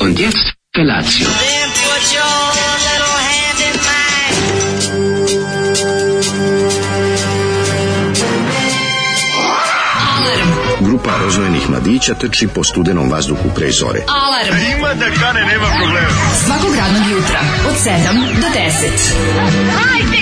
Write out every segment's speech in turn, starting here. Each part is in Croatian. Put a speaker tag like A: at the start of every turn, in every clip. A: Und jetzt Felatio.
B: Then put your little hand in mine.
C: Grupa rozvojenih mladića teči po studenom vazduhu pre zore.
D: Alarm. Ima da kane, nema problema. Svakog radnog jutra, od 7 do 10.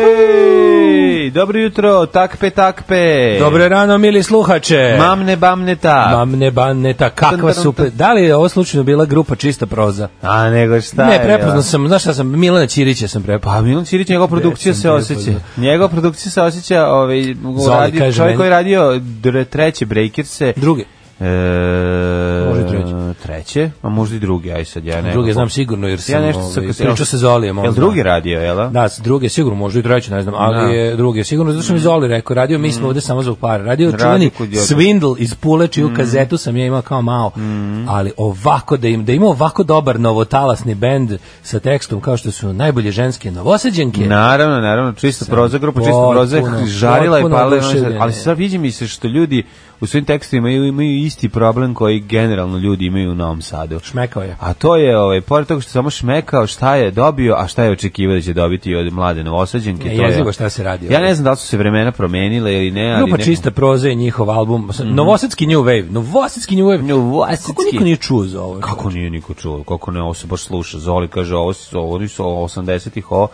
E: Jej! Dobro jutro, takpe, takpe.
F: Dobro rano, mili sluhače.
E: Mamne, bamneta.
F: Mamne baneta, kakva super. Da li je ovo slučajno bila grupa čista proza?
E: A nego šta je
F: ne,
E: bila?
F: prepoznao sam, znaš šta sam, Milana Ćirića sam
E: Pa
F: prepoznao.
E: Milan Ćirić, njegova produkcija
F: sam
E: se osjeća.
F: prepoznao.
E: Njegova produkcija se osjeća, ovaj,
F: Zoli,
E: radio,
F: kaže
E: čovjek
F: meni.
E: koji je radio dr- treće Breakerse.
F: Drugi.
E: E,
F: Može i treće.
E: Treće, a možda i drugi, aj sad ja ne.
F: Drugi znam sigurno jer sam
E: Ja nešto
F: ovaj,
E: sam
F: pričao sa Zolijem.
E: Jel
F: onda.
E: drugi radio, jel? a?
F: Da, s druge sigurno, možda i treći, ne znam, ali
E: Da.
F: je druge sigurno, zato što mi Zoli rekao, radio mi smo ovde samo zbog para. Radio je
E: Radi
F: čuveni
E: kod Mm. Jokića.
F: Svindl iz Pule, čiju kazetu sam ja imao kao malo,
E: Mm.
F: ali ovako da im da ima ovako dobar novotalasni bend sa tekstom kao što su najbolje ženske novosađenke.
E: Naravno, naravno, čista proza grupa, čista proza
F: potpuno,
E: žarila i
F: potpuno
E: palila,
F: oduševljena.
E: ali sad vidi mi se što ljudi u svojim tekstovima imaju, imaju isti problem koji generalno ljudi imaju u Novom Sadu.
F: Šmekao je.
E: A to je, ovaj, pored toga što je samo šmekao šta je dobio, a šta je očekivao da će dobiti i od mlade novosađenke.
F: Ne,
E: to je- ono.
F: jezivo šta se radi.
E: Ja ne znam da li su se vremena promenile ili ne, ali...
F: Grupa
E: neko- Mhm.
F: Čista proza je njihov album. Mm. Novosadski New Wave. Novosadski New Wave.
E: Novosadski.
F: Kako niko nije čuo za ovo?
E: Kako nije niko čuo, kako ne, ovo se baš sluša. Zoli kaže, ovo su, oni su 80-ih o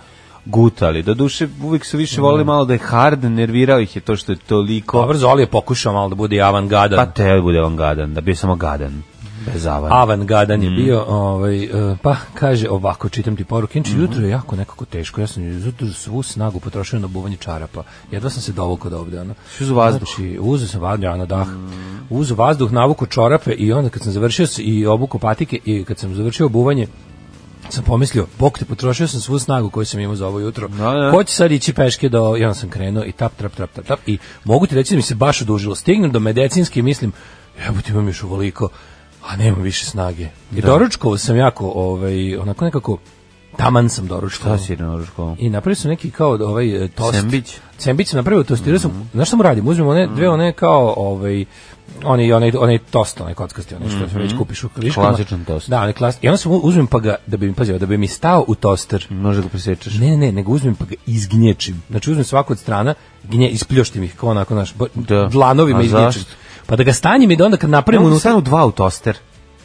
E: gutali. Doduše, uvijek su više volili malo da je hard, nervirao ih je to što je toliko...
F: Mm. Dobro, Zoli je pokušao malo da bude i avangadan.
E: Pa te bude on gadan, da bio samo gadan. Bez avana.
F: avangadan je
E: Mm.
F: bio, ovaj, e, pa kaže ovako, čitam ti poruke, inče
E: Mm-hmm.
F: jutro je jako nekako teško, ja sam jutro svu snagu potrošio na buvanje čarapa, jedva sam se dovukao do ovde, ono.
E: Si uzeo vazduh?
F: Znači, uzeo sam vazduh, ja na dah, uzeo vazduh, navuku čorape i onda kad sam završio s- i obuku patike i kad sam završio buvanje, sam pomislio, bok te, potrošio sam svu snagu koju sam imao za ovo jutro.
E: Da, da.
F: Ko će sad ići peške do, i onda sam krenuo i tap, trap, trap, trap, tap, i mogu ti reći da mi se baš odužilo. Stignem do medicinske i mislim, jebote imam još uvoliko, a nemam više snage. I doručkovao sam jako, ovaj, onako nekako, taman sam doručkovao.
E: Šta si na ručkom?
F: I napravio sam neki kao ovaj e, tost.
E: Sembić? Mhm.
F: Sembić sam napravio, tostirao sam. Znaš šta mu radim? Uzmem one dve one kao ovaj oni onaj onaj tost, onaj kockasti, onaj što već kupiš u kliškama.
E: Mhm. Klasičan tost.
F: Da, onaj klas. I onda sam u- uzmem pa ga da bi mi pazio, da bi mi stao u toster.
E: Može ga presečeš.
F: Ne, ne, ne, nego uzmem pa ga izgnječim. Znači uzmem svaku od strana, gnje, ispljoštim ih kao onako, naš,
E: Da.
F: dlanovima
E: A
F: izgnječim.
E: zašto?
F: Pa da ga stanjem i da onda kad napravim
E: on
F: unutra,
E: stanu dva u toster.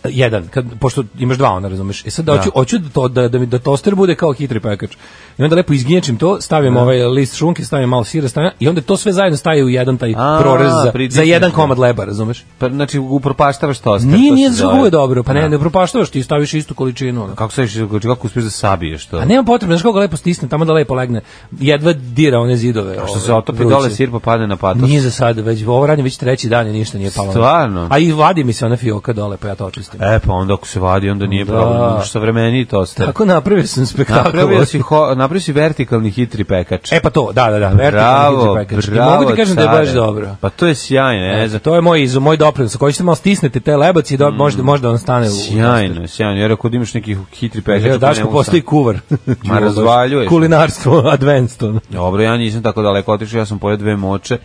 F: jedan, kad, pošto imaš dva, ona razumeš. E sad da
E: Da.
F: hoću, hoću da, to, da, da, mi- da toster bude kao hitri pekač. I onda lepo izginječim to, stavim ovaj list šunke, stavim malo sira, stavim, i onda to sve zajedno staje u jedan taj
E: A,
F: prorez za, za
E: pritisneš
F: jedan
E: ga.
F: komad leba, razumeš?
E: Pa, znači, upropaštavaš toster.
F: Nije,
E: to
F: nije
E: se
F: za
E: zove.
F: je dobro, pa ne,
E: Da.
F: ne propaštavaš ti, staviš istu količinu. ono.
E: Kako se više, kako uspiješ da sabiješ to?
F: A nema potrebe, znaš koga lepo stisne, tamo da lepo legne. Jedva dira one zidove.
E: A što
F: ove,
E: se otopi
F: vruće.
E: dole, sir pa padne na patos.
F: Nije za sad, već ovo radim već treći dan i ništa nije palo.
E: Stvarno?
F: A i vadi mi se ona fioka dole, pa ja to očistim.
E: E, pa onda ako se vadi, onda nije
F: Da.
E: problem. Što vremeniji toster.
F: Tako napravio sam spektakl.
E: Napravio si, ho, napravio si vertikalni hitri pekač.
F: E pa to, da, da, da,
E: bravo,
F: vertikalni pekač. I
E: bravo,
F: mogu ti kažem da je baš
E: care.
F: dobro.
E: Pa to je sjajno, ne
F: E,
E: znam.
F: za to je moj izum, moj doprinos. Ako ćete malo stisnete te lebac i do, možda, možda on stane u...
E: Mm. Sjajno, sjajno. Jer ako imaš neki hitri pekač...
F: Evo,
E: koji ne
F: Daško
E: mogu
F: postoji
E: sam-
F: kuvar.
E: Ma, razvaljuješ.
F: Kulinarstvo, advanced. ono.
E: Dobro, ja nisam tako daleko otišao, ja sam pojeo dve moče,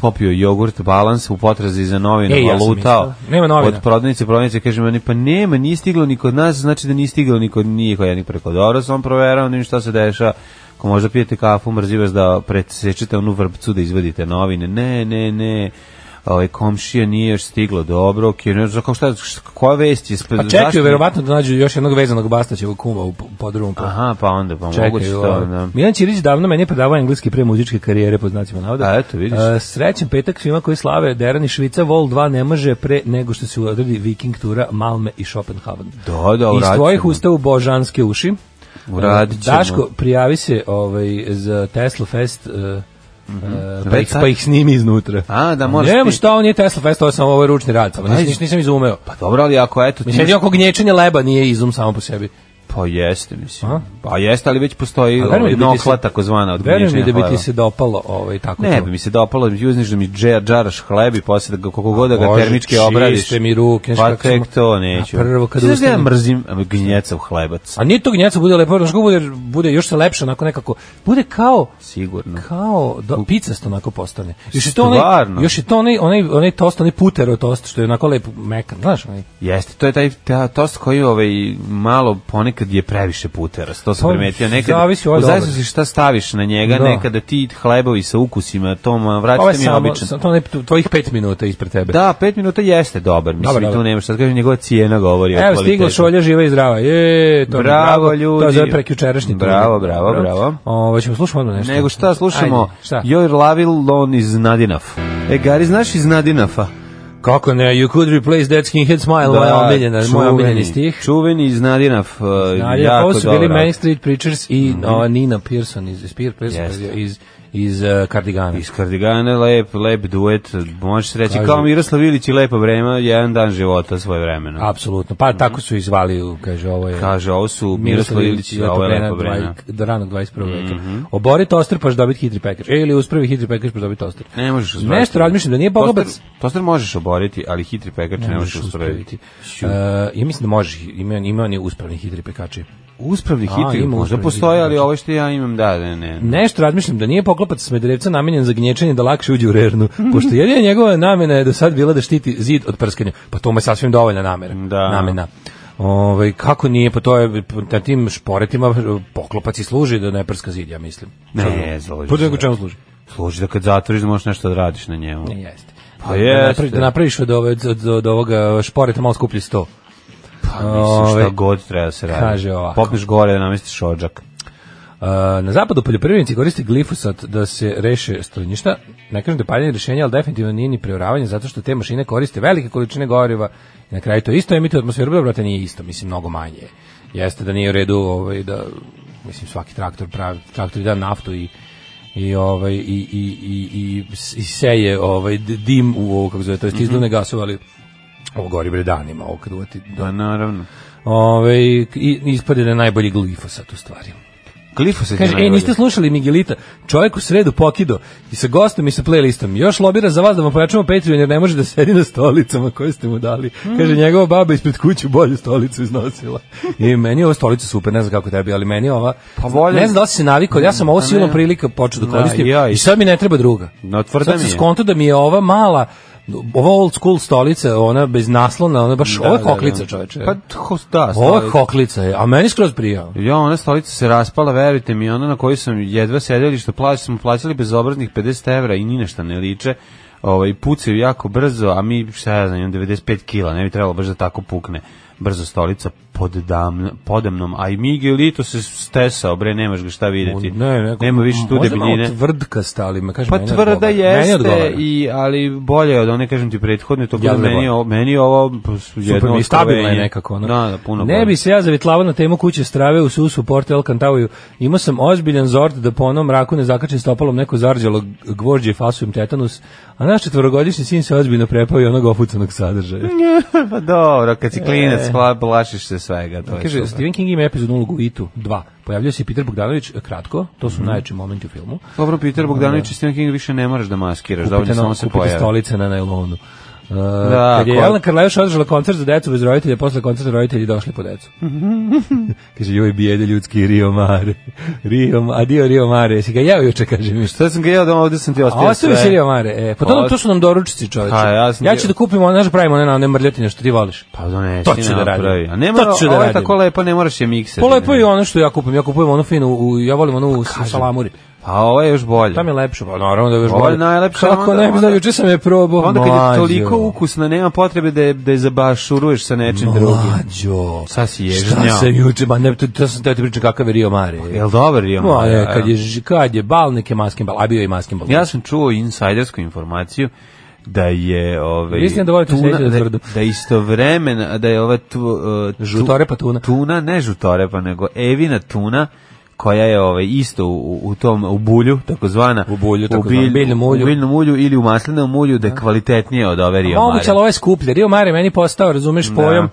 E: popio jogurt, balans u potrazi za novine,
F: Ej, E, ja sam
E: valutao.
F: isto. Nema novina.
E: Od prodavnice, prodavnice, kaže meni, pa nema, nije stiglo ni kod nas, znači da nije stiglo ni kod njih, a ja ni preko dobro sam proverao, nim šta se dešava. Ako možda pijete kafu, mrzi vas da presečete onu vrpcu da izvadite novine. Ne, ne, ne. Ovaj komšija nije još stiglo dobro, okej, ne znam kako šta, šta- koja vest je
F: A Pa čekaju, verovatno da nađu još jednog vezanog Bastaćevog kuma u po- podrumu. po-
E: Aha, pa onda, pa moguće
F: Čekaju. ovaj.
E: to, da.
F: ovo. Milan Ćirić davno meni je predavao engleski pre muzičke karijere po znacima navoda.
E: A, eto, vidiš.
F: E, srećan petak svima koji slave Deran i Švica Vol 2 ne može pre nego što se uradi Viking tura Malme i Schopenhaven.
E: Da, da,
F: Iz
E: uradit
F: tvojih
E: ćemo.
F: usta u božanske uši. E,
E: Uradit ćemo.
F: Daško, prijavi se ovaj, za Tesla Fest e, e, pa,
E: Mhm. Već
F: ih,
E: sad?
F: pa ih snimi iznutra.
E: A, da, možeš
F: Nemo
E: ti.
F: šta, on je Tesla Fest, ovo je samo ovaj ručni rad. Samo, nisam,
E: Ajde.
F: nisam, nisam izumeo.
E: Pa dobro, ali ako eto... ti
F: Mislim, jedino oko gnječenja leba nije izum samo po sebi.
E: Pa jeste, mislim.
F: A?
E: Pa jeste, ali već postoji
F: A verujem
E: ovaj,
F: da bi ti se-
E: nokla takozvana od
F: Verujem mi
E: gnječina
F: da bi ti
E: hleba.
F: se dopalo ovaj, tako
E: Ne
F: to.
E: bi mi se dopalo, uzniš da mi džer, džaraš hleb i posle da ga koliko god da ga
F: Bože,
E: termički
F: čiste
E: obradiš.
F: mi ruke, znaš
E: Pa
F: kako sam-
E: tek to neću.
F: A prvo kad
E: Znaš da ja
F: ustanem-
E: mrzim a, gnjecav hlebac.
F: A nije to gnjeca bude lepo, znaš kako bude, bude još se lepše onako nekako, bude kao
E: Sigurno.
F: kao do, picasto onako postane. Još je to
E: Stvarno?
F: onaj, još je to onaj, onaj, onaj tost, onaj putero tost, što je onako lep, mekan, znaš, onaj,
E: Jeste, to je taj ta, tost koji ovaj, malo ponekad je previše puteras, to sam
F: Pa,
E: primetio. Nekad,
F: zavisi od
E: u
F: ovoga.
E: zavisnosti šta staviš na njega,
F: Da.
E: nekada ti hlebovi sa ukusima, to ma,
F: ovo je
E: vraćate mi
F: Ovaj samo,
E: običan.
F: sam, to onaj tu- tvojih pet minuta ispred tebe.
E: Da, pet minuta jeste dobar, mislim,
F: Dobar,
E: i tu
F: dobar.
E: nema šta da kažem, njegova cijena govori o
F: Evo,
E: kvalitetu.
F: stigla šolja živa i zdrava. Je, to mi je
E: Bravo,
F: drago. To je
E: ljudi.
F: za ovaj prekjučerašnji. turnir.
E: Bravo, bravo, bravo.
F: Ovo, ćemo slušamo odmah nešto.
E: Nego šta slušamo?
F: Ajde, šta?
E: Joj Lavilon iz Nadinaf. E, Gari, znaš iz Nadinafa?
F: Kako ne, you could replace that skinhead smile, moja omiljena, moj omiljeni stih.
E: Čuveni iz Nadinaf. Uh,
F: Nadalje,
E: jako
F: ovo su bili
E: dobro.
F: Main Street Preachers i o, Nina Pearson iz, iz Pear Pearson
E: Jeste.
F: iz, iz uh, Kardigana.
E: Iz Kardigana, lep, lep duet, možeš reći,
F: Kažu-
E: kao Miroslav Ilić i Lepa vrema, jedan dan života svoje vremena.
F: Apsolutno. Pa tako su izvali, kaže, ovo je...
E: Kaže, ovo su Mhm. Miroslav Ilić i
F: Lepo
E: ovo je Mhm.
F: vreme,
E: Lepa vremena.
F: dvaj- Do ranog 21. veka. Obori toster pa ćeš dobiti hitri pekač. E, Ili uspravi hitri pekač pa dobiti toster.
E: Ne možeš uzvratiti.
F: Nešto razmišljam da nije Bogobac.
E: Toster, toster možeš oboriti, ali hitri pekač ne, možeš uspraviti.
F: uspraviti. Uh, ja mislim da možeš, ima, ima on je uspravni hitri pekači.
E: Uspravni znači.
F: A,
E: hitri,
F: ima
E: možda
F: uspravni
E: postoje,
F: hitri
E: ali
F: pekač.
E: ovo što ja imam, da, ne, ne.
F: Nešto razmišljam da nije poklopac Smederevca namenjen za gnječenje da lakše uđe u rernu, pošto jedina njegova namena je do sad bila da štiti zid od prskanja. Pa to mu je sasvim dovoljna namera.
E: Da.
F: Namena. Ovaj, kako nije, pa to je, na tim šporetima poklopac i služi da ne prska zid, ja mislim.
E: Ne, služi.
F: Pa nego čemu služi?
E: Služi da kad zatvoriš da možeš nešto da radiš na njemu.
F: Ne, jeste.
E: Pa
F: Da,
E: jeste.
F: napravi, da napraviš od, ove, od, od ovoga šporeta malo skuplji sto.
E: Pa mislim šta
F: Ove,
E: god treba da se radi.
F: kaže ovako.
E: Popneš gore da namestiš odžak.
F: Uh, na zapadu poljoprivrednici koriste glifosat da se reše strunjišta. Ne kažem da je paljenje rješenje, ali definitivno nije ni preoravanje zato što te mašine koriste velike količine goriva i na kraju to isto emituje atmosferu, dobro, brate, nije isto, mislim, mnogo manje. je. Jeste da nije u redu ovaj, da, mislim, svaki traktor pravi, traktor da naftu i i ovaj i i i i, i seje ovaj d- dim u ovo kako zove to jest izduvne gasove ali ovo gori bre danima ovo kad uvati
E: Pa naravno.
F: ovaj i ispade da je najbolji glifosat u stvari
E: Glifosat je
F: Kaže,
E: najbolje.
F: e, niste slušali Miguelita, čovjek u sredu pokido i sa gostom i sa playlistom. Još lobira za vas da vam pojačamo Patreon jer ne može da sedi na stolicama koje ste mu dali.
E: Mm.
F: Kaže, njegova baba ispred kuće bolju stolicu iznosila. I meni je ova stolica super, ne znam kako tebi, ali meni je ova...
E: Pa volim-
F: Ne znam da li si se navikao, ja sam ovo
E: Pa
F: silom
E: ne.
F: prilika počeo da
E: Da,
F: koristim
E: i ja
F: i
E: isto.
F: sad mi ne treba druga.
E: No, tvrda
F: sad sam
E: mi je.
F: skonto da mi je ova mala ova old school stolica, ona bez naslona, ona baš,
E: Da,
F: ovo je
E: da, da.
F: koklica čoveče.
E: Pa ho- da,
F: Ovo
E: stolica.
F: je koklica, je, a meni skroz prijao.
E: Ja, ona stolica se raspala, verujte mi, ona na kojoj sam jedva sedeli, što plaći, smo plaćali bezobraznih 50 evra i ni na šta ne liče, ovaj, pucaju jako brzo, a mi, šta ja znam, imam 95 kila, ne bi trebalo baš da tako pukne brzo stolica pod dam, podamnom, a i Miguel Lito se stesao, bre, nemaš ga šta videti.
F: neko-
E: Nema više tu
F: možda malo
E: debiljine.
F: tvrdka stali, me kaže
E: Pa
F: meni
E: tvrda
F: odgovara. Meni
E: jeste,
F: odgovara.
E: i, ali bolje je od one, kažem ti, prethodne, to ja
F: Ja
E: meni, je
F: zaboravim.
E: ovo- meni je ovo p- jedno
F: Super, mi stabilno je
E: otkrovenje.
F: nekako ono.
E: Da, da, puno
F: ne
E: bolje.
F: bi se ja zavitlavao na temu kuće strave u susu Porto El Cantaviju. Imao sam ozbiljan zord da po onom raku ne zakačim stopalom neko zarđalo gvožđe i fasujem tetanus, a naš četvorogodišnji sin se ozbiljno prepao i onog ofucanog sadržaja.
E: Pa dobro, kad si klinec, hla- plašiš se svega, to je
F: Kaže,
E: super.
F: Stephen King ima epizodnu ulogu u Itu 2. Pojavljuje se i Peter Bogdanović kratko, to su najjači momenti u filmu.
E: Dobro, Peter Bogdanović i Stephen King više ne moraš da maskiraš, dovoljno
F: kupite,
E: Pa samo
F: no,
E: se
F: kupite
E: pojavi.
F: stolice na najlonu. Uh,
E: Da,
F: kad je
E: ko-
F: Jelena Karlajuš održala koncert za decu bez roditelja, posle koncerta roditelji došli po decu. kaže, joj bijede ljudski Rio Mare. Rio, Ma- adio Rio Mare. Si ga jeo juče, kaže mi.
E: Sad sam ga jeo doma, ovde sam ti
F: A
E: ostavio sve.
F: ostavi si Rio Mare. E, pa to,
E: Pa-
F: to su nam doručici, čoveče.
E: Ha, ja sam
F: ja
E: bio-
F: ću da kupim, ono, znaš, pravimo one, na- one mrljotine što ti voliš.
E: Pa donesi,
F: To ću da radim.
E: napravi. A ne
F: To
E: mora,
F: ću da
E: ovo je
F: radim.
E: tako lepo, ne moraš je mikser.
F: Pa lepo je i ono što ja kupim. Ja kupujem onu finu, u, ja volim onu u salamuri.
E: Pa ovo je još bolje.
F: Tam je lepše, pa naravno da je još
E: Ovo je
F: bolje.
E: najlepše,
F: Kako
E: onda-
F: ne bi znao,
E: onda-
F: juče sam je probao.
E: Pa Onda kad je
F: Mlađo.
E: toliko ukusna, nema potrebe da je, da je zabašuruješ sa nečim drugim.
F: Mlađo.
E: Sad si ježnjao.
F: Šta se juče, ma ne, to, to sam teo ti pričam kakav je Rio Mare.
E: Jel dobar Rio
F: Ma,
E: Mare?
F: je, kad je, ž- kad je bal, neke maskimbal, a bio je i maskimbal.
E: Ja sam čuo insajdersku informaciju da je ovaj
F: Vi ste da volite
E: tuna-
F: sljedeće da
E: da,
F: tvrdo.
E: da istovremeno da je ova tu, uh, tu-
F: Žutorepa tuna.
E: tuna ne žutorepa nego evina tuna koja je ovaj isto u, u tom u bulju takozvana
F: U bulju, takozvana, biljnom ulju.
E: u biljnom ulju ili u maslinovom ulju da je kvalitetnije od ove Rio Mare.
F: Moguće, ali ovo je skuplje. Rio Mare meni postao, razumeš, pojam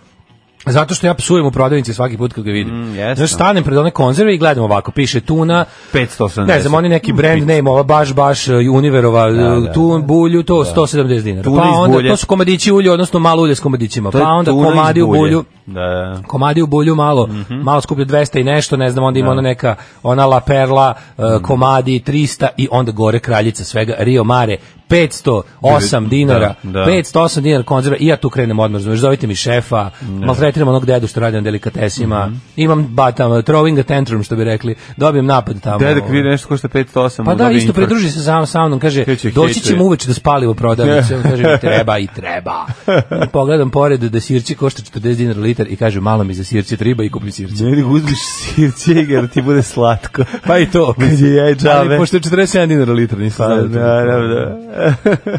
F: Zato što ja psujem u prodavnici svaki put kad ga vidim.
E: Mm, jesno.
F: Znaš, stanem pred one konzerve i gledam ovako, piše tuna,
E: 580.
F: ne znam, oni neki brand name, ova baš, baš uh, Univerova, uh,
E: da,
F: tu bulju, to 170 dinara.
E: Tuna
F: pa
E: iz
F: onda,
E: bulje.
F: to su komadići ulja, odnosno malo ulje s komadićima.
E: To je
F: Pa onda
E: tuna iz
F: komadi u
E: bulje.
F: bulju,
E: Da, da.
F: komadi u bulju malo,
E: Mhm.
F: malo skuplje 200 i nešto, ne znam, onda ima ona neka, ona La Perla, uh,
E: Mhm.
F: komadi 300 i onda gore kraljica svega, Rio Mare, 508 dinara,
E: da.
F: 508 dinara konzerva i ja tu krenem odmah, razumeš, zovite mi šefa, maltretiram onog dedu što radi na delikatesima,
E: Mhm.
F: imam ba, tamo, throwing a tantrum, što bi rekli, dobijem napad tamo.
E: Dedek vidi nešto košta 508.
F: Pa
E: mu
F: da,
E: dobi
F: isto
E: infarkt.
F: pridruži se sa, sa mnom, kaže,
E: Kreće,
F: doći
E: hejtuje.
F: ćemo uveče da spalimo prodavnicu, on kaže, treba i treba. Pogledam pored da sirće košta 40 dinara litar i kaže, malo mi za sirće treba i kupim sirće.
E: Ne, nego uzmiš sirće jer ti bude slatko.
F: Pa i to.
E: Kad je jaj džave.
F: Ali pošto je 47 dinara litar, nisam
E: Pa,
F: znao da to-
E: naravno.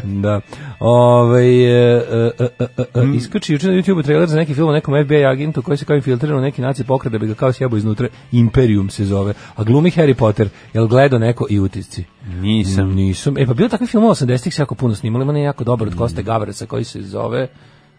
F: Da. Ove, e, e, e, e, e, Iskači juče na YouTube trailer za neki film o nekom FBI agentu koji se kao infiltrira u neki naci pokret da bi ga kao sjebo iznutra. Imperium se zove. A glumi Harry Potter. Jel gledao neko i utisci?
E: Nisam.
F: Nisam. E pa bilo takvi filmova 80-ih se jako puno snimali, ima ne jako dobar od Koste Gavresa koji se zove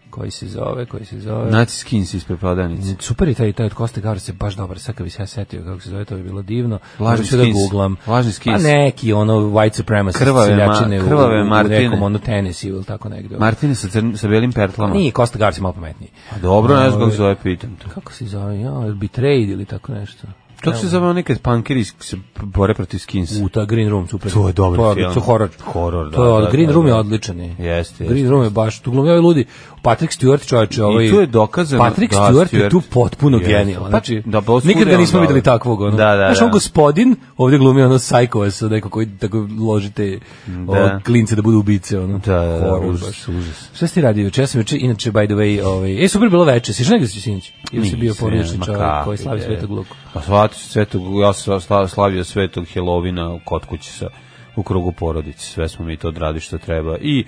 F: koji se zove, koji se zove.
E: Naci skins ispred prodavnice.
F: Super i taj, taj od Koste Gavresa je baš dobar, sad kad bi se ja setio kako se zove, to bi bilo divno.
E: Lažni
F: Možda ću da
E: skins.
F: googlam.
E: Lažni skins.
F: Pa neki, ono, white supremacist,
E: Krvave ma-
F: seljačine u-
E: krvave
F: u,
E: Martine.
F: nekom, ono, Tennessee ili tako negde.
E: Martine sa, crn, sa belim pertlama.
F: Nije, Kosta Gavres je malo pametniji.
E: Pa dobro, ne znam kako
F: Ove,
E: se zove, pitam te.
F: Kako se zove, ja, ili Betrayed ili tako nešto.
E: Kako se zove nekad punkeri se bore protiv skinsa?
F: U, ta Green Room, super. Pa,
E: To je dobar
F: to,
E: film.
F: To je horor.
E: Horor, da,
F: To je, od-
E: da,
F: Green
E: da,
F: Room je
E: da.
F: odličan. je.
E: Jeste,
F: Green
E: jeste.
F: Room je baš, tu glumi ovi ludi. Patrick Stewart, čovječe, ovaj...
E: I tu je dokazano
F: Patrick
E: da,
F: Stewart, je
E: Stewart-
F: tu potpuno
E: Jeste.
F: genijalan.
E: Pa,
F: Znači,
E: da, pa osvuda
F: nikad
E: je
F: ga
E: on
F: nismo
E: dobar.
F: vidjeli takvog. Ono.
E: Da, da,
F: Znaš, on
E: da.
F: gospodin, ovdje glumi ono sajkova sa neko koji tako ložite da. klince da budu ubice. Ono.
E: Da, da, da,
F: Horor
E: užas,
F: baš.
E: užas.
F: Šta si ti radio juče? Ja sam juče, inače, by the way, ovaj, e, super bilo veče, si negdje si sinoć? Ili si bio
E: Nisam,
F: porodični
E: ma
F: čovjek
E: kako
F: koji slavi
E: ide.
F: svetog luku?
E: Pa slavio svetog, ja sam sla- slavio svetog Helovina kod kuće sa, u krugu porodice. Sve smo mi to odradili što treba. I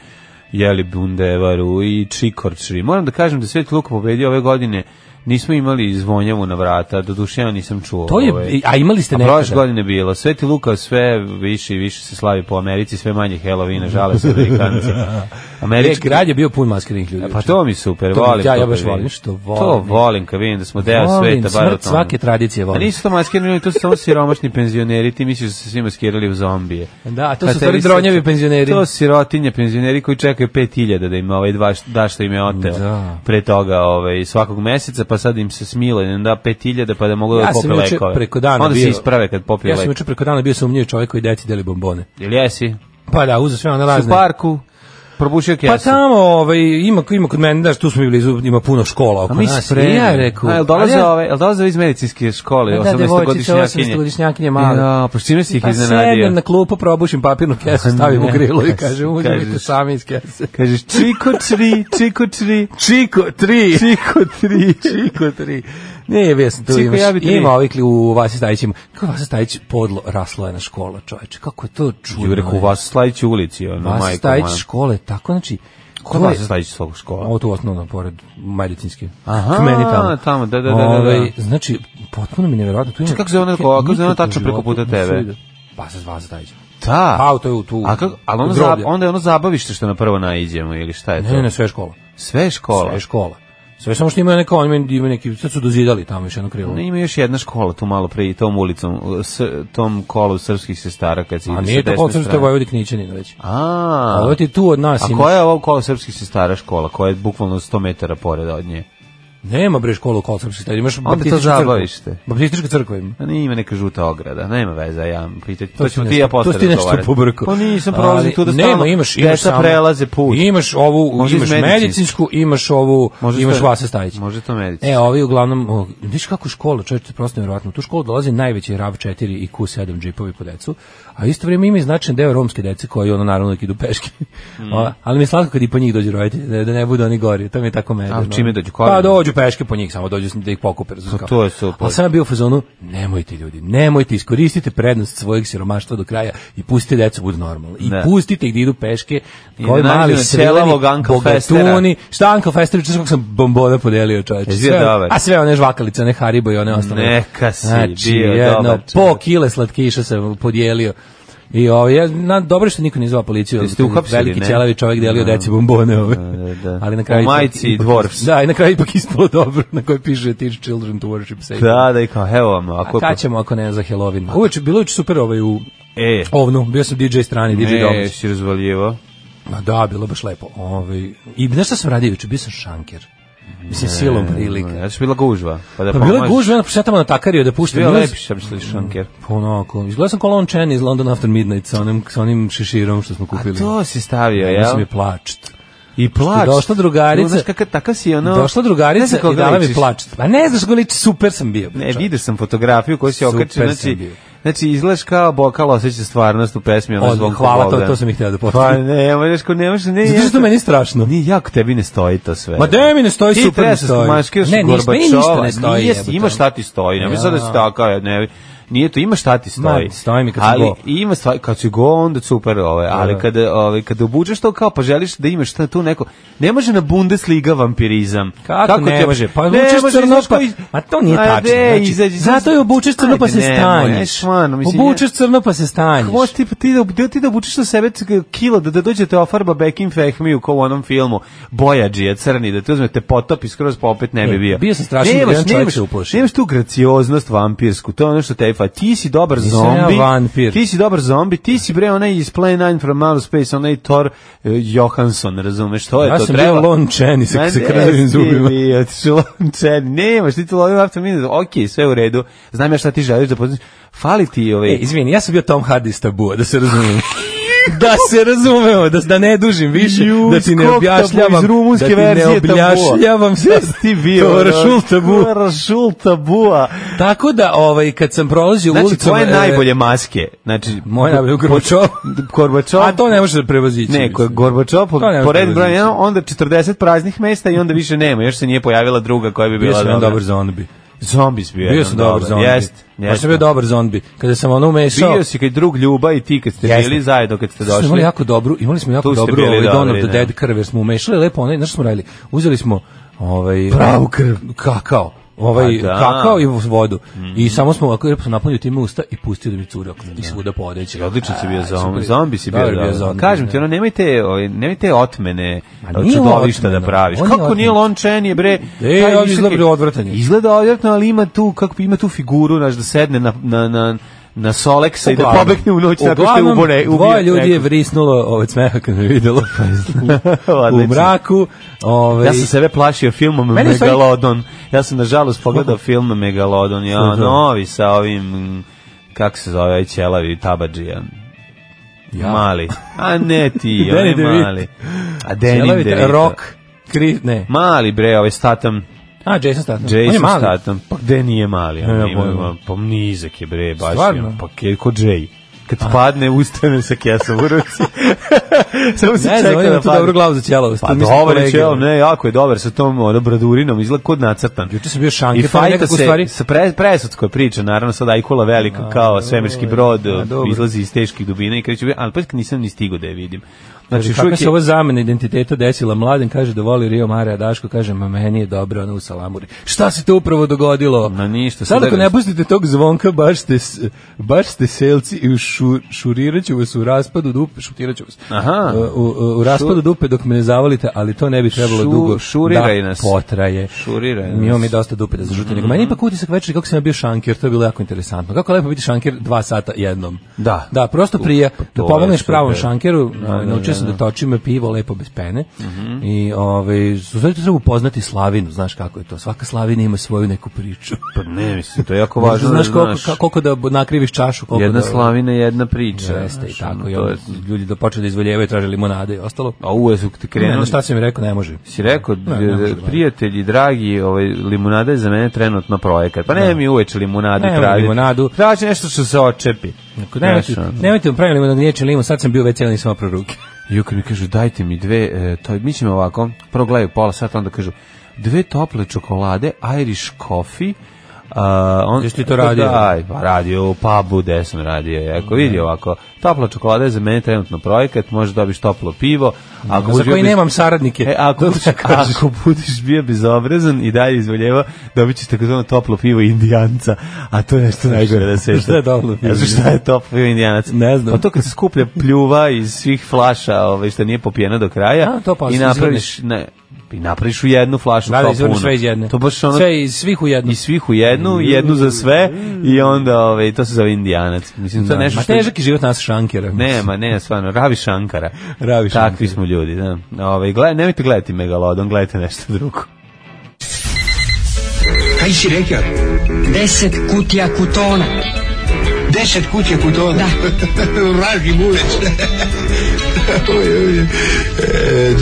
E: jeli bundevaru i čikorčri. Moram da kažem da Sveti Luka pobedio ove godine Nismo imali zvonjavu na vrata, doduše ja nisam čuo.
F: To je-
E: ovaj.
F: a imali ste
E: A
F: nekada?
E: Prošle godine bilo. Sveti Luka sve više i više se slavi po Americi, sve manje Helovina, žale se Amerikanci.
F: Reč
E: Američki
F: grad je bio pun maskiranih ljudi. Znači,
E: E, Pa
F: juče.
E: to mi super,
F: To mi-
E: volim.
F: ja- ja
E: kad
F: baš
E: vidim.
F: volim što volim.
E: To volim kad vidim da smo deo
F: Volim,
E: sveta. bar u
F: smrt
E: tom.
F: svake tradicije volim.
E: A nisu to maskirani, ljudi, to su samo siromašni penzioneri, ti misliš da su se svi maskirali u zombije.
F: Da, to
E: Kad
F: su u stvari
E: tebi se-
F: dronjevi penzioneri.
E: To su sirotinje penzioneri koji čekaju 5000 da im ovaj dva, da što im je oteo.
F: Da.
E: Pre toga ovaj, svakog meseca, pa sad im se smilo, im da 5000 pa da mogu da
F: ja
E: pope
F: sam juče
E: lekove.
F: preko dana
E: Onda se
F: bio-
E: isprave kad popiju
F: Ja sam
E: lek.
F: juče preko dana bio sumnjiv čovjek koji deci deli bombone.
E: Ili jesi?
F: Pa da, uzeo sve one
E: U
F: razne.
E: parku, probušio kesu.
F: Pa tamo, ovaj, ima, ima kod mene, znaš, tu smo bili, blizu, ima puno škola oko
E: A mi
F: nas.
E: spremni.
F: I ja rekao,
E: A, jel
F: ali
E: dolaze
F: ja- Pa
E: ove, jel dolaze ove iz medicinske škole,
F: Da, da,
E: 18-godišnjakinje?
F: devojčice, 18-godišnjakinje male.
E: Ja, pa s čime si ih
F: pa
E: iznenadio?
F: sedem na klupu, probušim papirnu kesu, stavim u
E: Ne,
F: grilo i
E: kažeš,
F: kažem, uđe mi to
E: kažeš.
F: sami iz kese.
E: Kažeš čiko tri, čiko tri,
F: Čiko, tri!
E: čiko tri,
F: Čiko tri. Ne, ja sam tu
E: Čiko,
F: imaš,
E: ja bi tri.
F: ima ovih li u Vasi Stajićima. Kako Vasi Stajić podlo raslo je na škola, čoveče. Kako je to čudno.
E: Ju rekao,
F: je.
E: u vas Slajić ulici, ono, majko.
F: Vasi Stajić škole, tako znači...
E: Kod
F: to je-
E: vas Slajić svog škola.
F: Ovo tu osnovno, pored medicinske.
E: Aha,
F: K meni tamo.
E: tamo, da, da, da, da, da.
F: Ovaj, znači, potpuno mi nevjerojatno. Tu ima,
E: Čekaj, kako se ona-
F: Ja
E: kako se ona
F: nikad u
E: tačno preko
F: životu
E: puta
F: nisam
E: tebe?
F: vidio. Pa se zva Stajić.
E: Da.
F: A, to je u tu.
E: A kako, ali ono
F: u
E: za,
F: groblje.
E: onda je ono zabavište što na prvo naiđemo, ili šta je to?
F: Ne, ne, sve je škola.
E: Sve škola.
F: Sve je škola. Sve samo što imaju neka, oni imaju neki, sad su dozidali tamo još jedno krilo.
E: Ne, Ima još jedna škola tu malo pre i tom ulicom, s, tom kolu srpskih sestara kad se
F: A
E: ide sa
F: nije to
E: desne
F: kolo srpske
E: strane.
F: Vojvodik Nićanina već.
E: A,
F: A ovo ti tu od nas
E: A
F: imaš.
E: koja je ovo kolo srpskih sestara škola, koja je bukvalno 100 metara pored od nje?
F: Nema bre školu kolo srpske stari, imaš
E: Onda to
F: baptističku
E: zabavište.
F: crkvu. Baptistička crkva ima.
E: A Pa nije ima neka žuta ograda, nema veze, ja vam pitati. To,
F: To si
E: ćemo ti
F: nešto-
E: ja posle
F: to si ti nešto
E: razgovarati.
F: pobrkao.
E: Pa nisam prolazim
F: Ali
E: tu da
F: nema,
E: stalno
F: imaš- imaš
E: deca
F: samo-
E: prelaze put.
F: Imaš ovu,
E: Možda
F: imaš
E: iz medicinsku.
F: medicinsku, imaš ovu,
E: Možda
F: imaš
E: to-
F: Vasa Stajić.
E: Može to medicinski.
F: E, ovi uglavnom, o, viš kako škola, čovječe, to je prosto nevjerojatno. U tu školu dolazi najveći RAV 4 i Q7 džipovi po decu, a isto vrijeme ima i značajan deo romske dece koji ono naravno uvijek idu peške.
E: Mm.
F: O, ali mi je slatko kad i po njih dođu roditelji, da, da ne budu oni gori, to mi je tako medno.
E: A čime dođu, kolima?
F: Pa dođu peške po njih, samo dođu s- da ih pokupe. razumiješ
E: Pa
F: kao.
E: to je super.
F: Ali sam ja bio u fazonu, nemojte ljudi, nemojte, iskoristite prednost svojeg siromaštva do kraja i pustite decu da budu normalni. I
E: Da.
F: pustite ih da idu peške,
E: I
F: koji
E: da nađu
F: mali
E: na
F: sreleni,
E: celavog Anka
F: bogatuni, šta Anka Festera, čas kako sam bombona podelio čoveče.
E: Jesi bio
F: Sve-
E: dobar?
F: A sve one žvakalice, one Haribo i one ostale.
E: Neka si
F: znači,
E: bio
F: jedno,
E: dobar čovek.
F: po kile slatkiša sam podijelio. I ovaj, ja, na, dobro što niko nije zvao policiju.
E: Jeste
F: ali
E: uhapsili,
F: Veliki
E: ne?
F: ćelavi čovjek delio
E: Da.
F: deci bombone ove.
E: Da, da.
F: Ali na kraju...
E: U majici
F: ipak-
E: Dwarfs.
F: Da, i na kraju ipak ispalo dobro, na kojoj piše Teach Children to Worship Satan.
E: Da, da, i kao, evo vam, ako...
F: A kad ćemo ako ne za Halloween? Uveče, bilo je uveče super ovaj u
E: E,
F: ovnu, bio sam DJ strani, DJ
E: ne,
F: domaći.
E: si razvaljivo.
F: Ma da, bilo baš lepo. Ovaj, I znaš šta sam radio juče? Bio sam šanker. Mislim, silom prilika.
E: Ja sam bila gužva. Pa da
F: Pa bilo je
E: pomažeš.
F: gužva, ja šetamo na takariju da puštam.
E: Bio
F: Bilo je- Mm.
E: lepši sam što je šanker.
F: Onako, izgledao sam kolon Chen iz London After Midnight sa onim, sa onim šeširom što smo kupili.
E: To si stavio,
F: Ja
E: jel?
F: sam je plač.
E: I plač.
F: Što je došla drugarica-
E: Znaš kakav, takav si ono...
F: Došla
E: Ne
F: drugarica
E: znam kako
F: i dala mi
E: ličiš.
F: plač. Pa ne znaš kako liči, super sam bio.
E: Ne,
F: čovječe.
E: vidio sam fotografiju koju si
F: Super
E: okačio,
F: sam
E: znači...
F: bio.
E: Znači, izgledaš kao bokal osjeća stvarnost u pesmi. Ono
F: Odmah,
E: zbog
F: hvala, to-
E: Boga.
F: to sam i htio da potvrdim.
E: Pa ne, možeš ko ne možeš... Ne,
F: Zato što
E: ja-
F: meni je strašno.
E: Nije jako tebi ne stoji to sve.
F: Ma de mi ne stoji,
E: Ti
F: super
E: treba
F: ne
E: se
F: stoji.
E: skomaškiraš
F: Ne,
E: u
F: ništa- meni ništa ne
E: Gorbačova.
F: stoji,
E: Nije,
F: jebote.
E: imaš šta ti stoji. Ne
F: Ja.
E: mislim sad da si takav, ne. Nije to, ima šta ti stoji.
F: Ma, stoji mi kad si
E: ali,
F: go.
E: Ima stvari, kad si go, onda super, ove, ali
F: Da.
E: kada, ove, kada obuđaš to kao, pa želiš da imaš šta tu neko, ne može na Bundesliga vampirizam.
F: Kako, ne
E: te-
F: može? Pa
E: Ne
F: obučeš
E: može,
F: crno,
E: znaš
F: pa-
E: koji-
F: Ma to nije
E: Ajde,
F: tačno, znači,
E: izađi,
F: zato je obučeš crno, pa
E: Ajde,
F: se
E: nemoj,
F: stanješ.
E: ne, stvarno, mislim,
F: Obučeš
E: ja-
F: crno, pa se stanješ.
E: Možeš ti, ti, da, da, ti da obučeš na sebe c- kilo, da, da dođete ofarba Bekim Fehmiju kao u onom filmu Bojađija crni, da te uzmete potopi skroz pa opet ne bi
F: E,
E: bio.
F: bio sam strašan, jedan čovjek
E: nemaš,
F: se uplašio.
E: nemaš tu gracioznost vampirsku, to je ono što te fa. Ti si dobar
F: Nisam
E: zombi,
F: ja vampir.
E: ti si dobar zombi, ti si bre onaj iz Play 9 from Outer Space, onaj Thor eh, Johansson, razumeš, to je
F: Ja
E: to
F: sam
E: treba.
F: bio Lon Chen i sa, sa krvavim zubima.
E: I otišao Lončen. Nemaš, ti tu lovim after minute. Ok, sve u redu. Znam ja šta ti želiš da poznaš. Fali ti ovaj...
F: E, izvini, ja sam bio Tom Hardy iz Tabua, da se razumemo. da se razumemo, da, da ne dužim više,
E: Ju,
F: da ti ne
E: skok
F: objašnjavam,
E: tabu iz rumunske
F: da ti ne
E: verzije tabua.
F: objašnjavam sve.
E: Jesi ti bio?
F: To je Rašul Tabu.
E: Rašul tabua.
F: Tako da, ovaj, kad sam prolazio
E: Znači,
F: ulicom...
E: tvoje
F: e,
E: najbolje maske. Znači,
F: Moje najbolje Gorbačov.
E: Gorbačov.
F: A to ne može da prevozići.
E: Ne, ko je Gorbačov, po,
F: To ne može
E: po redu
F: prevazići.
E: broja jedan, onda 40 praznih mesta i onda više nema. Još se nije pojavila druga koja bi
F: Bio
E: bila
F: sam jedan
E: dobra.
F: dobar zombi.
E: Zombis bio.
F: Bio
E: jedan
F: sam dobar zombi.
E: Jest,
F: Baš sam
E: jest.
F: bio dobar zombi. Kada sam ono umešao...
E: Bio si kad drug Ljuba i ti kad ste
F: Jeste.
E: bili zajedno kad ste
F: Došli. Smo imali
E: došli.
F: jako dobru, imali smo jako
E: Tu ste
F: dobru
E: bili
F: ovaj Dawn
E: dobri,
F: of the
E: da.
F: Dead krv, jer smo umešali lepo onaj, znaš što smo radili? Uzeli smo ovaj
E: Pravu krv.
F: kakao. Ovaj
E: Pa da. Mhm.
F: kakao i vodu. I samo smo ovako lepo napunili tim usta i pustio da mi curi oko i svuda podeće.
E: Odlično si bio
F: Aj,
E: zombi,
F: super.
E: zombi si bio,
F: Dobar
E: dobar.
F: zombi,
E: Kažem ti,
F: da.
E: ono, nemojte, ovaj, nemojte otmene
F: Ma
E: eh,
F: nije on
E: čudovišta da
F: otmena,
E: praviš.
F: on je
E: Kako nije
F: otmena.
E: lončen je, bre?
F: E,
E: taj
F: on
E: visoki-
F: izgleda odvratan je.
E: Izgleda odvratno, ali ima tu, kako, ima tu figuru, znaš, da sedne na, na, na, na Soleksa i da
F: Uglavnom-
E: pobegne u noć tako što je
F: uglavnom,
E: ubore, ubio.
F: dvoje ljudi je
E: nekog.
F: vrisnulo ovaj smeha kad me videlo u
E: Odlično.
F: mraku. Ovaj,
E: Ja sam sebe plašio filmom
F: Meni je stvari-
E: Megalodon. Ja sam nažalost pogledao film Megalodon,
F: Što
E: ja
F: je to?
E: novi sa ovim mm, kako se zove ovaj ćelavi tabadžija.
F: Ja.
E: Mali. A ne ti,
F: Danny
E: onaj
F: DeVito.
E: mali. A
F: Jelena
E: Danny
F: Vita-
E: DeVito.
F: Rock, Kri, ne.
E: Mali bre, ovaj Statham,
F: A, Jason Statham. On je
E: Jason
F: mali.
E: Statham. Pa gde nije mali?
F: Ne,
E: on
F: ja
E: ima,
F: pojma.
E: ima, pa nizak je bre, baš
F: Stvarno? Pa.
E: je. Pa ke, ko Jay. Kad padne, ustane sa kesom u ruci. Samo se
F: Ne znam,
E: čeka
F: on ima
E: da
F: tu
E: padne.
F: dobru glavu za ćelavost.
E: Pa
F: Tu mislim
E: dobar je
F: kolege. ono.
E: čelo, ne, jako je dobar sa tom ono, bradurinom, izgleda kod nacrtan.
F: Juče sam bio
E: I
F: šanker, pa
E: fajta
F: nekako u
E: se
F: stvari...
E: sa pre, presudskoj priče, naravno sad Ajkula velika kao svemirski brod,
F: a, dobro.
E: izlazi iz teških dubina i kreću, ali pa nisam ni stigao da je vidim. Znači,
F: Znači,
E: još
F: kako
E: uvijek
F: se
E: je,
F: ova zamena identiteta desila? Mladen kaže da voli Rio Mare, a Daško kaže, ma meni je dobro, ono u Salamuri. Šta se to upravo dogodilo?
E: Ma ništa,
F: Sad
E: sad
F: ako
E: je-
F: ne pustite tog zvonka, baš ste, s- baš ste selci i šu, šurirat ću vas u raspadu dupe, šutirat ću vas.
E: Aha.
F: U, u, u raspadu dupe dok me ne zavalite, ali to ne bi trebalo
E: Šu-
F: dugo
E: šuriraj
F: da
E: nas.
F: potraje.
E: Šuriraj
F: Mi imamo
E: nas. Mhm.
F: mi dosta dupe da zažuti. Nego meni ipak utisak večeri kako sam ja bio šanker, to je bilo jako interesantno. Kako lepo biti šanker dva sata jednom.
E: Da. pa
F: Da, prosto prije, da
E: je
F: pomogneš pravom
E: super.
F: šankeru, ovaj, naučio sam da točim pivo lepo bez pene.
E: Mhm.
F: I ovaj u stvari to treba upoznati slavinu, znaš kako je to. Svaka slavina ima svoju neku priču.
E: pa ne, mislim, to je jako važno.
F: znaš
E: Pa, da
F: koliko, ka- koliko da b- nakriviš čašu, koliko
E: jedna
F: da
E: slavina, jedna priča.
F: Jeste i
E: znaš, ono,
F: tako. I
E: to
F: onda
E: je,
F: ljudi da počeli da izvoljevaju, traže limonade i ostalo.
E: a uve su ti
F: Ne, na
E: krenuli.
F: šta sam im rekao, ne može.
E: Si rekao,
F: Ne, ne
E: d-
F: može da.
E: prijatelji, dragi, ovaj, limunada je za mene trenutno projekat. Pa ne, mi uveče limunadu
F: Nemoj
E: tražiti.
F: limunadu.
E: Traži nešto što se očepi.
F: Ako Nemojte,
E: Znaš, ono.
F: nemojte mi pravili limonad gnječen limun, sad sam bio već cijeli sam pro ruke.
E: I kad mi kažu dajte mi dve, e, to, mi ćemo ovako, prvo gledaju pola sata, onda kažu dve tople čokolade, Irish coffee, A, on,
F: Jesi ti to radio?
E: Da, aj, pa radio u pubu, gde sam radio. Ako vidi ovako, topla čokolada je za mene trenutno projekat, možeš dobiš toplo pivo. Ako
F: za
E: budeš bio
F: koji
E: bez-
F: nemam saradnike.
E: E, ako,
F: Dobro što kažeš.
E: ako budiš bio bezobrazan i dalje izvoljeva, dobit ćeš takozvano toplo pivo indijanca, a to je nešto najgore da se
F: Šta je toplo pivo?
E: Ja znam šta je toplo pivo indijanac?
F: Ne znam.
E: Pa to kad se skuplja pljuva iz svih flaša, ovaj, što nije popijena do kraja,
F: A, to pa
E: i napraviš,
F: izvrneš.
E: ne, i napraviš u jednu flašu
F: Da, da,
E: kao
F: izvrneš
E: punu.
F: sve iz jedne.
E: To baš ono,
F: Sve iz svih u jednu.
E: i svih u jednu, jednu za sve i onda ovaj, to se zove indijanac. Mislim, to je nešto
F: Ma
E: što...
F: težak je život nas šankera.
E: Ne, ma ne, stvarno, Ravi Šankara.
F: Ravi
E: Takvi
F: Shankara.
E: smo ljudi, da. Ovaj, gled, nemojte gledati Megalodon, gledajte nešto drugo.
A: Kaj si rekao?
B: Deset kutija kutona.
A: Deset kuće kod toga? Vraži bulec. Oj, oj, oj. E,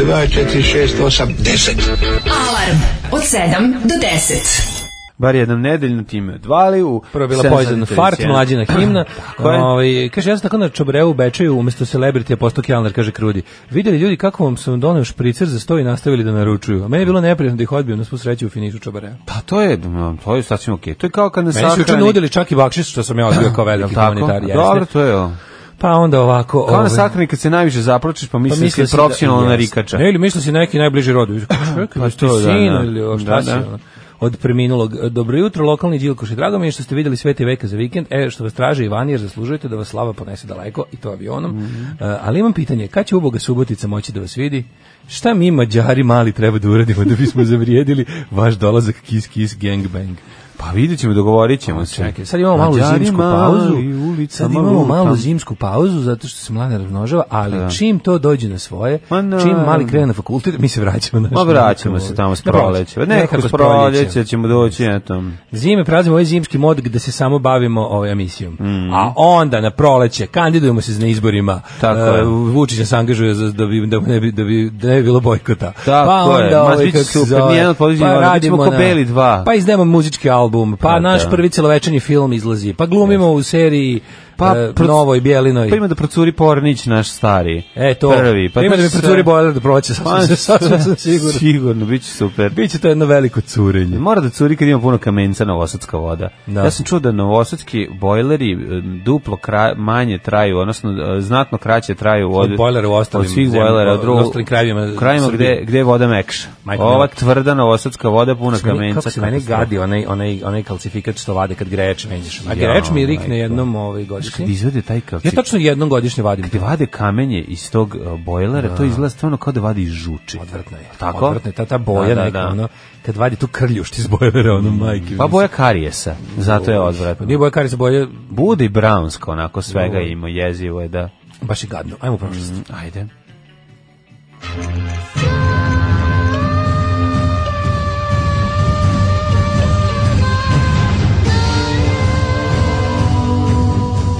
A: Dva, četiri, šest, osam, deset.
D: Alarm od 7 do 10.
E: Bar jednom nedeljno time odvali u...
F: Prvo je bila
E: 7
F: Poison
E: sati
F: Fart,
E: 31.
F: mlađina himna.
E: Tako je.
F: Ovaj, kaže, ja sam tako na čobreu u Bečaju, umesto celebrity, a postao Kjelner, kaže Krudi. Vidjeli ljudi kako vam sam doneo špricer za sto i nastavili da naručuju. A meni je bilo neprijatno da ih odbio, na svu sreću u finišu čobreu.
E: Pa to je, m, to je sasvim okej. To je kao kad nas
F: Meni su juče
E: sahrani...
F: nudili čak i bakšiš, što sam ja odbio kao veliki humanitar. jeste.
E: Dobro, to je ovo.
F: Pa onda ovako...
E: Kao na
F: ovaj,
E: sahrani kad se najviše zapročiš, pa
F: pa
E: misliš
F: mislio
E: da si
F: si da-
E: profesionalno
F: jeste.
E: narikača.
F: Ne, ili misli si neki najbliži rodu.
E: Pa
F: Pa
E: to,
F: što
E: da,
F: sin
E: da.
F: ili o, šta
E: Da,
F: si,
E: da.
F: ono? od preminulog. Dobro jutro, lokalni Đilkoš i drago mi je što ste vidjeli Sveti veka za vikend. E, što vas traže Ivan, jer zaslužujete da vas slava ponese daleko i to avionom.
E: Mhm.
F: E, ali imam pitanje, kad će uboga Subotica moći da vas vidi? Šta mi mađari mali treba da uradimo da bismo zavrijedili vaš dolazak Kiss Kiss Gangbang?
E: Pa vidit ćemo, dogovorit ćemo se.
F: Čekaj, sad imamo malu
E: Mađari
F: zimsku
E: mali,
F: pauzu.
E: ulicama
F: Sad imamo malu
E: lutam.
F: zimsku pauzu zato što se mlade razmnožava, ali čim to dođe na svoje,
E: Ma naravno.
F: čim mali krene na fakultet, mi se vraćamo na.
E: Ma vraćamo se tamo s proleće. Nekako s proleće ćemo doći, eto.
F: Zime prazimo ovaj zimski mod gde se samo bavimo ovaj emisijom.
E: Mhm.
F: A onda na proleće kandidujemo se na izborima.
E: Tako je.
F: E, Vučić se angažuje za, da, bi, da, ne bi, da, bi, da ne bi bilo bojkota.
E: Tako
F: pa
E: je. Ma,
F: onda, ovaj,
E: bit će
F: kako se
E: super,
F: zove,
E: nijedan od podizanja
F: pa
E: mora, bit ćemo ko
F: radimo na-
E: Beli dva.
F: Pa izdajemo muzički album, pa
E: Pa
F: naš
E: da.
F: prvi celovečernji film izlazi, pa glumimo u seriji
E: Pa,
F: pa,
E: proc-
F: Novoj Bjelinoj.
E: Pa ima da procuri Pornić, naš stari.
F: E, to.
E: Prvi.
F: Pa ima da mi
E: sve-
F: procuri bojler da proleće,
E: Pa,
F: sasvim sasvim sam siguran.
E: Sigurno, bit će super.
F: Biće to jedno veliko curenje.
E: Mora da curi kad ima puno kamenca novosadska voda.
F: Da.
E: Ja sam čuo da novosadski bojleri e, duplo kra, manje traju, odnosno e, znatno kraće traju od,
F: Od bojlera u ostalim
E: od svih
F: zemljama,
E: bojlera,
F: od
E: od drugog-
F: ostalim krajevima
E: krajevima
F: Srbije.
E: gde, gde je voda mekša.
F: Majko
E: Ova
F: mila.
E: tvrda novosadska voda puna
F: Meni-
E: kamenca.
F: Kako se meni
E: katastrofa.
F: gadi onaj, onaj, onaj kalcifikat što vade kad ono, grejač menjaš. A
E: Ja,
F: grejač mi
E: majko.
F: rikne jednom ovaj
E: Kad
F: godišnje.
E: izvede taj
F: Ja
E: kalcik,
F: tačno jednom godišnje vadim.
E: kad vade kamenje iz tog e, bojlera, to izgleda stvarno kao da vadi iz žuči.
F: Odvratno je.
E: Tako?
F: Odvratno je ta, ta boja
E: Da, da,
F: neka,
E: da.
F: ono, kad vadi tu krljušt iz bojlera, ono, majke.
E: Pa
F: mi.
E: boja karijesa, zato je odvratno.
F: Nije boja karica, boja
E: Bude i brownsko, onako svega ima, jezivo je da...
F: baš je gadno. Ajmo u prošlost.
E: Ajde.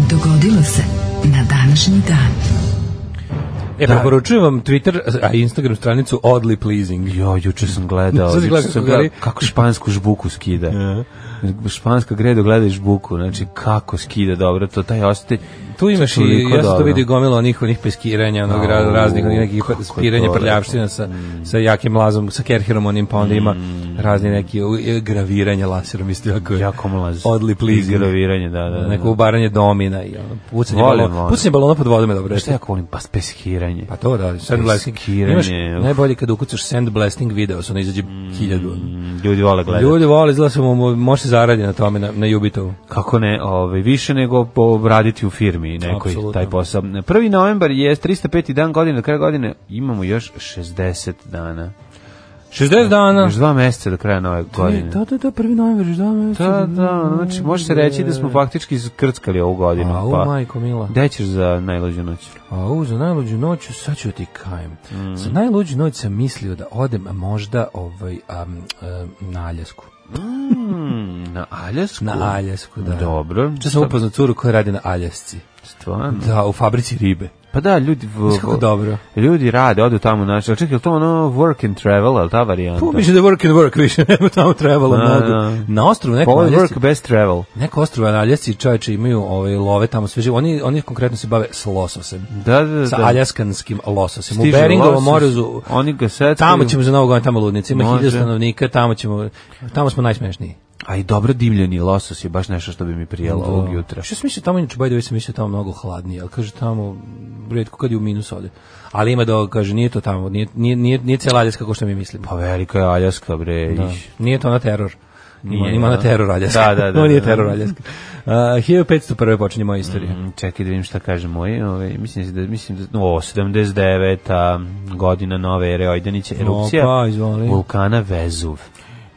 D: Dogodilo se na današnji dan.
F: E, preporučujem vam Twitter, a Instagram stranicu Oddly Pleasing.
E: Jo, juče sam gledao,
F: Sad si
E: juče
F: gledao
E: sam
F: kako
E: gledao
F: gori?
E: kako špansku žbuku skida. Španska gredo gleda i žbuku, znači kako skida dobro, to taj ostati.
F: Tu imaš i,
E: Toliko
F: ja sam to
E: dobro.
F: vidio gomilo onih, onih peskiranja, onog
E: Au,
F: ra- raznih onih nekih
E: kako je
F: spiranja
E: to Mm.
F: prljavština sa, sa jakim lazom, sa kerherom onim, pa onda ima razni neki u- e, graviranja laserom, isto jako, je
E: Jako mlaz.
F: Oddly pleasing.
E: Graviranje, da, da. da.
F: Neko ubaranje domina i ono, pucanje,
E: Volim,
F: balona,
E: volim.
F: pucanje balona pod vodom je dobro.
E: Šta ja volim, pa speskiranje.
F: Pa to da, sand blasting.
E: Peskiranje,
F: Imaš
E: uf.
F: najbolje kad ukucaš sand blasting video, ono izađe hiljadu.
E: Mm, Ljudi vole gledati.
F: Ljudi vole, izgleda se mu mu- može se zaradi na tome, na, na Jubitovu.
E: Kako ne, ovaj, više nego obraditi u firmi nekoj
F: Apsolutno.
E: taj posao. Prvi novembar je 305. dan godine, do kraja godine imamo još 60 dana.
F: 60 dana.
E: Još dva meseca do kraja nove godine.
F: Da, da, da, prvi novembar, da,
E: Da, da, znači može se reći da smo faktički skrckali ovu godinu.
F: Au,
E: pa,
F: majko mila.
E: Gde ćeš za najluđu noć?
F: A u, za najluđu noć, sad ću ti kajem.
E: Mm.
F: Za najluđu noć sam mislio da odem a možda ovaj, am, em, na Aljasku.
E: Mm, na Aljasku?
F: Na Aljasku, da.
E: Dobro. Mm.
F: Što sam upoznao curu koja radi na Aljasci.
E: Stvarno.
F: Da, u fabrici ribe.
E: Pa da, ljudi... v-
F: Znaš kako dobro.
E: Ljudi rade, odu tamo naši. Ali čekaj, je li to ono work and travel, ali ta varijanta?
F: Pa mislim da je work and work više, nema tamo trebalo
E: Da,
F: mnogo.
E: da.
F: Na ostrovu
E: Pa
F: nekom
E: ovo je
F: Aljasci,
E: work bez travel.
F: neko ostrovu na Aljasci čovječe imaju ovaj, love tamo sve živo. Oni, oni konkretno se bave s lososem.
E: Da, da, da.
F: Sa aljaskanskim lososem.
E: Stiže
F: u Beringovom
E: losos,
F: morezu
E: Oni ga setkaju.
F: Tamo ćemo za novu godinu, tamo ludnici, ima
E: Može.
F: hiljada stanovnika, tamo ćemo, tamo smo najsmešniji.
E: A i dobro dimljeni losos je baš nešto što bi mi prijelo ovog jutra.
F: Što sam mislio tamo, inače, by the way, sam mislio tamo mnogo hladnije, ali kaže tamo, m, redko kad je u minus ovde. Ali ima da, kaže, nije to tamo, nije, nije, nije, nije cijela Aljaska kao što mi mislimo.
E: Pa velika je Aljaska, bre. Da.
F: Nije to na teror. Ima,
E: Nije,
F: ima
E: da.
F: na teror
E: Da,
F: Aljaska.
E: da, da,
F: Ovo nije
E: da. Mhm.
F: teror Aljaska. Uh, 1501. počinje moja istorija.
E: Mm, Čekaj da vidim šta kaže moj. Ove, mislim da, mislim da, o, 79. a, godina nove ere Ojdanić, erupcija
F: Opa, pa, izvoli.
E: vulkana Vezuv. Mm,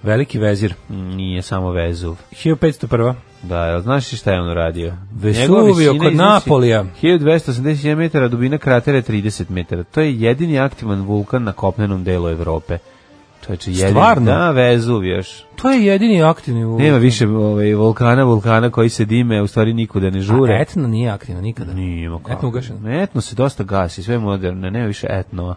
F: Veliki vezir.
E: Nije samo Vezuv.
F: 1501.
E: Da, jel znaš šta je on uradio?
F: Vesuvio
E: Njegova visina
F: kod
E: iznosi
F: Napolija.
E: 1281 metara, dubina kratera je 30 metara. To je jedini aktivan vulkan na kopnenom delu Evrope. Čovječe, jedini.
F: Stvarno?
E: Da, Vezuv još.
F: To je jedini aktivni vulkan.
E: Nema više ovaj, volkana, vulkana koji se dime, u stvari nikuda ne žure.
F: A etna nije aktivna nikada.
E: Nima kako.
F: Etno ugašeno.
E: Etno se dosta gasi, sve je moderno, nema više etnova.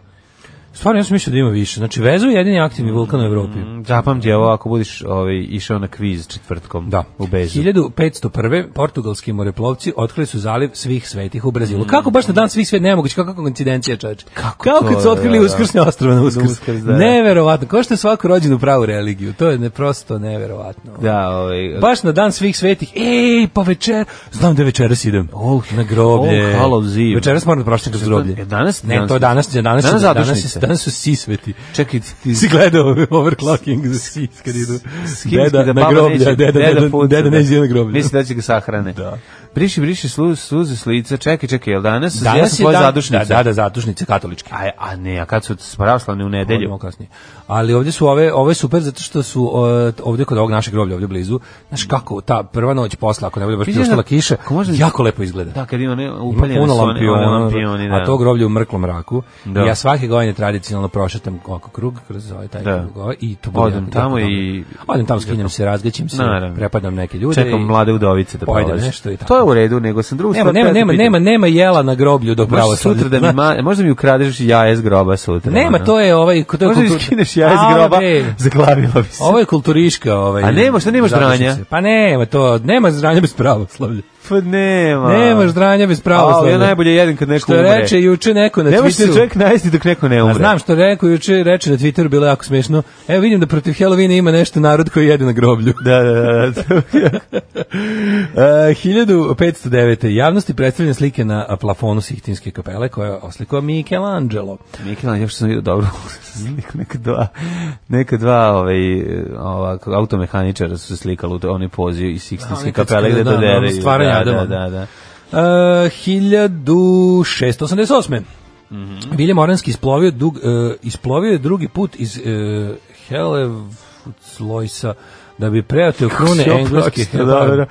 F: Stvarno, ja sam mislio da ima više. Znači, vezu je jedini
E: Mm.
F: aktivni vulkan u Evropi.
E: Zapamti ovo ako budiš ovaj, išao na kviz četvrtkom
F: Da.
E: u Bezu.
F: 1501. portugalski moreplovci otkrili su zaliv svih svetih u Brazilu. Kako baš na dan svih svetih, nemoguće, kako koincidencija čoveče. Kako,
E: to,
F: kad su
E: da,
F: otkrili
E: da.
F: uskrsne ostrove na uskrs.
E: Uskrs, da, da.
F: Neverovatno, kao što je svaku rođenu pravu religiju. To je ne, prosto neverovatno.
E: Da, ovaj,
F: Baš na dan svih svetih, ej, pa večer, znam da večeras idem na groblje.
E: All Hallows Eve.
F: Večeras moram da prošlim kroz
E: Čekaj, to-
F: groblje.
E: je danas-
F: ne,
E: danas-
F: to je danas, danas,
E: Danas
F: danas, danas, danas,
E: zadušnica.
F: je- danas su svi sveti.
E: čekaj, ti
F: Si gledao overclocking za sis kad idu.
E: Skinski
F: Deda na
E: baba
F: groblje,
E: neće-
F: deda, deda,
E: puca,
F: deda
E: da.
F: neće na groblje.
E: Misli da će ga sahrane.
F: Da.
E: Briši, briši slu, sluze s lica, čekaj, čekaj, jel danas? ja sam
F: Danas je
E: tvoja
F: dan,
E: zadušnica.
F: Da, da, da, zadušnice katoličke.
E: A, a ne, a kad su pravoslavne u
F: Delimo
E: nedelju?
F: kasnije. Ali ovdje su ove, ove super zato što su uh, ovdje kod ovog našeg groblja ovdje blizu. Znaš kako ta prva noć posla ako ne bude baš
E: Vidiš da-
F: pljuštala kiša,
E: ako možda-
F: jako lepo izgleda.
E: Da, kad ima ne
F: Ima
E: upaljene
F: puno
E: su one-
F: lampiona, ono,
E: one lampioni, da.
F: a to groblje u mrklom mraku.
E: Da.
F: I Ja svake godine tradicionalno prošetam oko krug kroz ovaj taj
E: Da.
F: krug ovaj, i to bude
E: Odem
F: jako-
E: tamo
F: jako
E: i-
F: dobro. odem tamo skinem se, razgaćim se,
E: Naravno.
F: prepadam neke ljude
E: Čekam
F: i-
E: mlade udovice da
F: Pojedem
E: prolaze.
F: nešto i tako.
E: To je u redu, nego sam drugu
F: Nema,
E: stvar
F: nema,
E: htio da
F: nema,
E: pitam.
F: nema, nema jela na groblju do pravo
E: Možda sutra da mi ma, možda mi ukradeš jaje iz groba sutra.
F: Nema,
E: ono.
F: to je ovaj to je
E: Možda mi
F: kultur-
E: skineš jaje iz
F: A,
E: groba,
F: bre,
E: zaglavila bi se.
F: Ovo je kulturiška, ovaj.
E: A nema, šta nemaš
F: zadušnice.
E: dranja?
F: Pa nema to, nema zdranja bez pravoslavlja.
E: Pa nema.
F: Nema zdranja bez pravoslavlja.
E: A, ja najbolje jedem kad neko
F: što
E: umre.
F: reče juče neko na
E: Ne može se
F: Twitteru.
E: čovjek najesti dok neko ne umre.
F: A znam što rekao juče, reče na Twitteru, bilo je jako smiješno. Evo vidim da protiv Halloweena ima nešto narod koji jede na groblju.
E: Da, da, da. da.
F: E, 1509. Javnosti predstavljene slike na plafonu Sihtinske kapele koja je oslikao Michelangelo.
E: Mikelan, još sam vidio dobro. neka dva, neka dva ovaj, ovako, automehaničara su se slikali u to- onoj pozi iz Sixtinske
F: Oni kad
E: kapele gde
F: skinu,
E: to
F: da,
E: dere.
F: ono stvaranje
E: da,
F: Adama.
E: da, da.
F: Uh, 1688.
E: Mhm.
F: Viljem Oranski isplovio, dug, e, isplovio je drugi put iz uh, Helevutslojsa da bi preoteo krune
E: si ovo
F: engleske
E: pročitao, dobro.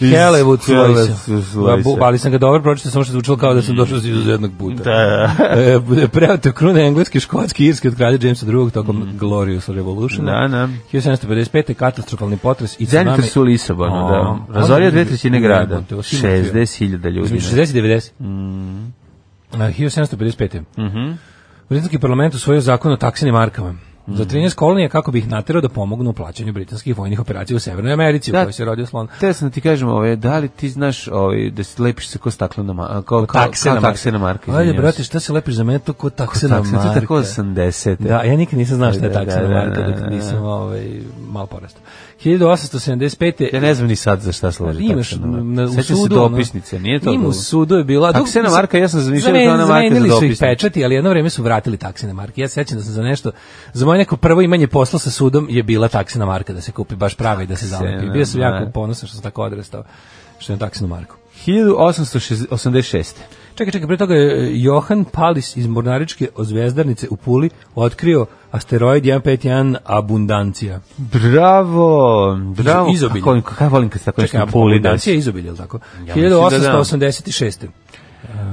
E: Iz
F: Helevutslojsa.
E: Helevutslojsa.
F: Da, bu- Ali sam ga dobro pročitao, samo što je zvučalo kao da sam došao iz izuzetnog puta.
E: Mm. Da.
F: e, preoteo krune engleske, škotske, irske od kralja Jamesa II tokom Glorious Revolution.
E: Mm. Da, da.
F: 1755. katastrofalni potres i
E: Zenitor
F: tsunami.
E: su u Lisabonu, da.
F: A,
E: Razorio
F: onda-
E: dve trećine grada.
F: Jebote, ovo sigurno je.
E: 60.000 ljudi.
F: Između 60 i 90. Mm. 1755. Mm
E: Mhm.
F: Britanski parlament usvojio zakon o taksini markama. Za
E: Mhm.
F: 13 kolonija kako bi ih naterao da pomognu u plaćanju britanskih vojnih operacija u Severnoj Americi,
E: Da.
F: u kojoj se rodio slon.
E: Te sam ti kažem, ove, da li ti znaš ove, da se lepiš se ko staklena marka? Kao, kao,
F: Taksena
E: kao taksena marka.
F: Ajde,
E: izvinjavam
F: brate,
E: se.
F: šta se lepiš za mene, to ko taksena
E: Taksena,
F: marka.
E: to je tako 80.
F: Da, ja nikad nisam znao šta je
E: Da, da,
F: taksena
E: da,
F: marka,
E: da,
F: dok
E: da.
F: nisam ovaj, malo porastao. 1875.
E: Ja ne znam ni sad za šta služi
F: imaš
E: taksena marka.
F: na, u
E: Sećam se
F: sudu, ono-
E: dopisnice, nije to?
F: Ima u
E: bilo?
F: sudu je bila... dok-
E: Taksena
F: mislim,
E: marka, ja sam zamišljao da je
F: zamen-
E: ona marka za
F: zamenili su ih
E: dopisnice.
F: pečati, ali jedno vrijeme su vratili taksene marke. Ja se sjećam da sam za nešto, za moje neko prvo imanje posla sa sudom je bila taksena marka da se kupi baš prava i da se zalepi. Bio sam
E: marka.
F: jako ponosan što sam tako odrastao, što je taksenu marku.
E: 1886.
F: Čekaj, čekaj, pre toga je e, Johan Palis iz Mornaričke zvezdarnice u Puli otkrio asteroid 151 Abundancija.
E: Bravo, bravo.
F: izobilje.
E: Kako, kako ja volim kad se tako nešto
F: Čekaj,
E: puli nas.
F: Abundancija je izobilje, ili tako?
E: mislim da da.
F: 1886.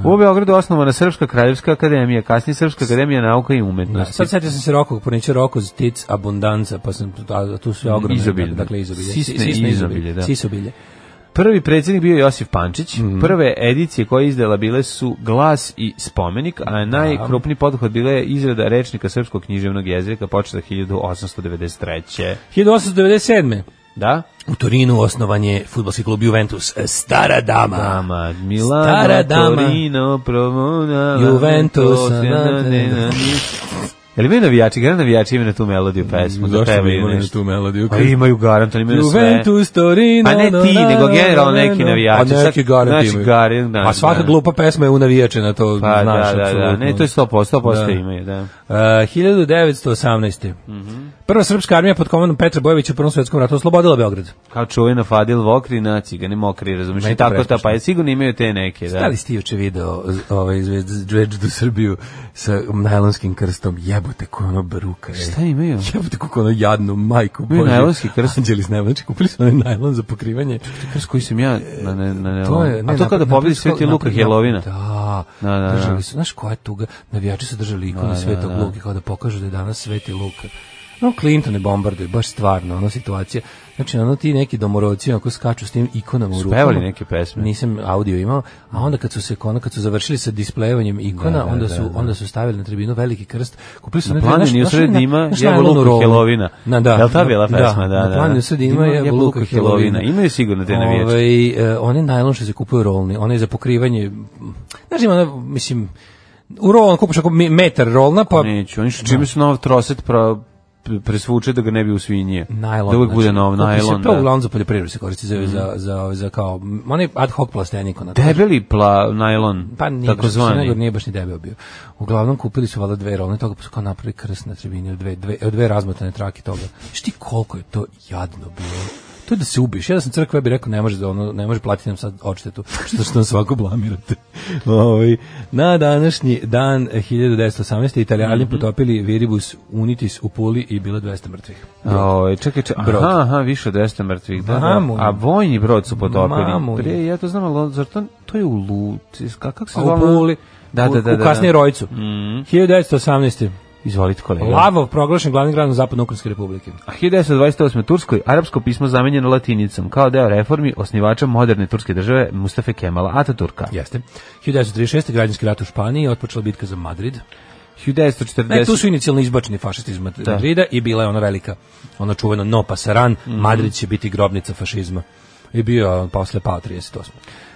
E: U Beogradu osnovana Srpska kraljevska akademija, kasnije Srpska akademija nauka i umetnosti.
F: Sad setio sam se Rokog poniče Roko Tic Abundanca, pa sam tu, a, tu sve ogromne.
E: Izobilje.
F: Dakle, izobilje.
E: Sisne izobilje, da.
F: Sisobilje.
E: Prvi predsjednik bio je Josif Pančić.
F: Mhm.
E: Prve edicije koje izdala bile su Glas i Spomenik, a najkrupniji poduhod bila je izrada rečnika srpskog književnog jezika početa 1893.
F: 1897.
E: Da?
F: U Torinu osnovan je futbolski klub Juventus. E, Stara dama.
E: Dama, Milano,
F: Stara dama.
E: Torino, Promona,
F: Juventus,
E: Lantos, na, na, na, na. Jel imaju navijači, gara navijači imaju na tu melodiju pesmu? da
F: Zašto bi
E: pevaju
F: imali na
E: nešto?
F: tu melodiju?
E: Pa imaju garantan, imaju na sve.
F: Juventus, Torino...
E: Pa ne
F: na,
E: ti,
F: na,
E: nego
F: na,
E: generalno
F: na,
E: neki
F: na.
E: navijači.
F: A neki
E: Sad- znači,
F: garanti
E: garan, da,
F: A svaka
E: da.
F: glupa pesma je unavijačena, to
E: Pa
F: znaš.
E: da, da, da,
F: apsolutno.
E: ne, to je 100%, 100%
F: Da.
E: imaju, Mhm. da.
F: Uh, 1918. Prva srpska armija pod komandom Petra Bojevića u Prvom svetskom ratu oslobodila Beograd.
E: Kao čuvena Fadil Vokri na cigani mokri, razumiješ?
F: Meni
E: I
F: to
E: tako ta,
F: prestrašno.
E: pa je sigurno imaju te neke,
F: Da
E: da.
F: li ste juče video z- ovaj Zvezdu Srbiju sa najlonskim krstom? Jebote, ko je ono bruka. je.
E: E, Šta imaju?
F: Jebote kako ono jadno, majko
E: Imaju
F: bože.
E: najlonski krst.
F: Anđeli s najlon- znači kupili su onaj najlon za pokrivanje.
E: Krs koji sam ja na, na, na, na
F: E, ne,
E: A to kada
F: napra-
E: pobedi
F: napravili su
E: Sveti
F: kao-
E: Luka
F: napra-
E: Helovina.
F: Da,
E: Da, da, da.
F: držali su, znaš koja je tuga, navijači su držali ikonu Svetog Luke kao da pokažu da je danas Sveti Luka. No, Clinton je bombarduje, baš stvarno, ono situacija. Znači, ono ti neki domorodci ako skaču s tim ikonama u rukama.
E: Spevali neke pesme.
F: Nisam audio imao, a onda kad su se ono, kad su završili sa displejevanjem ikona,
E: Mhm. Da, da,
F: onda
E: da,
F: su
E: da.
F: onda su stavili na tribinu veliki krst. Kupili su
E: Na
F: one-
E: planini
F: znaš-
E: u
F: znaš
E: sred
F: onaj-
E: Dima
F: znaš
E: jebo
F: onaj
E: luku
F: rolnu?
E: Helovina.
F: Na, da.
E: Jel ta bila
F: Da,
E: pesma? Da, da,
F: Na
E: da.
F: planini u sred Dima
E: Ima
F: jebo
E: jebo
F: luku
E: luku Helovina.
F: Helovina.
E: Imaju sigurno te navijače.
F: Ovaj, e, one najlon što se kupuju rolni, one za pokrivanje, mm, znaš ima, ona, mislim, u rolon kupiš ako mi- metar rolna, pa
E: Neću, oni što čime su nov troset pra, presvuče da ga ne bi usvinje.
F: najlon.
E: Da uvijek bude nov
F: znači, kupi se
E: najlon.
F: To
E: da. Mhm.
F: uglavnom za poljoprivredu se koristi, za, za, za, za kao, m, onaj ad hoc plastenik, onako.
E: Debeli pla, najlon,
F: Pa nije, baš,
E: takozvani.
F: Crnogor nije baš ni debel bio. Uglavnom kupili su valjda dve rolne toga, pa su kao napravili krst na tribini od dve, dve, od dve razmatane trake toga. Znaš ti koliko je to jadno bilo? To je da se ubiješ. Ja da sam crkva, ja bih rekao, ne može, da ono, ne može platiti nam sad odštetu, što što nam svako blamirate. Ovaj, na današnji dan eh, 1918. Italijani
E: Mhm.
F: potopili Viribus Unitis u Puli i bilo je 200 mrtvih.
E: Oj, čekaj, čekaj.
F: Ovaj, Brod.
E: Aha, aha, više od 200 mrtvih. Da, da.
F: Mamu.
E: A vojni brod su potopili.
F: Mamu.
E: Pre, ja to znam, ali on- zar to, to je u Luci? ka- Kako se
F: A
E: zvala?
F: u Puli,
E: Da,
F: u-
E: da, Mhm. da.
F: u kasnije
E: da.
F: Rojcu. 1918.
E: Izvolite kolega.
F: Lavov proglašen glavnim gradom Zapadno-Ukranske republike.
E: A 1928. u Turskoj arapsko pismo zamenjeno latinicom kao deo reformi osnivača moderne turske države Mustafe Kemala Ataturka.
F: Jeste. 1936. građanski rat u Španiji, otpočela bitka za Madrid.
E: 1940.
F: Ne, tu su inicijalno izbačeni fašisti iz Mad- Madrida i bila je ona velika, ona čuvena no pasaran,
E: Mhm.
F: Madrid će biti grobnica fašizma. I bio je on posle pao 38.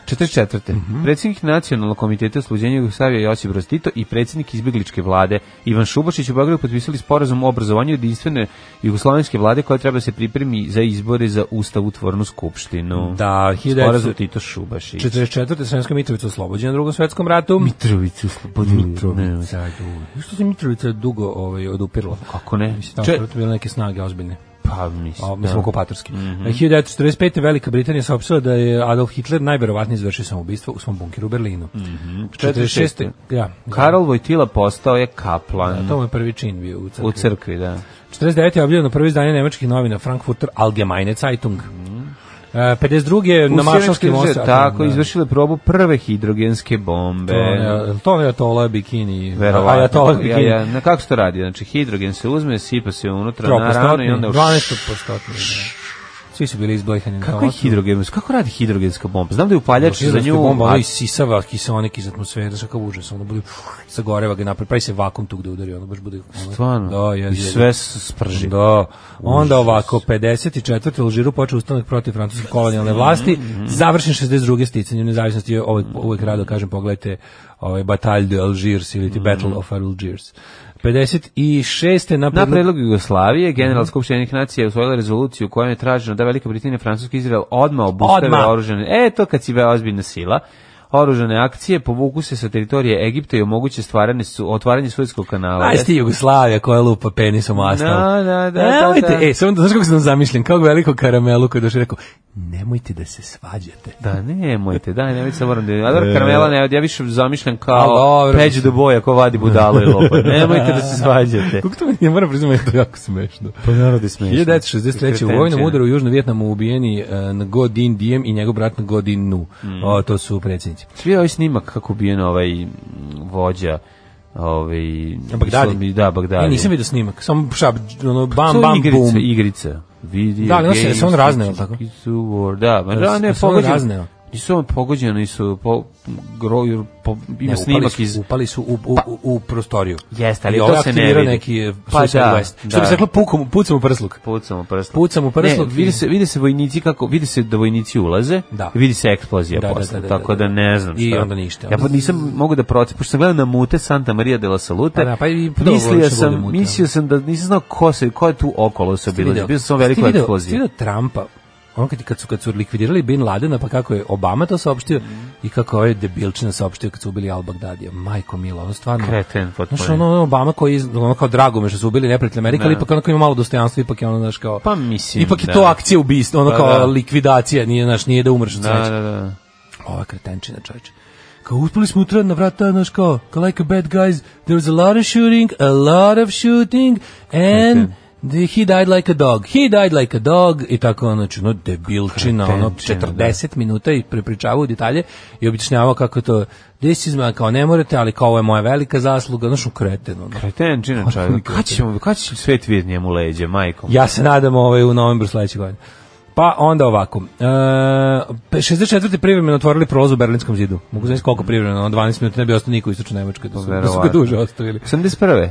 E: 44.
F: Mhm.
E: Predsjednik nacionalnog komiteta sluđenja Jugoslavije Josip Broz Tito i predsjednik izbjegličke vlade Ivan Šubašić u Beogradu potpisali sporazum o obrazovanju jedinstvene jugoslovenske vlade koja treba da se pripremi za izbore za ustavotvornu skupštinu.
F: Da,
E: Sporazum Tito Šubašić.
F: 44. Sremska Mitrovica oslobođena u drugom svetskom ratu.
E: Mitrovicu slobodili.
F: Mitrovica. Što se Mitrovica dugo ovaj, odupirla?
E: Kako ne?
F: Mislim, tamo
E: Če-
F: su bile neke snage ozbiljne.
E: pa mislim.
F: A,
E: da. Mhm.
F: mislim, okupatorski. E, 1945. Velika Britanija saopštila da je Adolf Hitler najverovatnije izvršio samoubistvo u svom bunkiru u Berlinu.
E: Mhm.
F: 46. Ja,
E: Karol Vojtila postao je kaplan
F: Da, to mu je prvi čin bio u crkvi.
E: u crkvi, da.
F: 49. je objavljeno prvo izdanje nemačkih novina Frankfurter Allgemeine Zeitung. E, 52. je na
E: Mhm. U
F: Maršalskim
E: Sjemenskim
F: ostravima.
E: Tako,
F: da.
E: izvršile probu prve hidrogenske bombe.
F: To je- To je Ajatola Bikini.
E: Verovatno.
F: Ajatola
E: ja,
F: Bikini.
E: ja, na kako se to radi? Znači, hidrogen se uzme, sipa se unutra na rano
F: Tropostotni,
E: i onda... u-
F: 12%. Svi su bili izblejhani. na
E: Kako je
F: osnovu.
E: hidrogen? Kako radi hidrogenska bomba? Znam da je upaljač za
F: Hidrogenska
E: nju...
F: bomba,
E: a-
F: ono isisava kiseonik iz atmosfere, znaš kakav užas, ono bude sagoreva ga napred, pravi se vakum tu gde udari, ono baš bude... ono-
E: Stvarno?
F: Da, je,
E: I sve s- sprži.
F: Da. Onda ovako, 54. u Alžiru počeo ustanak protiv francuske kolonijalne vlasti,
E: Mhm.
F: završen 62. sticanjem nezavisnosti, ja uvek, uvek rado kažem, pogledajte ovaj Bataille de Algiers ili ti
E: Mhm.
F: Battle of Algiers. 56. na
E: Na
F: predlog-
E: predlog Jugoslavije,
F: Mhm.
E: General Skupštenih nacija je usvojila rezoluciju u kojoj je traženo da Velika Britanija i Francuski Izrael odmah obustave
F: Odmah.
E: oružane... E, to kad si ve ozbiljna sila. Oružane akcije povuku se sa teritorije Egipta i omoguće stvaranje su, otvaranje Suetskog kanala.
F: Aj sti Jugoslavija koja lupa penisom u asfalt.
E: Da, da, da,
F: Nemojte,
E: da, da.
F: E, samo da, znaš kako sam zamišljen, kao veliko karamelu koji je došao i rekao, nemojte da se svađate.
E: Da, nemojte, daj, nemojte se moram da... A dobro, Karmela ne, ja više zamišljam
F: E. A,
E: kao
F: dobro.
E: peđu do boja ko vadi budalo i lopa. Nemojte da se svađate.
F: Kako to meni, ja moram priznati, to je jako smešno.
E: Pa narod je smiješno.
F: 1963. u vojnom udaru u Južnom Vjetnamu ubijeni uh, Ngo Dinh Diem i njegov brat Ngo Dinh Nu.
E: Mm.
F: O, to su predsjednici.
E: Svi ovaj snimak kako ubijen ovaj mm, vođa ovaj
F: Bagdadi?
E: Islami- da Bagdadi.
F: Ja E, nisam vidio snimak, samo šab, ono, bam,
E: To je
F: bam,
E: igrica,
F: bum.
E: igrica. Video
F: Da, ali on se-
E: games,
F: se on razneo, jel tako?
E: is the war. Da, ma
F: Da,
E: da,
F: se-
E: ne,
F: se on
E: pogođen.
F: razneo.
E: Nisu ono pogođeni, su po, gro, po, ima
F: Ne, upali
E: snimak
F: su,
E: iz... Pa-
F: upali su u, u, u, u prostoriju.
E: Jeste, ali
F: I
E: to
F: ovaj
E: se ne
F: aktivirao
E: vidi.
F: neki e,
E: Pa
F: Suicide
E: da,
F: West. Što
E: da.
F: bi se reklo, pukom, pucam u prsluk.
E: Pucam u prsluk.
F: Pucam u prsluk.
E: Ne, vidi se, vidi se vojnici kako, vidi se da vojnici ulaze,
F: Da.
E: vidi se eksplozija
F: Da, da,
E: posle,
F: da, da,
E: tako da
F: da.
E: ne znam
F: I
E: šta.
F: onda ništa.
E: Ja pa nisam mogu da procenim, pošto sam gledao na mute Santa Maria de la Salute,
F: Pa da, pa i dobro
E: mislio,
F: će bude
E: sam,
F: mute.
E: mislio sam da nisam znao ko, se, ko je tu okolo se bilo, bio sam
F: Jesi ti
E: veliko
F: video-
E: eksplozija.
F: jesi ti video Trumpa, on kad, kad, su, kad su likvidirali Bin Ladena, pa kako je Obama to saopštio i kako je ovaj debilčina saopštio kad su ubili Al Bagdadija. Majko mila, ono stvarno...
E: Kreten
F: Znaš,
E: potpuno.
F: ono, ono Obama koji, iz- ono kao drago me što su ubili neprijatelj Amerika, ali
E: Da.
F: ipak onako ima malo dostojanstva, ipak je ono, znaš, kao...
E: Pa mislim,
F: Ipak je
E: da.
F: to akcija ubistva, ono
E: Pa
F: kao
E: da.
F: likvidacija, nije, znaš, nije da umreš od sreće.
E: Da, da, da.
F: Ova kretenčina, čovječe. Kao uspali smo utra na vrata, znaš kao, kao like a bad guys, there was a lot of shooting, a lot of shooting, and the- he died like a dog, he died like a dog, i tako ono, znači, ono, debilčina, ono,
E: Kretenčina,
F: 40 minuta i prepričavao detalje i objašnjavao kako je to, this is my, kao ne morate, ali kao ovo je moja velika zasluga, znaš, u kreten, ono.
E: Kretenčina Pa čovjek. Kad ćemo, kad će svet vidjeti njemu leđe, majkom?
F: Ja se nadam ovaj, u novembru sledećeg godine. Pa onda ovako. E, pe- 64. privremeno otvorili prolaz u Berlinskom zidu. Mogu znači koliko privremeno, ono, 12 minuta ne bi ostao niko u Istočnoj Nemačkoj da su, da su ga
E: Pa Verovatno.
F: duže ostavili.
E: 81.
F: E,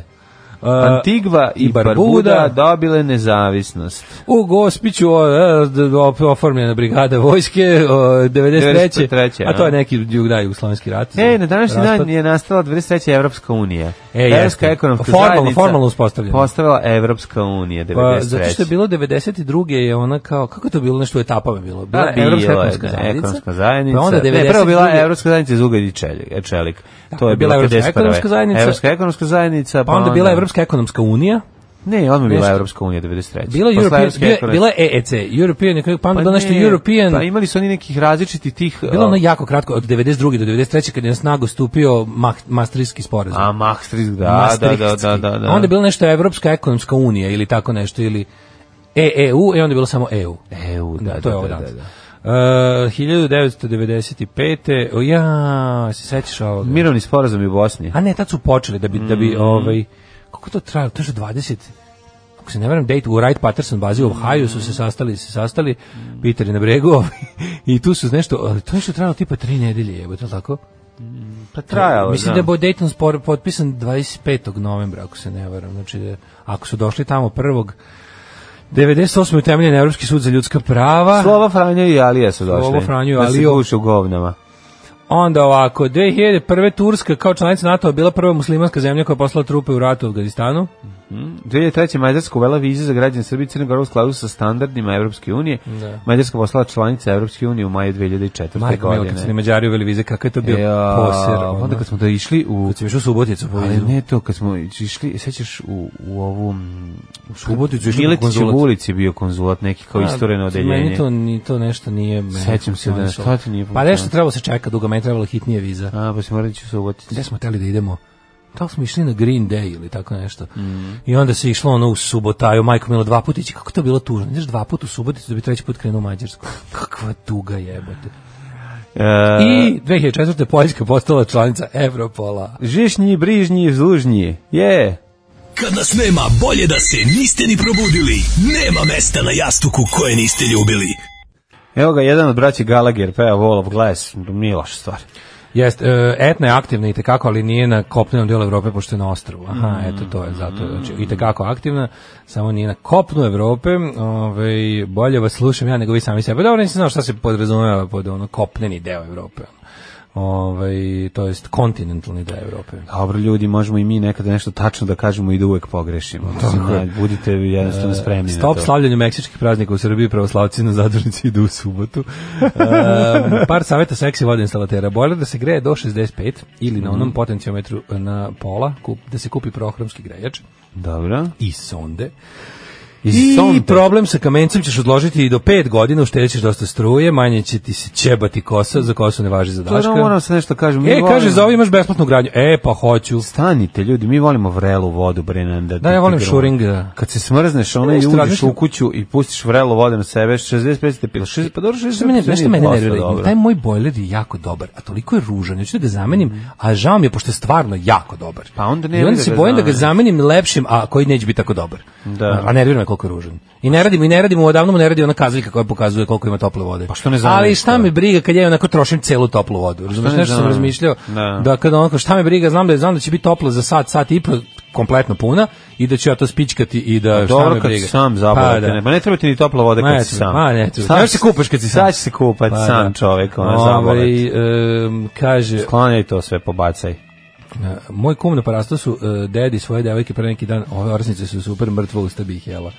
E: Antigva i
F: i Barbuda.
E: Barbuda dobile nezavisnost.
F: u Gospiću o, e, d- d- op- oformljena brigada vojske o, 93.
E: 93.,
F: A to je
E: a?
F: neki jug- da, jugoslovenski rat.
E: E, na današnji
F: Raspad.
E: dan je nastala 23. Evropska unija.
F: E,
E: Evropska
F: jeste.
E: ekonomska
F: Formalno-
E: zajednica.
F: formalno uspostavljena.
E: Postavila Evropska unija
F: Pa,
E: 93.
F: zato što je bilo 92. je ona kao, kako je to bilo nešto u etapama bilo? Bila
E: Da,
F: je
E: Pa, bila
F: Evropska
E: je,
F: ekonomska
E: da,
F: zajednica.
E: ekonomska zajednica.
F: Pa onda
E: Ne, prvo
F: 92.
E: bila je Evropska zajednica iz ugalj i čelik. e, čelik. to je bila
F: Evropska
E: 51..
F: ekonomska zajednica.
E: Evropska ekonomska zajednica.
F: Pa onda bila je Evropska ekonomska unija.
E: Ne, odmah bila
F: Nešto.
E: Evropska unija 93.
F: Bila je
E: Posle
F: European,
E: Evropske
F: bila,
E: ekonomske-
F: bila je EEC, European, nekako, pa onda
E: Pa
F: bilo nešto
E: ne,
F: European,
E: Pa imali su oni nekih različitih tih...
F: bilo
E: a,
F: ono jako kratko, od 92. do 93. kad je na snagu stupio Mah, Maastrichtski sporazum.
E: A, Maastricht, da, da, da, da, da, da.
F: A Onda je bilo nešto Evropska ekonomska unija ili tako nešto, ili E EEU, i onda je bilo samo EU.
E: EU, E da,
F: to je
E: da,
F: ovo
E: da,
F: danas.
E: da, E, da.
F: Uh, 1995. O, ja, se sećaš ovoga?
E: Mirovni sporazum i u Bosni.
F: A Pa ne, tad su počeli da bi, da bi
E: Mm-hmm.
F: ovaj, kako to trajalo, to je što 20, ako se ne varam, date u Wright Patterson bazi u Ohio su se sastali, se sastali,
E: Mm.
F: Peter je na bregu ovaj, i tu su nešto, ali to je što trajalo tipa tri nedelje, je to tako?
E: Pa trajalo,
F: Mislim
E: da.
F: da je Dayton spor potpisan 25. novembra, ako se ne varam, znači da- ako su došli tamo prvog, 98. je utemeljen Evropski sud za ljudska prava.
E: Slova Franjo i Alija su došli.
F: Slobo, Pa. Franjo i
E: Da se
F: Alio.
E: guše u govnama.
F: Onda ovako, 2001. Turska kao članica NATO -a bila prva muslimanska zemlja koja je poslala trupe u ratu u Afganistanu. Mm.
E: 2003. Mađarska uvela vize za građane Srbije i Crne Gore u skladu sa standardima Evropske unije.
F: Da.
E: Mađarska postala članica Evropske unije u maju 2004.
F: Majko Milo, kad su ni
E: godine.
F: Mađari uveli vize, kakav je to bio
E: Ja,
F: poser. ono.
E: onda kad smo da išli u...
F: Kad sam išao u Suboticu po
E: Ali
F: vizu.
E: ne to, kad smo išli, sećaš u, u ovu... U
F: Suboticu išli u
E: Miletićev
F: konzulat.
E: ulici bio konzulat, neki kao istoreno
F: Meni
E: odeljenje.
F: to, ni, to nešto nije... meni
E: Sećam se da
F: funkcionisalo.
E: šta ti nije
F: Pa nešto
E: funkcionisalo?
F: trebalo se čeka dugo, meni je trebalo hitnije viza.
E: A, pa se morali ću se uvotiti.
F: Gde smo teli da idemo? Da li smo išli na Green Day ili tako nešto?
E: Mm.
F: I onda se išlo ono u Subotaju, majko Milo, dva puta ići. Kako je to bilo tužno? Ideš dva puta u Suboticu da bi treći put krenuo u Mađarsku. Kakva tuga jebote.
E: E,
F: I 2004. Poljska postala članica Evropola.
E: Žišnji, brižnji, zlužnji. Je.
G: Kad nas nema, bolje da se niste ni probudili. Nema mesta na jastuku koje niste ljubili.
E: Evo ga, jedan od braći Gallagher, peva Wall of Glass. Nije loša stvar.
F: Jest, e, etna je aktivna i tekako, ali nije na kopnenom dijelu Evrope pošto je na ostrvu. Aha, eto to je zato. Znači, i tekako aktivna, samo nije na kopnu Evrope. Ove, bolje vas slušam ja nego vi sami sebe. Dobro, nisam znao šta se podrazumeva pod ono kopneni deo Evrope. Ove, to jest kontinentalni deo Evrope.
E: Dobro ljudi, možemo i mi nekada nešto tačno da kažemo i da uvek pogrešimo. Tako je. Budite jednostavno spremni na
F: E, Stop
E: to.
F: slavljanju meksičkih praznika u Srbiji, pravoslavci na zadružnici idu u subotu. E, par saveta seksi vodoinstalatera. Bojler da se greje do 65 ili na onom potenciometru e, na pola, kup- da se kupi prohromski grejač
E: Dobro.
F: i sonde.
E: I
F: I
E: sonde.
F: problem sa kamencem ćeš odložiti i do 5 godina, uštedit ćeš dosta struje, manje će ti se ćebati kosa, za kosu ne važi
E: To
F: zadaška.
E: da moram se nešto kažem. Mi
F: E,
E: volimo-
F: kaže, za ovo imaš besplatnu gradnju. E, pa hoću.
E: Stanite ljudi, mi volimo vrelu vodu, bre, ne, da,
F: Da, ja volim
E: da-
F: šuring, da.
E: Kad se smrzneš, ona i
F: Nešto
E: uđeš
F: razmišljam.
E: u kuću i pustiš vrelu vodu na sebe, 65 stepila. Šest, pa dobro, 65
F: Što mene, nešto mene
E: dosta
F: nervira,
E: dobro.
F: taj moj bojler je jako dobar, a toliko je ružan, ja ću da ga zamenim, a žao mi je pošto je stvarno jako dobar.
E: Mhm. Pa onda ne
F: I
E: vidi
F: onda
E: da
F: se
E: ga
F: bojim da ga
E: zameniš.
F: zamenim lepšim, a koji neće biti tako dobar.
E: Da.
F: A nervira me koliko je ružan. I ne radimo, i ne radimo, odavno mu ne radi ona kazaljka koja pokazuje koliko ima tople vode.
E: Pa što ne zameniš
F: Ali šta
E: to? Pa
F: me briga kad ja onako trošim celu toplu vodu. Razumeš,
E: ne
F: nešto sam
E: zameniš?
F: razmišljao.
E: Da.
F: Da kad onako šta me briga, znam da je znam da će biti toplo za sat, sat i po kompletno puna i da ću ja to spičkati i da šta
E: Pa Dobro
F: me
E: kad
F: briga.
E: si sam zaboravite,
F: da.
E: ne, pa ne treba ti ni topla voda
F: Ma, ne
E: kad si
F: treba,
E: sam.
F: ma, ne treba.
E: Sad
F: Još se kupaš kad si sam.
E: Sad će se kupati
F: Pa
E: sam ono,
F: da.
E: čovek, ona
F: Ovaj,
E: zaboravite.
F: em, kaže,
E: Sklanjaj to sve, pobacaj.
F: E, Moj kum na parastu su e, dedi svoje devojke pre neki dan, ove orsnice su super mrtvo usta bih jela.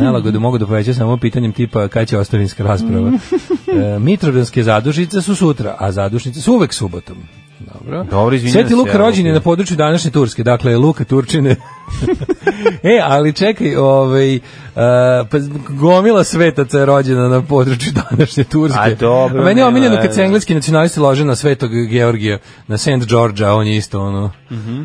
F: Nelagodu mogu da poveća samo pitanjem tipa kada će ostavinska rasprava. E, Mitrovdanske zadušnice su sutra, a zadušnice su uvek subotom. Dobro.
E: Dobro, izvinjam
F: Sveti
E: se,
F: Luka
E: ja,
F: rođen je
E: Luka.
F: na području današnje Turske, dakle Luka Turčine. e, ali čekaj, ovaj, e, pa gomila svetaca je rođena na području današnje Turske.
E: A dobro,
F: A meni je
E: nema
F: omiljeno kad
E: veze.
F: se engleski nacionalisti lože na Svetog Georgija, na St. Georgia, on je isto ono,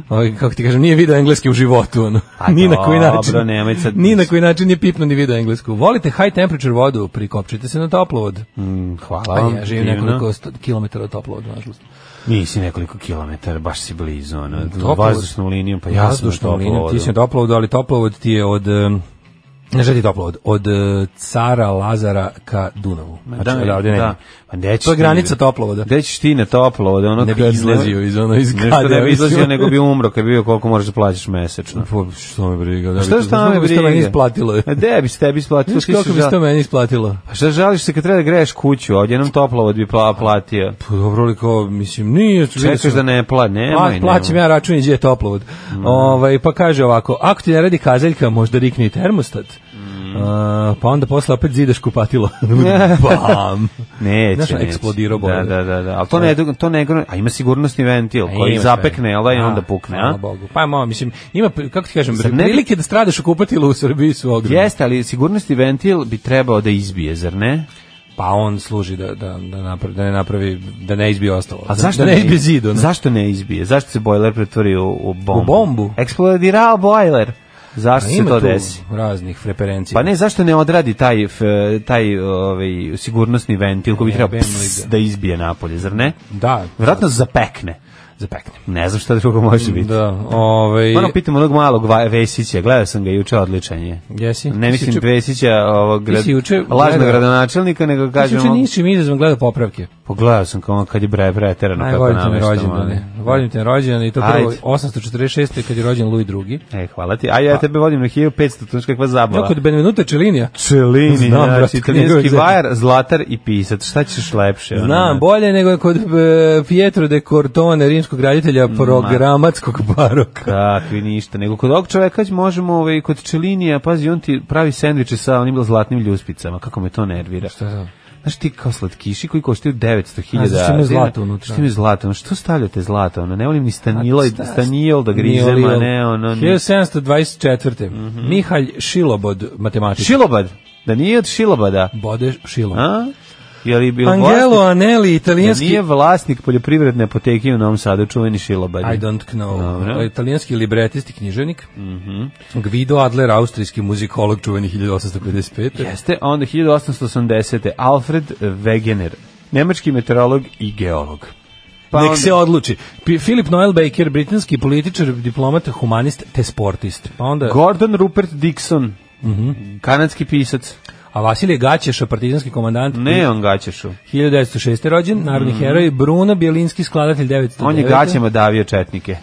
F: ovaj, kako ti kažem, nije video engleski u životu, ono.
E: Mhm. A
F: ni na koji
E: Pa dobro,
F: način.
E: nemoj sad-
F: Ni na koji način nije pipno ni video englesku. Volite high temperature vodu, prikopčite se na toplovod.
E: Mm, hvala
F: Pa
E: vam.
F: ja živim
E: divno.
F: nekoliko sto- kilometara od toplovoda, nažalost.
E: Nisi nekoliko kilometara, baš si blizu, ono,
F: Toplovod.
E: vazdušnom linijom, pa ja sam na
F: Vazdušnom linijom,
E: toplovodu.
F: Ti si na toplovodu, ali toplovod ti je od... em, Ne želi toplovod, od e, cara Lazara ka Dunavu.
E: Ma
F: Znači, odavde ne.
E: da. Pa gde ćeš
F: To je
E: ti-
F: granica toplovoda.
E: Gde ćeš ti na toplovod, ono
F: Ne bi
E: kad-
F: izlazio iz ono iz
E: Nešto
F: kada.
E: ne bi izlazio, nego bi umro, kad bi bio koliko moraš da plaćaš mesečno.
F: Pa, što me briga? Da bi
E: Šta
F: to-
E: šta me
F: bi se to
E: briga?
F: meni isplatilo.
E: A gde bi se tebi isplatilo?
F: Znaš
E: Ti si
F: kako bi se
E: žal-
F: to meni isplatilo?
E: A šta žališ se kad treba da greješ kuću, ovdje nam toplovod bi pla- platio.
F: Pa dobro, ali kao, mislim, nije... vidio sam-
E: Čekaš da ne pla, nemoj, Mm.
F: Pla-
E: nemoj.
F: plaćam ja račun i gdje je toplovod. Ovaj, pa kaže ovako, ako ti ne radi kazaljka, možda rikne i termostat. A, pa onda posle opet zidaš kupatilo. Bam!
E: Neće,
F: Znaš, ono,
E: neće.
F: eksplodirao
E: Da,
F: bojler.
E: da, da, da. Ali to ne, to ne, a ima sigurnosni ventil
F: E,
E: koji
F: ima
E: zapekne,
F: sve.
E: jel da, i
F: A,
E: onda pukne,
F: hvala
E: a?
F: Bogu. Pa malo, mislim, ima, pri- kako ti kažem,
E: Sad
F: pri-
E: ne bi-
F: prilike da stradaš u kupatilu u Srbiji su ogromne.
E: Jeste, ali sigurnosni ventil bi trebao da izbije, zar ne?
F: Pa on služi da, da, da, napravi, da ne napravi, da ne izbije ostalo.
E: A zašto
F: da ne izbije zid, ono.
E: Zašto ne izbije? Zašto se bojler pretvori u, u bombu?
F: U bombu?
E: Eksplodirao bojler. Zašto
F: A
E: se
F: ima
E: to
F: tu
E: desi?
F: raznih referencija.
E: Pa ne, zašto ne odradi taj, f, taj ovaj, sigurnosni ventil koji bi trebao
F: Jebem li
E: ps,
F: ga.
E: da izbije napolje, zar ne?
F: Da,
E: Vjerojatno zapekne.
F: zapekne.
E: Ne znam šta drugo može biti.
F: Da, ovaj...
E: Moram pitam onog malog Va- Vesića, gledao sam ga juče odličan je.
F: Jesi?
E: Ne
F: Ti si
E: mislim
F: juče-
E: Vesića, ovog
F: Ti si juče
E: grad, lažnog
F: gledao-
E: gradonačelnika, nego
F: Kažem,
E: kažem...
F: juče
E: on-
F: ničim izazvom gledao popravke.
E: Pogledao sam kao ono kad je bre, bre, terano
F: Aj,
E: kako
F: volim te na
E: nameštam.
F: rođendane.
E: ono.
F: Volim te na rođendane i to prvo
E: Ajde.
F: 846. kad je rođen Louis II.
E: E, hvala ti. A
F: Pa-
E: ja tebe vodim na 1500, to je kakva
F: Ja
E: zabava.
F: kod Benvenuta Čelinija.
E: Čelini,
F: Znam,
E: znači,
F: brate,
E: italijanski
F: njegove
E: vajar, zlatar i pisac. Šta ćeš lepše? ono,
F: Znam,
E: ne?
F: bolje nego kod e, Pietro de Cortone, rimskog graditelja programatskog baroka.
E: Kakvi ništa, nego kod ovog čoveka možemo ovaj, kod Čelinija, pazi, on ti pravi sendviče sa onim zlatnim ljuspicama, kako me to nervira.
F: Šta je to?
E: Znaš ti kao slatkiši koji koštaju 900.000
F: A, zašto imaju
E: dinara.
F: zlato unutra?
E: Što imaju zlato? Ono, Što stavljate zlato? Ono, ne volim ni stanilo,
F: Šta-
E: stanijol da grizem, a
F: Niolil.
E: ne ono... Ni... Mhm.
F: 1724. Mihalj Šilobod, matematik.
E: Šilobad! Da nije od Šilobada?
F: Bode Šilobod.
E: A? Je li bil
F: Angelo
E: vlasnik?
F: Anelli,
E: Da
F: italijanski
E: nije vlasnik poljoprivredne apoteke u Novom Sadu, čuveni Šilobad.
F: I don't know.
E: Dobro. Mhm.
F: Italijanski libretist i književnik. Guido Adler, austrijski muzikolog čuveni 1855.
E: Jeste, a onda 1880. Alfred Wegener, nemački meteorolog i geolog. Pa
F: Nek
E: onda-
F: se odluči. P- Philip Noel Baker, britanski političar, diplomat, humanist te sportist. Pa onda
E: Gordon Rupert Dixon,
F: Mhm.
E: kanadski pisac.
F: a Vasilije Gaćeša, partizanski komandant.
E: Ne, on gaćešu.
F: 1906. rođen, narodni heroj Bruno Bjelinski, skladatelj 909.
E: On je gaćama davio četnike.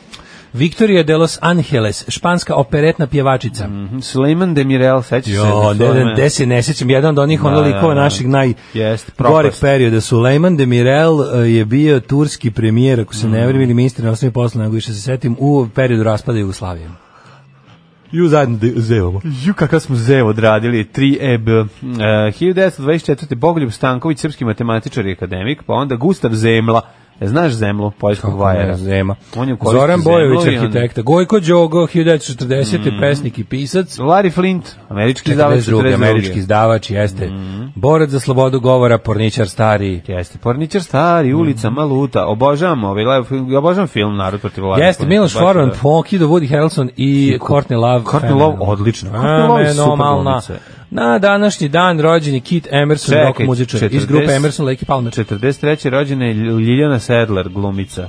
F: Victoria de los Angeles, španska operetna pjevačica.
E: Suleiman Demirel, sećaš Mhm. se?
F: Jo,
E: na
F: ne,
E: tome?
F: ne, ne se ne sećam, jedan od onih ono
E: Da, da,
F: likova
E: da.
F: naših naj
E: Jest, propast.
F: goreg perioda. Sulejman Demirel e, je bio turski premijer, ako se
E: Mm.
F: ne vrem, ili ministar na osnovi posla, nego više se setim, u periodu raspada Jugoslavije. I u zajedno zeovo.
E: Ju, kakav smo zev odradili, 3 EB. Uh, 1924. Bogoljub Stanković, srpski matematičar i akademik, pa onda Gustav Zemla, E, znaš Zemlu, poljskog vajera.
F: Zema.
E: On je koristio
F: Zoran Bojović,
E: Zemlu i on- Mm.
F: arhitekta. Gojko Đogo, 1940. pesnik i pisac.
E: Larry Flint, američki izdavač
F: 42.
E: 42.
F: američki izdavač, jeste.
E: Mm.
F: Borac za slobodu govora, porničar stari.
E: Jeste, Porničar stari,
F: Mhm.
E: ulica Maluta, obožavam ovaj, live- obožavam film Narod protiv vlade.
F: Jeste, Miloš Forman, Pokido, Woody Harrelson i Courtney Love.
E: Courtney
F: Fenomenalno.
E: Love, odlično. Courtney Love je super
F: Fenomenalna.
E: glumica.
F: Na današnji dan rođen je Kit Emerson,
E: Čekaj,
F: rock muzičar iz grupe
E: 40
F: Emerson, Lake i Palmer.
E: 43. rođena je Ljiljana Sedler, glumica.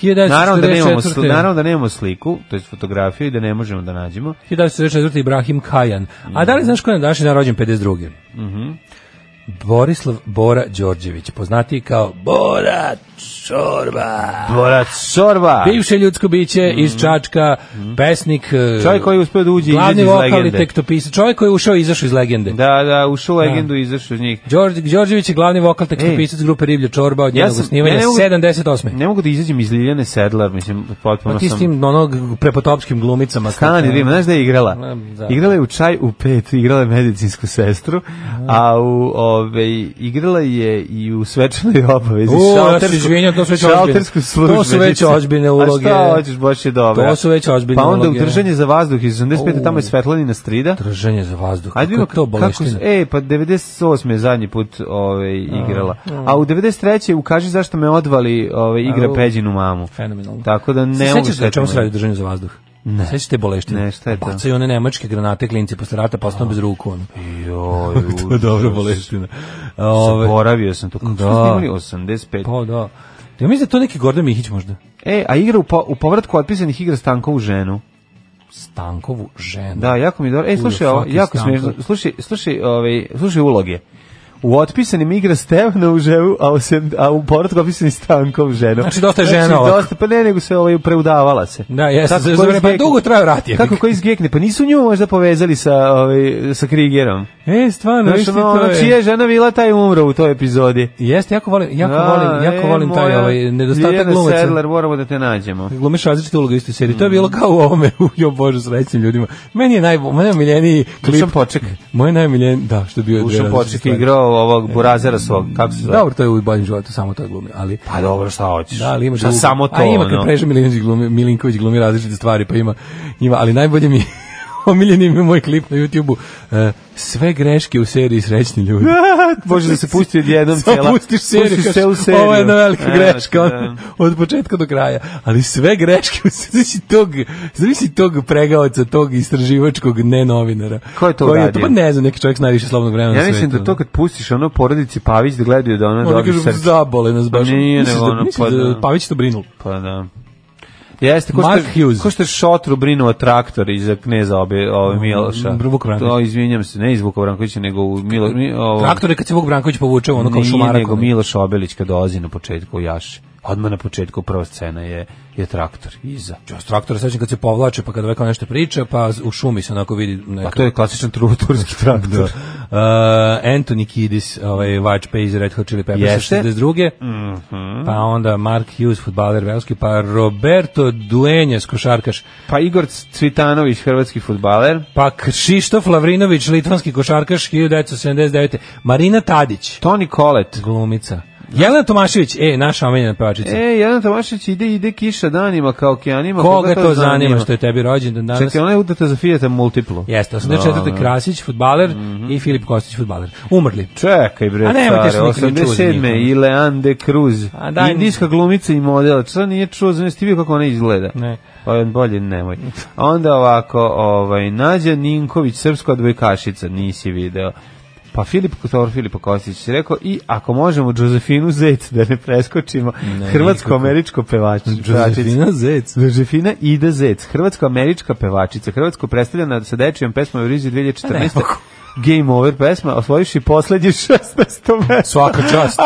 F: 1944.
E: Naravno da nemamo, sli- naravno da nemamo sliku, to je fotografiju i da ne možemo da nađemo.
F: 1944. Ibrahim Kajan. A da li znaš ko je na današnji dan rođen 52. Mm Borislav Bora Đorđević, poznatiji kao Bora Čorba.
E: Borac Sorba!
F: Bivše ljudsko biće iz Čačka, pesnik, e,
E: Mm-hmm. Čovjek koji je uspeo da uđe i
F: glavni
E: izađe iz
F: vokalni
E: legende.
F: tekstopisac, čovjek koji je ušao i izašao iz legende.
E: Da, da, ušao u legendu i izašao iz njih.
F: Đorđe- Đorđević je glavni vokal tekstopisac grupe Riblja Čorba od njenog
E: sam-
F: osnivanja
E: ja ne mogu-
F: 78.
E: Ne mogu da izađem iz Ljiljane Sedlar, mislim, potpuno
F: Pa ti s
E: sam...
F: tim onog prepotopskim glumicama.
E: Stani, Rima, znaš da je igrala?
F: Znam, da.
E: Igrala je u čaj u pet, igrala je medicinsku sestru, a u, ove, igrala je i u svečanoj obavezi.
F: U, ja se
E: šaltersku-
F: izvinjam, to su već
E: šaltersku
F: ozbiljne. To su već
E: službenicu.
F: ozbiljne uloge.
E: A šta hoćeš, baš je dobro.
F: To su već ozbiljne
E: Pa onda
F: uloge.
E: u držanje za vazduh iz 85. tamo je Svetlanina Strida.
F: Držanje za vazduh.
E: Ajde
F: kako
E: vidimo
F: je to boleština.
E: e, pa 98. je zadnji put ove, igrala. A u 93. u Kaži zašto me odvali ove, igra
F: Au.
E: Peđinu mamu.
F: Fenomenalno.
E: Tako da ne
F: Se
E: mogu
F: sećaš o čemu se
E: setiti.
F: radi držanje za vazduh? Ne. Sećaš te boleštine?
E: Ne, šta je to?
F: Bacaju one nemačke granate klinci posle rata, pa ostanu bez ruku. Ono.
E: Joj,
F: To je dobro
E: užas.
F: boleština. Ove,
E: Zaboravio sam to. Kako da.
F: Da.
E: snimali? 85.
F: pa da. Ja mislim da je to neki Gordon Mihić možda.
E: E, a igra u, po, u povratku otpisanih igra Stankovu ženu.
F: Stankovu ženu.
E: Da, jako mi je dobro. E,
F: Who the
E: slušaj, ovo,
F: fuck is
E: jako
F: Stanko?
E: smiješno. Slušaj, slušaj, ovaj, slušaj uloge. U otpisanim igra Stevana u ženu, a u, sem, a u povratku otpisani Stankovu ženu.
F: Znači, dosta je žena ovako.
E: dosta, pa ne, nego se ovaj, preudavala se.
F: Da, jeste.
E: Kako koji
F: za- za vreme- Pa
E: izbjegne-
F: dugo traju rat je.
E: Kako koji izgekne? Pa nisu nju možda povezali sa, ovaj, sa Krigerom.
F: E, stvarno,
E: Znaš,
F: viš ti
E: ono,
F: to
E: ono,
F: je.
E: čija je žena bila taj je umro u toj epizodi.
F: Jeste, jako volim, jako volim, jako
E: e,
F: volim taj
E: moja
F: ovaj nedostatak
E: Ljiljana
F: glumaca.
E: Sedlar, Mm. moramo da te nađemo.
F: glumiš različite uloge u istoj seriji. To je bilo kao u ovome, u jo bože, srećnim ljudima. Meni je naj, moj najmiljeniji klip.
E: Dušan Poček.
F: Moj najmiljeniji, da, što je bio dve
E: Dušan
F: različite
E: Poček je
F: stvari.
E: igrao ovog burazera svog, kako se zove?
F: Dobro, to je u boljem životu, samo to je glumi, ali...
E: Pa dobro, šta hoćeš?
F: Da, ali ima
E: šta
F: drugo.
E: samo to,
F: A ima kad
E: ono?
F: preže Milinković glumi, Milinković glumi različite stvari, pa ima, ima ali najbolje mi je omiljeni mi je moj klip na YouTubeu e, sve greške u seriji srećni ljudi.
E: Može da se pusti odjednom
F: Samo
E: cela.
F: pustiš seriju,
E: pustiš
F: kažeš,
E: celu seriju.
F: Ovo je jedna velika
E: Evo ti,
F: greška,
E: da.
F: ono, od početka do kraja. Ali sve greške, u seriji, zavisi tog, zavisi tog pregaoca, tog istraživačkog ne novinara.
E: Ko je to
F: Koji
E: uradio?
F: Pa ne znam, neki čovjek s najviše slobodnog vremena
E: Ja
F: na
E: mislim
F: svetu,
E: da to
F: ono.
E: kad pustiš ono porodici Pavić da gledaju da ona
F: Oni
E: dobije
F: kažu,
E: srce.
F: zabole nas baš.
E: Nije,
F: Misliš
E: nego
F: da-
E: ono,
F: misliš
E: pa
F: da
E: da.
F: Pavić to brinul.
E: Pa da. Jeste, ko
F: Mark
E: što,
F: Hughes.
E: ko što je Šotru brinuo traktor iza kneza obe, ove Miloša.
F: Mm, Vuk Branković.
E: To, izvinjam se, ne iz Vuka Brankovića, nego u Milo, mi, ovo,
F: Traktore kad se Vuk Branković povuče, ono kao
E: Nije,
F: šumarak.
E: nego
F: ono.
E: Miloš Obelić kad dolazi na početku u Jaši. Odmah na početku prva scena je, je traktor iza.
F: Ja s traktora sećam kad se povlače, pa kad ovaj kao nešto priča, pa u šumi se onako vidi neka...
E: Pa to je klasičan tru- turski
F: Da.
E: traktor.
F: Uh, Anthony Kiddis, ovaj Watch Page, Red Hot Chili Peppers,
E: Jeste. Mhm.
F: 62. Pa onda Mark Hughes, futbaler velski, pa Roberto Duenjes, košarkaš,
E: Pa Igor Cvitanović, hrvatski futbaler.
F: pa Kšištof Lavrinović, litvanski košarkaš, 1979. Marina Tadić,
E: Toni Kolet.
F: glumica. Jelena Tomašević, e, naša omenjena pevačica.
E: E, pa Jedan Tomašić ide, ide kiša danima kao okeanima.
F: Koga to zanima što je tebi rođendan danas?
E: Čekaj, ona je udata za Fijata Multiplu.
F: Jeste, 84.
E: Da, da.
F: Krasić, futbaler i Filip Kostić, futbaler. Umrli.
E: Čekaj bre,
F: A nemojte se
E: care,
F: nikad ni čuo za njih, ono.
E: 87. i Leande Cruz.
F: A daj mi.
E: Indijska glumica i model. Šta nije čuo, znaš ti vidio kako ona izgleda?
F: Ne.
E: Pa bolje nemoj. Onda ovako, ovaj, Nađa Ninković, srpska dvojkašica, nisi video. Pa Filip Kotor, Filipa Kostić je rekao i ako možemo Josefinu Zec da ne preskočimo, hrvatsko-američko pevač, pevačica.
F: Josefina Zec.
E: Žefina Ida Zec, hrvatsko-američka pevačica, hrvatsko predstavljena sa dečijom pesmom Eurizije 2014. Game Over pesma, osvojiš i poslednje 16. mesto.
F: Svaka čast.
E: A,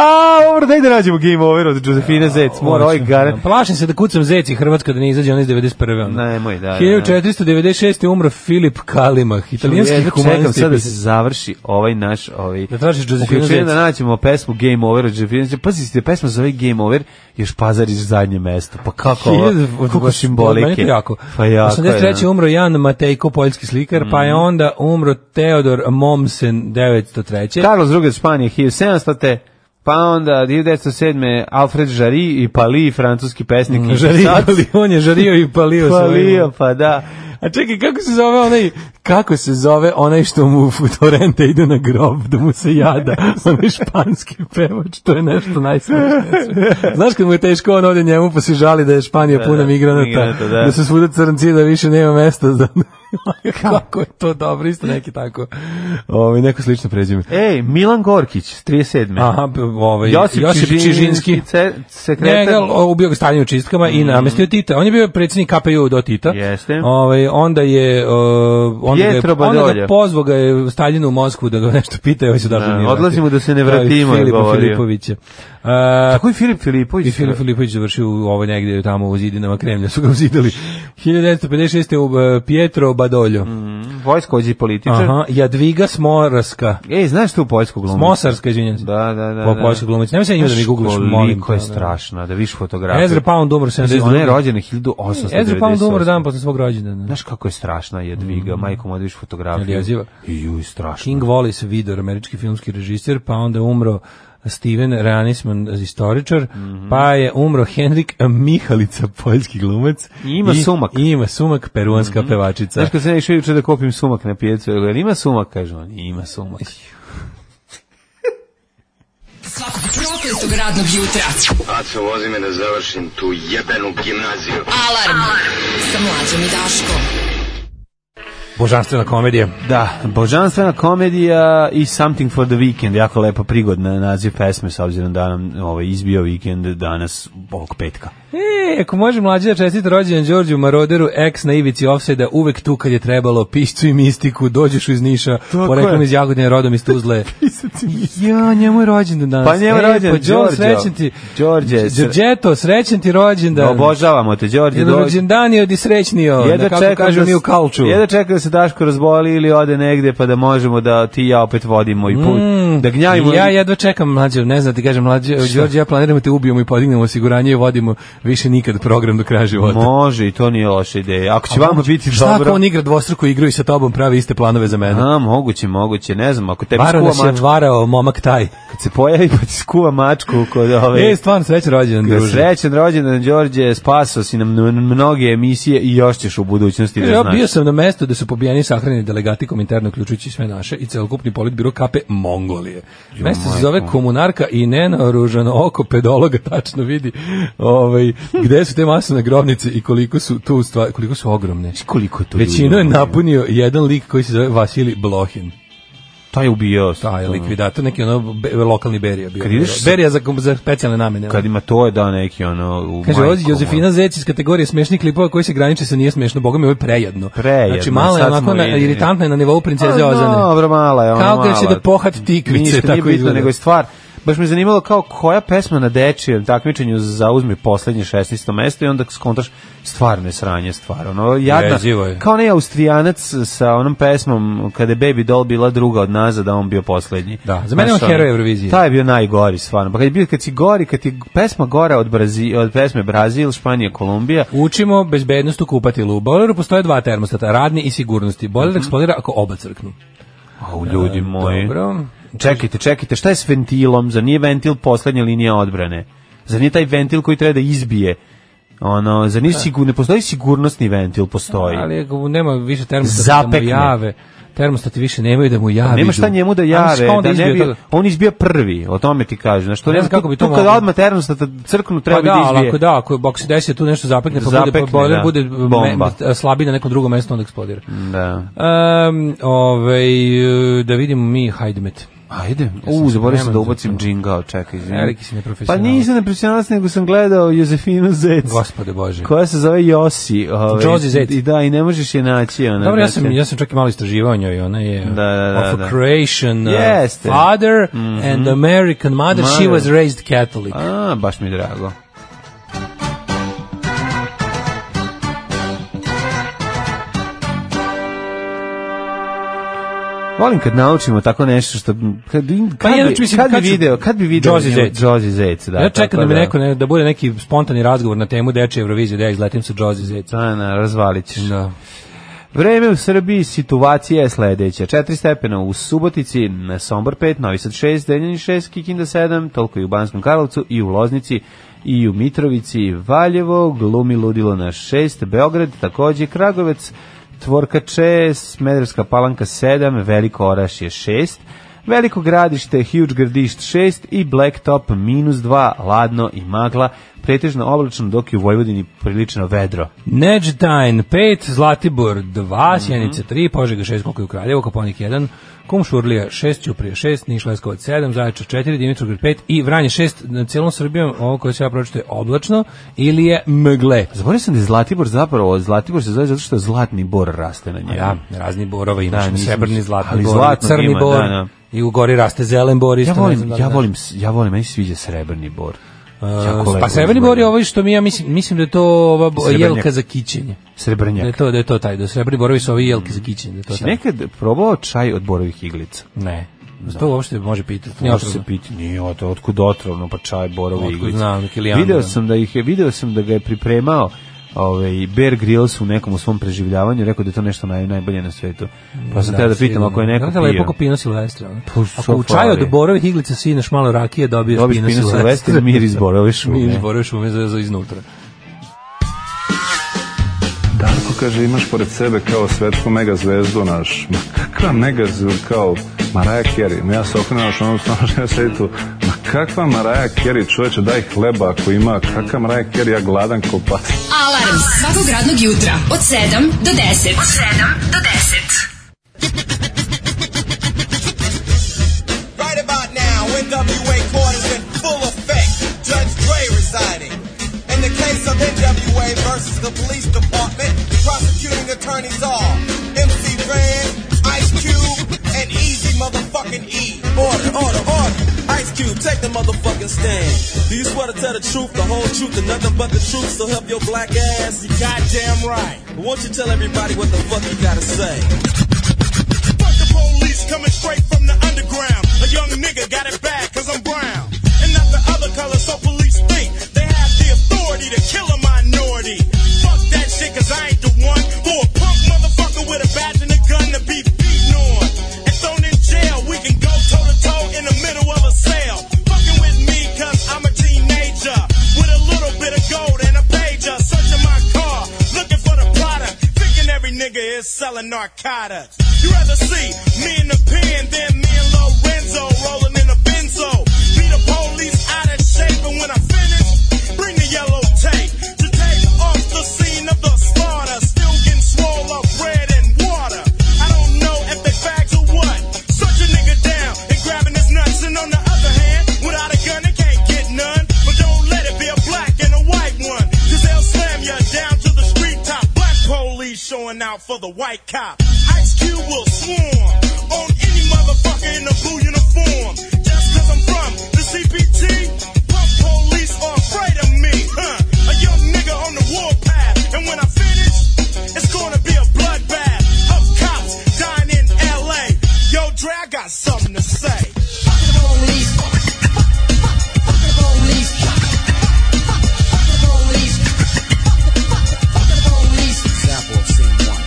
E: dobro, daj da nađemo Game Over od Josefine Zec, mora ovaj gar...
F: Plašim se da kucam Zeci Hrvatska da ne izađe on iz 91. ono.
E: Nemoj, da, da, da.
F: 1496. je umro Filip Kalimah, italijanski
E: Ja čekam
F: humanist. i
E: sad da se
F: pisac.
E: završi ovaj naš... Ovaj,
F: Da tražiš Josefinu
E: uključenje
F: Zec.
E: Da naćemo pesmu Game Over od Josefine Zec. Pazi se, pesma zove Game Over, još pazariš zadnje mesto. Pa kako ovo?
F: Hiljadu- od-
E: Kako
F: baš- meni
E: simbolike.
F: to Jako.
E: Pa jako je.
F: 83.
E: da. Mhm.
F: umro Jan Matejko, poljski slikar, pa je onda umro Teodor Mommsen 903.
E: Carlos II od Španije 1700 te pa onda 1907 Alfred Jarry i Pali francuski pesnik i
F: Žario,
E: pisac.
F: on je žario i palio
E: Palio, pa da.
F: A čekaj, kako se zove onaj, kako se zove onaj što mu u Torrente ide na grob, da mu se jada, onaj španski pevač, to je nešto najsmešnije. na svetu. Znaš kad mu je teško, on ovdje njemu pa se žali da je Španija puna migranata,
E: migranata,
F: da,
E: da.
F: su svuda crnci, da više nema mesta za Kako je to dobro, isto neki tako. Ovaj neko slično prezime.
E: Ej, Milan Gorkić, s 37.
F: Aha, b- ovaj
E: Josip, Čižinski, ce- sekretar.
F: Njega o, ubio ga stanje u čistkama i namestio Tita. On je bio predsjednik KPU do Tita.
E: Mhm. Jeste.
F: Ovaj onda je o, onda ga je-
E: Pietro
F: onda
E: Badolja.
F: ga pozvao ga je Staljin u Moskvu da ga nešto pita i ovaj se da,
E: Da, odlazimo da se ne vratimo, je
F: Filipa
E: govorio.
F: Filipovića.
E: Tako je Filip Filipović.
F: I Filip Filipović završio u ovo negdje tamo u zidinama Kremlja, su ga uzidali. 1956. u e, Pietro Badoljo.
E: Mm. Vojskođi političar.
F: Aha, Jadviga Smorarska.
E: Ej, znaš tu poljsku glumicu?
F: Smosarska, izvinjam se.
E: Da, da, da.
F: Po
E: da.
F: poljsku glumicu. Nemoj se njima da mi
E: Znaš
F: googlaš, molim te,
E: Koliko je
F: da.
E: strašna, da viš fotografiju.
F: Ezra Pound umro 78.
E: Ona je rođena 1898.
F: Ezra Pound umro dan posle svog rođendana.
E: Znaš kako je strašna Jadviga,
F: Mm.
E: majko moja da viš fotografiju.
F: Jel jeziva?
E: I Ju, strašno.
F: King Wallace Vidor, američki filmski režiser, pa onda umro Steven Reanisman, istoričar, pa je umro Henrik Mihalica, poljski glumac.
E: I ima sumak.
F: I ima sumak, peruanska pevačica.
E: Znaš kad sam ja išao juče da kopim sumak na pijecu, jel ima sumak, kaže on, ima sumak.
D: Svakog prokletog radnog jutra.
C: Aco, vozi me da završim tu jebenu gimnaziju.
D: Alarm, sa mlađom i Daškom.
F: Božanstvena komedija.
E: Da, božanstvena komedija i Something for the Weekend, jako lepa prigodna naziv pesme, s obzirom da nam ovaj, izbio vikend danas ovog petka.
F: E, ako može mlađi da čestite rođendan Đorđu Maroderu, ex na ivici offside uvek tu kad je trebalo, piscu i mistiku, dođeš iz Niša,
E: Tako
F: poreklom
E: je.
F: iz Jagodine, rodom iz Tuzle. ja, njemu je rođendan danas.
E: Pa njemu je
F: E,
E: rođendan,
F: pa Đor,
E: Đorđo.
F: srećen ti.
E: Đorđe, sre-
F: Đorđeto, srećen ti rođendan.
E: Obožavamo te, Đorđe,
F: Jedan
E: dođi.
F: rođendan je od i srećnio, da kako kažu mi u kalču.
E: Jedva čekam da se Daško razboli ili ode negde pa da možemo da ti i ja opet vodimo i put. da gnjavimo.
F: Mm. Ja jedva čekam mlađe, ne znam ti kažem mlađe, Đorđe, ja planiramo te ubijemo i podignemo osiguranje i vodimo više nikad program do kraja života.
E: Može i to nije loša ideja. Ako će vama biti
F: Šta
E: dobro.
F: ako on igra dvostruku igru i sa tobom pravi iste planove za mene?
E: A, moguće, moguće, ne znam, ako tebi
F: Varo
E: skuva
F: nas je
E: mačku,
F: varao momak taj.
E: kad se pojavi pa ti skuva mačku kod ove...
F: E, stvarno srećan rođendan, druže.
E: Srećan rođendan, Đorđe, spaso si nam mn- mnoge emisije i još ćeš u budućnosti da
F: Ja
E: znaš.
F: bio sam na mestu da su pobijeni i sahranjeni delegati kominterno uključujući sve naše i celokupni politbiro kape Mongolije. Mesto se zove komunarka i nenaoružano oko pedologa tačno vidi ovaj, gde su te masovne grobnice i koliko su tu stvar, koliko su ogromne.
E: Koliko to
F: Većinu
E: ljudi
F: je ono?
E: ima?
F: napunio jedan lik koji se zove Vasili Blohin.
E: Taj je ubio.
F: Taj likvidator, neki ono be- lokalni berija bio.
E: Kad ideš sa-
F: Berija za, za specijalne namene. ono.
E: Kad ima to je da neki ono... U
F: Kaže,
E: majku
F: ovdje Jozefina Zec iz kategorije smešnih klipova koji se graniče sa nije smešno, boga mi ovo je prejedno.
E: Prejedno,
F: Znači, mala je
E: sad
F: onako
E: smo
F: na,
E: vidjeli.
F: iritantna je na nivou princeze
E: A,
F: Ozane.
E: Pa Dobro, mala je ona
F: Kao da će
E: mala.
F: da pohat tikvice,
E: Ništa,
F: tako
E: nije bitno,
F: izgleda.
E: nego je stvar. Baš me zanimalo kao koja pesma na dečijem takmičenju zauzme poslednje 16. mesto i onda skontaš stvarno je sranje stvar. Ono, jadna,
F: Jezivo je.
E: kao onaj austrijanac sa onom pesmom kada je Baby Doll bila druga od nas, da on bio poslednji.
F: Da, za mene je on
E: Znaš, ono,
F: heroj Eurovizije.
E: Taj je bio najgori stvarno. Pa kad, je bio, kad si gori, kad ti pesma gora od, Brazi, od pesme Brazil, Španija, Kolumbija,
F: Učimo bezbednost u kupatilu. U bojleru postoje dva termostata, radni i sigurnosti. Bojler eksplodira ako oba crknu.
E: au ljudi Mhm. moji.
F: Dobro.
E: Čekajte, čekajte, šta je s ventilom? Zar nije ventil poslednja linija odbrane? Zar nije taj ventil koji treba da izbije? Ono, zar nije sigur, ne postoji sigurnosni ventil, postoji.
F: Ali ako nema više termostata da mu
E: Zapekne. Pa
F: jave, termostati više nemaju da mu javi.
E: Nema šta njemu da jave, da ne bi,
F: Ne
E: on izbija prvi, o tome ti kažem. Znaš, to
F: Ne
E: ne
F: znam kako bi to
E: tu kad
F: moglo.
E: odmah termostata crknu, treba
F: Pa
E: bi
F: da,
E: da
F: ali ako
E: izbije.
F: da, ako, ako se desi da tu nešto zapekne, pa bude, pa
E: Zapekne,
F: bojler
E: da.
F: bude me-
E: Bomba.
F: slabiji na nekom drugom mestu, onda eksplodira.
E: Da.
F: Um, ovaj, e, da vidimo mi Hajdmet.
E: Ajde, u, zaboravio sam da
F: spreman za
E: ubacim džingao, čekaj, izvini.
F: Veliki si
E: Pa
F: neprofesionalac.
E: nisam neprofesionalac, nego sam gledao Josefinu Zec,
F: Gospode Bože.
E: koja se zove Josi. Ovaj,
F: Josie Zec.
E: I da, i ne možeš je naći. Ona,
F: Dobro, ja
E: znači-
F: sam, ja sam čak i malo istraživao o njoj, ona je
E: Da, da, da,
F: of a
E: da.
F: Croatian uh,
E: Jeste. Mhm.
F: father and American mother, she
E: Mother.
F: was raised Catholic.
E: A, baš mi je drago. Volim kad naučimo tako nešto što... Kad,
F: Pa
E: kad,
F: jedno ću,
E: bi,
F: mislim,
E: kad,
F: kad
E: bi
F: ću-
E: video, kad bi video...
F: Josie
E: njemu-
F: Zec.
E: Josie Zec, da.
F: ja čekam
E: tako
F: da mi neko ne, da bude neki spontani razgovor na temu dečje Eurovizije, da ja izletim sa Josie Zeca.
E: Da, na, razvalit ćeš.
F: Da.
E: Vreme u Srbiji, situacija je sledeća. 4 stepena u Subotici, na Sombor 5, Novi Sad 6, Deljani 6, Kikinda 7, toliko i u Banskom Karlovcu i u Loznici i u Mitrovici, Valjevo, glumi ludilo na 6, Beograd, takođe Kragovec, Tvorkače, Smederska palanka 7, Veliko Oraš je 6, Veliko gradište, Huge gradišt 6 i Blacktop minus 2, ladno i magla, pretežno oblačno dok je u Vojvodini prilično vedro.
F: Neđetajn 5, Zlatibor 2,
E: Mhm.
F: Sjenica 3, Požega 6, koliko je u Kraljevu, Koponik 1, Kumšurlija 6, Ćuprija 6, Niš Leskovac 7, Zaječar 4, Dimitrovgrad 5 i Vranje 6. Na cijelom Srbijom ovo koje se ja pročito je oblačno ili je mgle.
E: Zaboravio sam da je Zlatibor zapravo, Zlatibor se zove zato što zlatni bor raste na njemu.
F: Ja, razni borova imaš,
E: Da, nisam-
F: srebrni, zlatni
E: ali
F: bor,
E: zlatnog
F: crni
E: ima,
F: bor,
E: da, da.
F: i u gori raste zelen bor. Isto,
E: Ja
F: ne znam
E: volim,
F: da li
E: ja
F: znaš.
E: volim, s- ja volim, meni se sviđa srebrni bor. Jako
F: Pa
E: lepo
F: srebrni
E: izgleda.
F: bor je ovo što mi ja mislim, mislim da je to ova bo-
E: Srebrnjak.
F: jelka za kićenje. Da je
E: Srebrnjak.
F: to, da je to taj, da srebrni borovi su ovi jelke za kićenje, da je to
E: Si
F: taj.
E: nekad probao čaj od borovih iglica?
F: Ne. To uopšte može pitati.
E: Može se piti, nije o to, otkud otrovno, pa čaj, borove
F: Otkud
E: iglice.
F: znam, neki lijandra.
E: video sam da ih je, video sam da ga je pripremao ovaj Bear Grylls u nekom u svom preživljavanju, rekao da je to nešto naj, najbolje na svetu. Pa sam da, da pitam ako je neko
F: Kako
E: pio.
F: da lepo ko pino silvestre. ono?
E: Pa, so
F: Ako u čaju
E: fali.
F: od borovih iglica sineš malo rakije, dobiješ,
E: Dobiješ
F: pino,
E: pino silvestre,
F: silvestre.
E: miris borove šume.
F: Miris borove šume za, za iznutra.
H: Darko kaže imaš pored sebe kao svetsku megazvezdu naš. Ma kakva megazvezdu kao Maraja Kerry. Ma ja se okrenem naš onom stanožnju ja sedi tu. Ma kakva Maraja Kerry čoveče daj hleba ako ima. Kakva Maraja Kerry ja gladan ko pas.
D: Alarm svakog radnog jutra od 7 do 10. Od 7 do 10.
I: Right about now, NWA court is in full effect. Judge Dre residing. In the case of NWA versus the police department, prosecuting attorneys are MC Ren, Ice Cube, and Easy motherfucking E. Order, order, order. Ice Cube, take the motherfucking stand. Do you swear to tell the truth, the whole truth, and nothing but the truth? So help your black ass. You goddamn right. Won't you tell everybody what the fuck you gotta say? Fuck the police coming straight from the underground. A young nigga got it bad cause I'm brown. And not the other color, so police think they have the authority to kill a minority. Fuck that shit cause I ain't the one for a punk motherfucker with a badge and a gun to be beaten on. And thrown in jail, we can go toe to toe in the middle of a sale. Fucking with me cause I'm a teenager. With a little bit of gold and a pager. Searching my car, looking for the product. Thinking every nigga is selling narcotics. You rather see me in the pen than me and Lorenzo rolling in a benzo. Be the police out of shape, and when I finish, bring the yellow tape to take off the scene of the slaughter. Still getting swole up bread and water. I don't know if they fags or what. Such a nigga down and grabbing his nuts, and on the other hand, without a gun, they can't get none. But don't let it be a black and a white one, cause they'll slam you down to the street top. Black police showing out for the white cop. Ice Cube will swarm on any motherfucker in a blue uniform. Just cause I'm from the CPT, punk police are afraid of me. Huh? A young nigga on the warpath, and when I finish, it's gonna be a bloodbath of cops dying in LA. Yo, Dre, I got something to say. Example of scene one.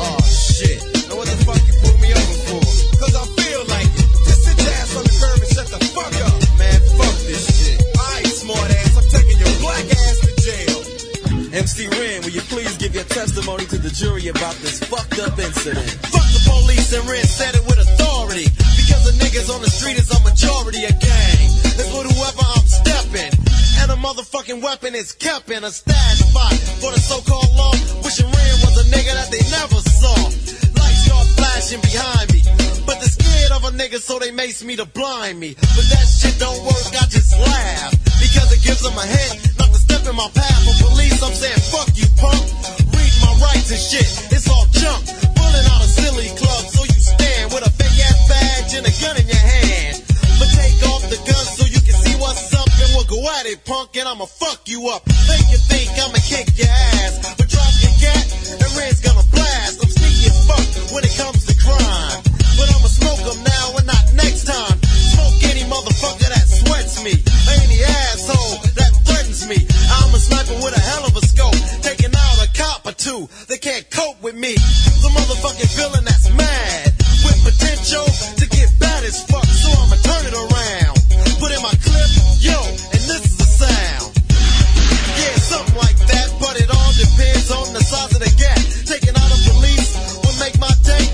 I: Oh shit. Now what the fuck you put me over for? Cause I feel like it. Just sit your ass on the curb and shut the fuck up. Man, fuck this shit. Alright, smart ass, I'm taking your black ass to jail. MC Ren, will you please give your testimony to the jury about this fucked up incident? Fuck the police and Ren said it with authority. Because the niggas on the street is a majority of gang. It's with whoever I'm stepping. And a motherfucking weapon is kept in a stash spot for the so-called law. Wishing Ren was a nigga that they never saw. Lights start flashing behind me. But they're scared of a nigga, so they mace me to blind me. But that shit don't work, I just laugh. Because it gives them a hint not to step in my path. For police, I'm saying, fuck you, punk. Read my rights and shit, it's all junk. Pulling out a silly club, so you stand with a fake ass badge and a gun in your hand. But take off the gun so you can see what's up and we'll go at it, punk, and I'ma fuck you up. Think you think I'ma kick your ass, but drop your gat and Red's gonna blast. I'm sneaky as fuck when it comes to crime. But I'ma smoke 'em now and not next time. Smoke any motherfucker that sweats me, any asshole that threatens me. I'm a sniper with a hell of a scope, taking out a cop or two that can't cope with me. The motherfucking villain that's mad with potential to get bad as fuck, so I'ma turn it around. Put in my clip, yo, and this is the sound. Yeah, something like that, but it all depends on the size of the gap. Taking out a police will make my day,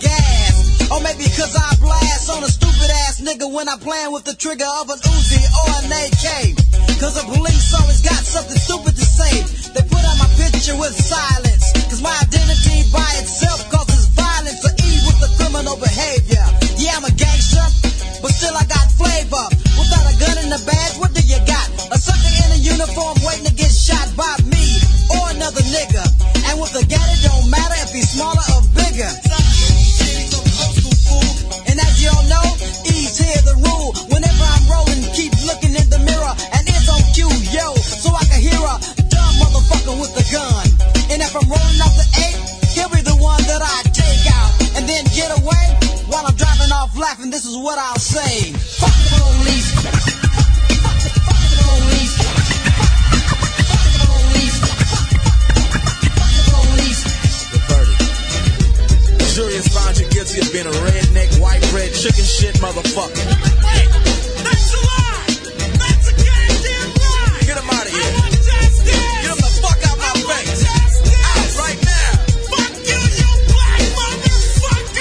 I: baby, cause I blast on a stupid ass nigga when I playing with the trigger of an Uzi or an AK. Cause the police always got something stupid to say. They put out my picture with silence. Cause my identity by itself causes violence or evil with the criminal behavior. Yeah, I'm a gangster, but still I got flavor. Without a gun and a badge, what do you got? A sucker in a uniform waiting to get shot by me or another nigga. And with a gat, it don't matter if he's smaller or bigger. And as you all know, ease here the rule. Whenever I'm rolling, keep looking in the mirror, and it's on cue, yo, so I can hear a dumb motherfucker with a gun. And if I'm rolling off the eight, he'll be the one that I take out, and then get away while I'm driving off laughing. This is what I'll say: Fuck the police. Fuck the- fuck the police. Fuck the police. Fuck the police.
J: the verdict. Jury has found you guilty of being a redneck, white bread, chicken shit motherfucker. Get him out of here. Get him the fuck out my face. Out right now. Fuck you, you black motherfucker!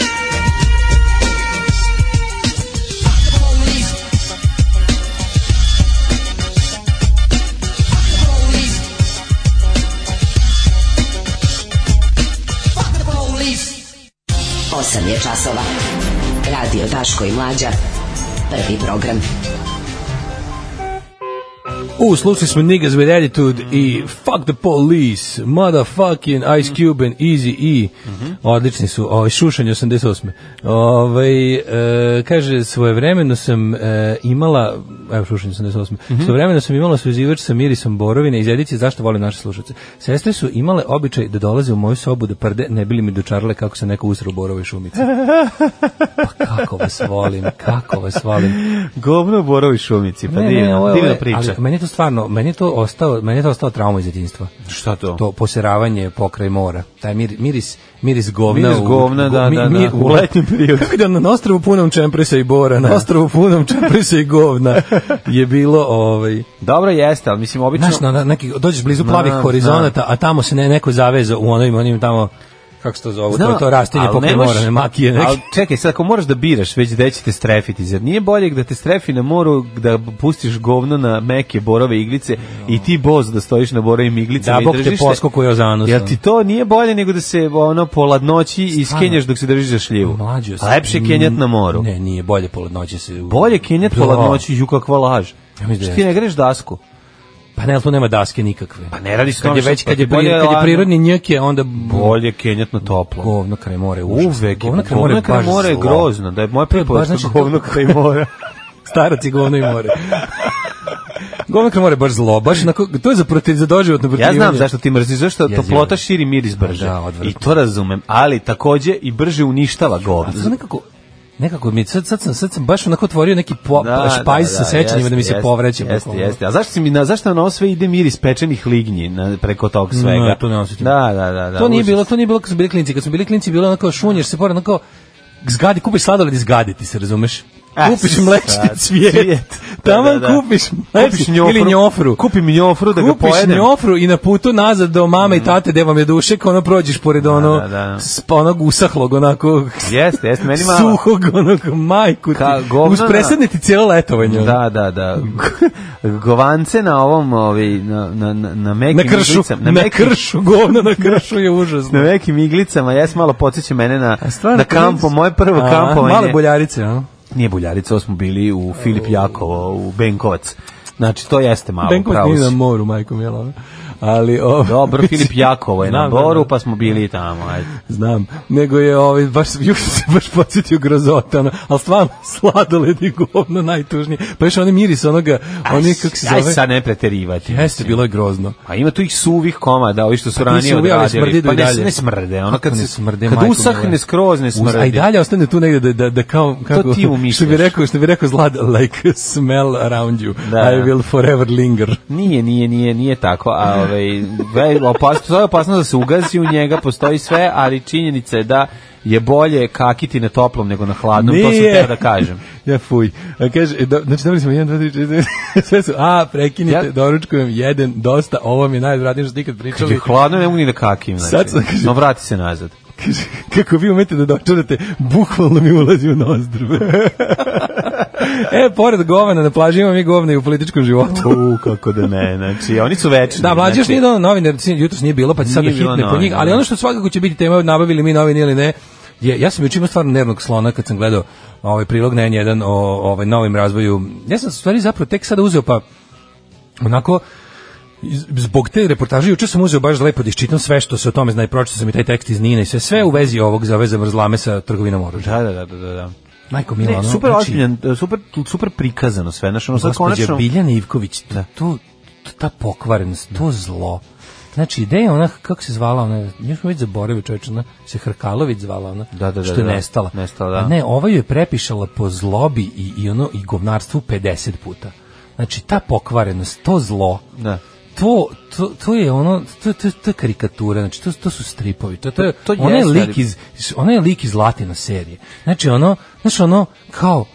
D: Osam je časova. Radio Daško i Mlađa. Prvi program.
F: U, slušali smo Niggas with Attitude i Fuck the Police, Motherfucking Ice Cube and Easy E. Odlični su, ovaj, šušanje 88. Ovaj, e, kaže, svojevremeno sam e, imala, evo šušanje 88, svojevremeno sam imala suzivač sa mirisom borovine iz Edice, zašto volim naše slušalce. Sestre su imale običaj da dolaze u moju sobu da prde, ne bili mi dočarale kako se neko usra u borovoj šumici. Pa kako vas volim, kako vas volim.
E: Govno u borovoj šumici, pa
F: ovo
E: divna,
F: je-
E: divna
F: ovo je-
E: priča.
F: Ali meni je to stvarno, meni je to ostao, meni je to ostao trauma iz djetinjstva.
E: Šta to?
F: To poseravanje pokraj mora. Taj mir, miris, miris govna.
E: Miris
F: u-
E: govna, da, da, da, u letnjem periodu.
F: Kako da na ostrovu punom čemprisa i bora, na ostrovu punom čemprisa i govna je bilo ovaj...
E: Dobro jeste, ali mislim obično...
F: Znaš, na, na, neki, dođeš blizu
E: Na,
F: plavih
E: na.
F: horizonata, a tamo se ne, neko zaveza u onim, onim tamo kako se to zove, to,
E: Znam,
F: je to rastinje
E: ali
F: pokraj
E: ne moš-
F: mora, ne makije neke.
E: ali čekaj, sad ako moraš da biraš, već gde će te strefiti, zar nije bolje da te strefi na moru, da pustiš govno na meke borove iglice i ti boz da stojiš na borovim iglicama
F: Da,
E: i
F: bok te
E: držiš
F: poskokuje o zanus.
E: Jel ti to nije bolje nego da se ono po ladnoći iskenjaš dok se držiš za šljivu?
F: Mlađo se-
E: Lepše je kenjat na moru.
F: Ne, nije bolje poladnoće se. u-
E: Bolje kenjat po
F: Da.
E: ladnoći, ju kakva laž.
F: Ja mislim da
E: Što ti ne greš dasku?
F: Pa ne, ali tu nema daske nikakve.
E: Pa ne radi se
F: kad je već ono kad je, pri, kad je prirodni njek je onda
E: Bolje kenjat na toplo.
F: govno kraj more
E: Uvek,
F: govno kraj more je baš
E: more je
F: zlo.
E: grozno, da je moja
F: To je baš,
E: preporuka
F: znači,
E: govno kraj mora.
F: starac i govno i more govno kraj more je baš zlo baš onako, to je za protiv za doživotno
E: Ja
F: protivljenje.
E: znam zašto ti mrziš, zašto
F: Jezivo
E: toplota
F: je.
E: širi miris brže.
F: Da, odvratno.
E: I to razumem, ali takođe i brže uništava govno.
F: A to nekako nekako mi sad sad sam sad sam baš onako otvorio neki po,
E: Da,
F: špajz
E: da,
F: Pa sa
E: da,
F: sećanjima da mi se
E: jeste,
F: povraća
E: Jeste,
F: bukvalno.
E: jeste. A zašto, si mi, na, zašto na ovo sve ide miris pečenih lignji na, preko tog svega?
F: Ne, to ne osjećam.
E: Da, da, da. da
F: to nije
E: užas.
F: bilo, to nije bilo kad smo bili klinci, kad smo bili klinci bilo je onako šunješ se pored onako zgadi, kupiš sladoled i zgadi ti se, razumeš?
E: A,
F: kupiš
E: E, sad,
F: mlečni cvijet,
E: cvijet. Da,
F: tamo
E: da, da.
F: kupiš mlečni
E: Kupiš njofru.
F: ili njofru.
E: Kupim njofru da ga
F: Kupiš
E: pojedem. Mm.
F: njofru i na putu nazad do mame i tate gde vam je dušek, ono prođeš pored ono,
E: da, da.
F: sp- onog usahlog, onako
E: Jeste, jeste, meni malo.
F: suhog, onog majku ti.
E: Ka- govno
F: Uz
E: na-
F: presadne ti cijelo letovanje. ono.
E: Da, da, da. Govance na ovom, ovaj, na, na, na, na mekim
F: Na kršu,
E: iglicama-
F: na,
E: mekim-
F: kršu, govno na kršu je užasno.
E: na nekim iglicama, jes malo podsjeća mene na,
F: A stvarno,
E: na
F: kad
E: kampo,
F: vidiš-
E: moje prvo
F: A,
E: kampovanje.
F: Male boljarice, a?
E: Nije Buljarica, ovo smo bili u Filip Jakovo, u Benkovac. Znači, to jeste malo,
F: Benkovac
E: pravo
F: nije na
E: si.
F: moru, majko mila. ono. Ali, ovaj, o,
E: Dobro, Filip Jakovo je na
F: Znam, znam,
E: Boru,
F: znam.
E: pa smo bili tamo, ajde.
F: Znam, nego je ovaj, baš, još sam se baš podsjetio grozota, ono, ali stvarno sladoled i govno najtužnije. Pa još onaj miris onoga, oni kako se
E: Aj
F: zove,
E: sad ne preterivati.
F: jeste, bilo je grozno.
E: A ima tu ih suvih komada, ovi što su
F: Pa ti
E: ranije
F: suvi, ali
E: odradili.
F: smrdi idu
E: pa
F: i
E: ne,
F: dalje.
E: ne smrde, ono
F: Kako
E: kad,
F: ne
E: se,
F: smrde,
E: kad
F: majko moja?
E: usahne skroz ne
F: Uz, a i
E: smrdi.
F: dalje ostane tu negde da, da, da kao, kako,
E: ti umišljaš.
F: što bi rekao, što bi rekao zlad, like smell around you,
E: Da.
F: I will forever linger.
E: Nije, nije, nije, nije tako. A ovaj ve opasno, to je opasno da se ugazi u njega, postoji sve, ali činjenica je da je bolje kakiti na toplom nego na hladnom, to sam
F: Nije.
E: teo da kažem. Znači,
F: Ja fuj. A kaže, e, do, znači dobili smo 1, 2, 3, 4, 5, sve su, a, prekinite,
E: Ja-
F: doručkujem jedan, dosta, ovo mi je najodvratnije što ste ikad pričali.
E: Kad je hladno, ne mogu ni da kakim. Znači.
F: Sad sam, kaže-
E: no vrati se nazad.
F: Kaže, kako vi umete da dočarate, bukvalno mi ulazi u nozdrve. e, pored govana na plaži imam i govna i u političkom životu.
E: U, kako da ne, znači, oni su večni.
F: Da, mlađi još
E: znači,
F: nije dono novinar, sin- jutros nije bilo, pa će sad da
E: Nije bilo
F: hitne po njih,
E: novina,
F: ali
E: da.
F: ono što svakako će biti tema, nabavili mi novine ili ne, je, ja sam juče imao stvarno nervnog slona kad sam gledao ovaj prilog na N1 o ovaj novim razvoju. Ja sam stvari zapravo tek sada uzeo, pa onako, iz- zbog te reportaže juče sam uzeo baš lepo da iščitam sve što se o tome zna i pročitao sam i taj tekst iz Nine i sve, sve u vezi ovog za veze mrzlame sa trgovinom oružja.
E: Da, da, da, da, da, da.
F: Majko
E: Ne,
F: Mila, ono,
E: super
F: znači,
E: ozbiljan, super, super prikazano sve, znaš, ono sad
F: Gospođa
E: konačno...
F: Biljana Ivković, to, to, to- ta pokvarenost, to zlo. Znači, ideja je ona, kako se zvala ona, nju smo već zaboravili čovječ, ona se Hrkalović zvala ona,
E: Da, da, da,
F: što je
E: da,
F: nestala.
E: nestala, da.
F: A ne, ova ju je prepišala po zlobi i, i ono, i govnarstvu 50 puta. Znači, ta pokvarenost, to zlo,
E: Da.
F: to, to, to je ono to, to, to je karikatura znači to, to su stripovi to, to, je
E: To- to
F: onaj
E: jeste,
F: lik
E: ali-
F: iz onaj lik iz Latina serije znači ono znaš ono kao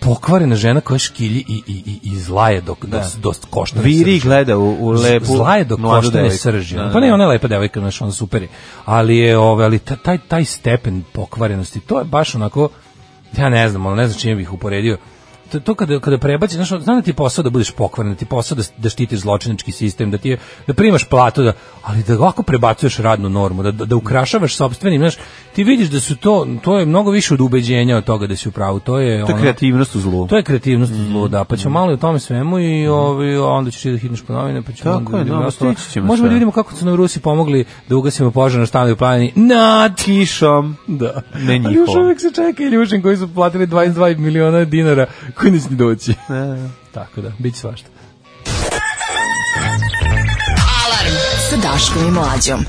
F: pokvarena žena koja škilji i, i, i, i zlaje dok da. dost košta
E: Viri gleda u, u lepu
F: zla je dok
E: mladu
F: koštane
E: devojku.
F: srži.
E: Da, da,
F: pa ne,
E: da.
F: ona je lepa devojka, znaš, ona super je. Ali je, ovaj, ali ta- taj, taj stepen pokvarenosti, to je baš onako, ja ne znam, ono, ne znam čime bih uporedio. To, to kada, kada prebaci, znaš, ono, znam da ti je posao da budeš pokvaren, da ti je posao da, da štitiš zločinački sistem, da ti je, da primaš platu, da, ali da ovako prebacuješ radnu normu, da, da, da ukrašavaš sopstvenim, znaš, ti vidiš da su to, to je mnogo više od ubeđenja od toga da si u pravu, to je,
E: To je
F: ono-
E: kreativnost u zlu.
F: to je kreativnost mm. luda, pa ćemo malo i o tome svemu i ovaj, a onda ćeš ti da hitneš po novine, pa ćemo
E: Tako je,
F: onda da vidimo
E: no,
F: ostalo.
E: stići ćemo
F: Možemo da
E: sve.
F: vidimo kako su nam Rusi pomogli da ugasimo požar na stanu u planini. Na
E: Kišom.
F: Da.
E: Ne
F: Ali još
E: njihovom.
F: uvek se čeka Iljušin koji su platili 22 miliona dinara koji neće ni doći. E. Tako da, bit će svašta.
D: Alarm sa Daškom i Mlađom.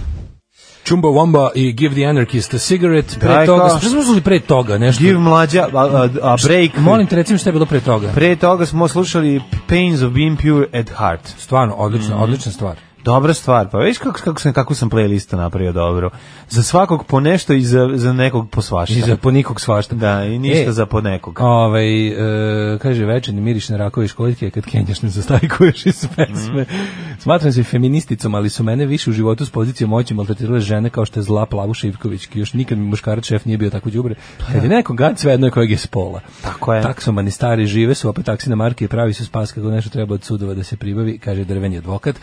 F: Chumba Wamba i Give the Anarchist a Cigarette. Pre
E: Daj,
F: toga,
E: kao-
F: što smo slušali pre toga nešto?
E: Give mlađa, a, a, a break.
F: Molim te, recimo šta je bilo pre toga.
E: Pre toga smo slušali Pains of Being Pure at Heart.
F: Stvarno, odlična, odlična stvar.
E: Dobra stvar, pa vidiš kako, kako sam, kako sam playlistu napravio dobro. Za svakog po nešto i za, za nekog po svašta.
F: I za po nikog svašta.
E: Da, i ništa
F: E,
E: za po nekog.
F: Ovaj e, kaže večerni miriš na rakove i školjke kad kenjaš ne zastajkuješ iz pesme.
E: Mhm.
F: Smatram se feministicom, ali su mene više u životu s pozicije moći maltretirale žene kao što je zla Plavuša Ivković, još nikad mi muškarac šef nije bio tako đubre. Kad je neko gad svejedno je kojeg je spola.
E: Pa Tako je.
F: Taksomani stari žive su, opet taksina marke i pravi su spas kako nešto treba od sudova da se pribavi, kaže drveni advokat.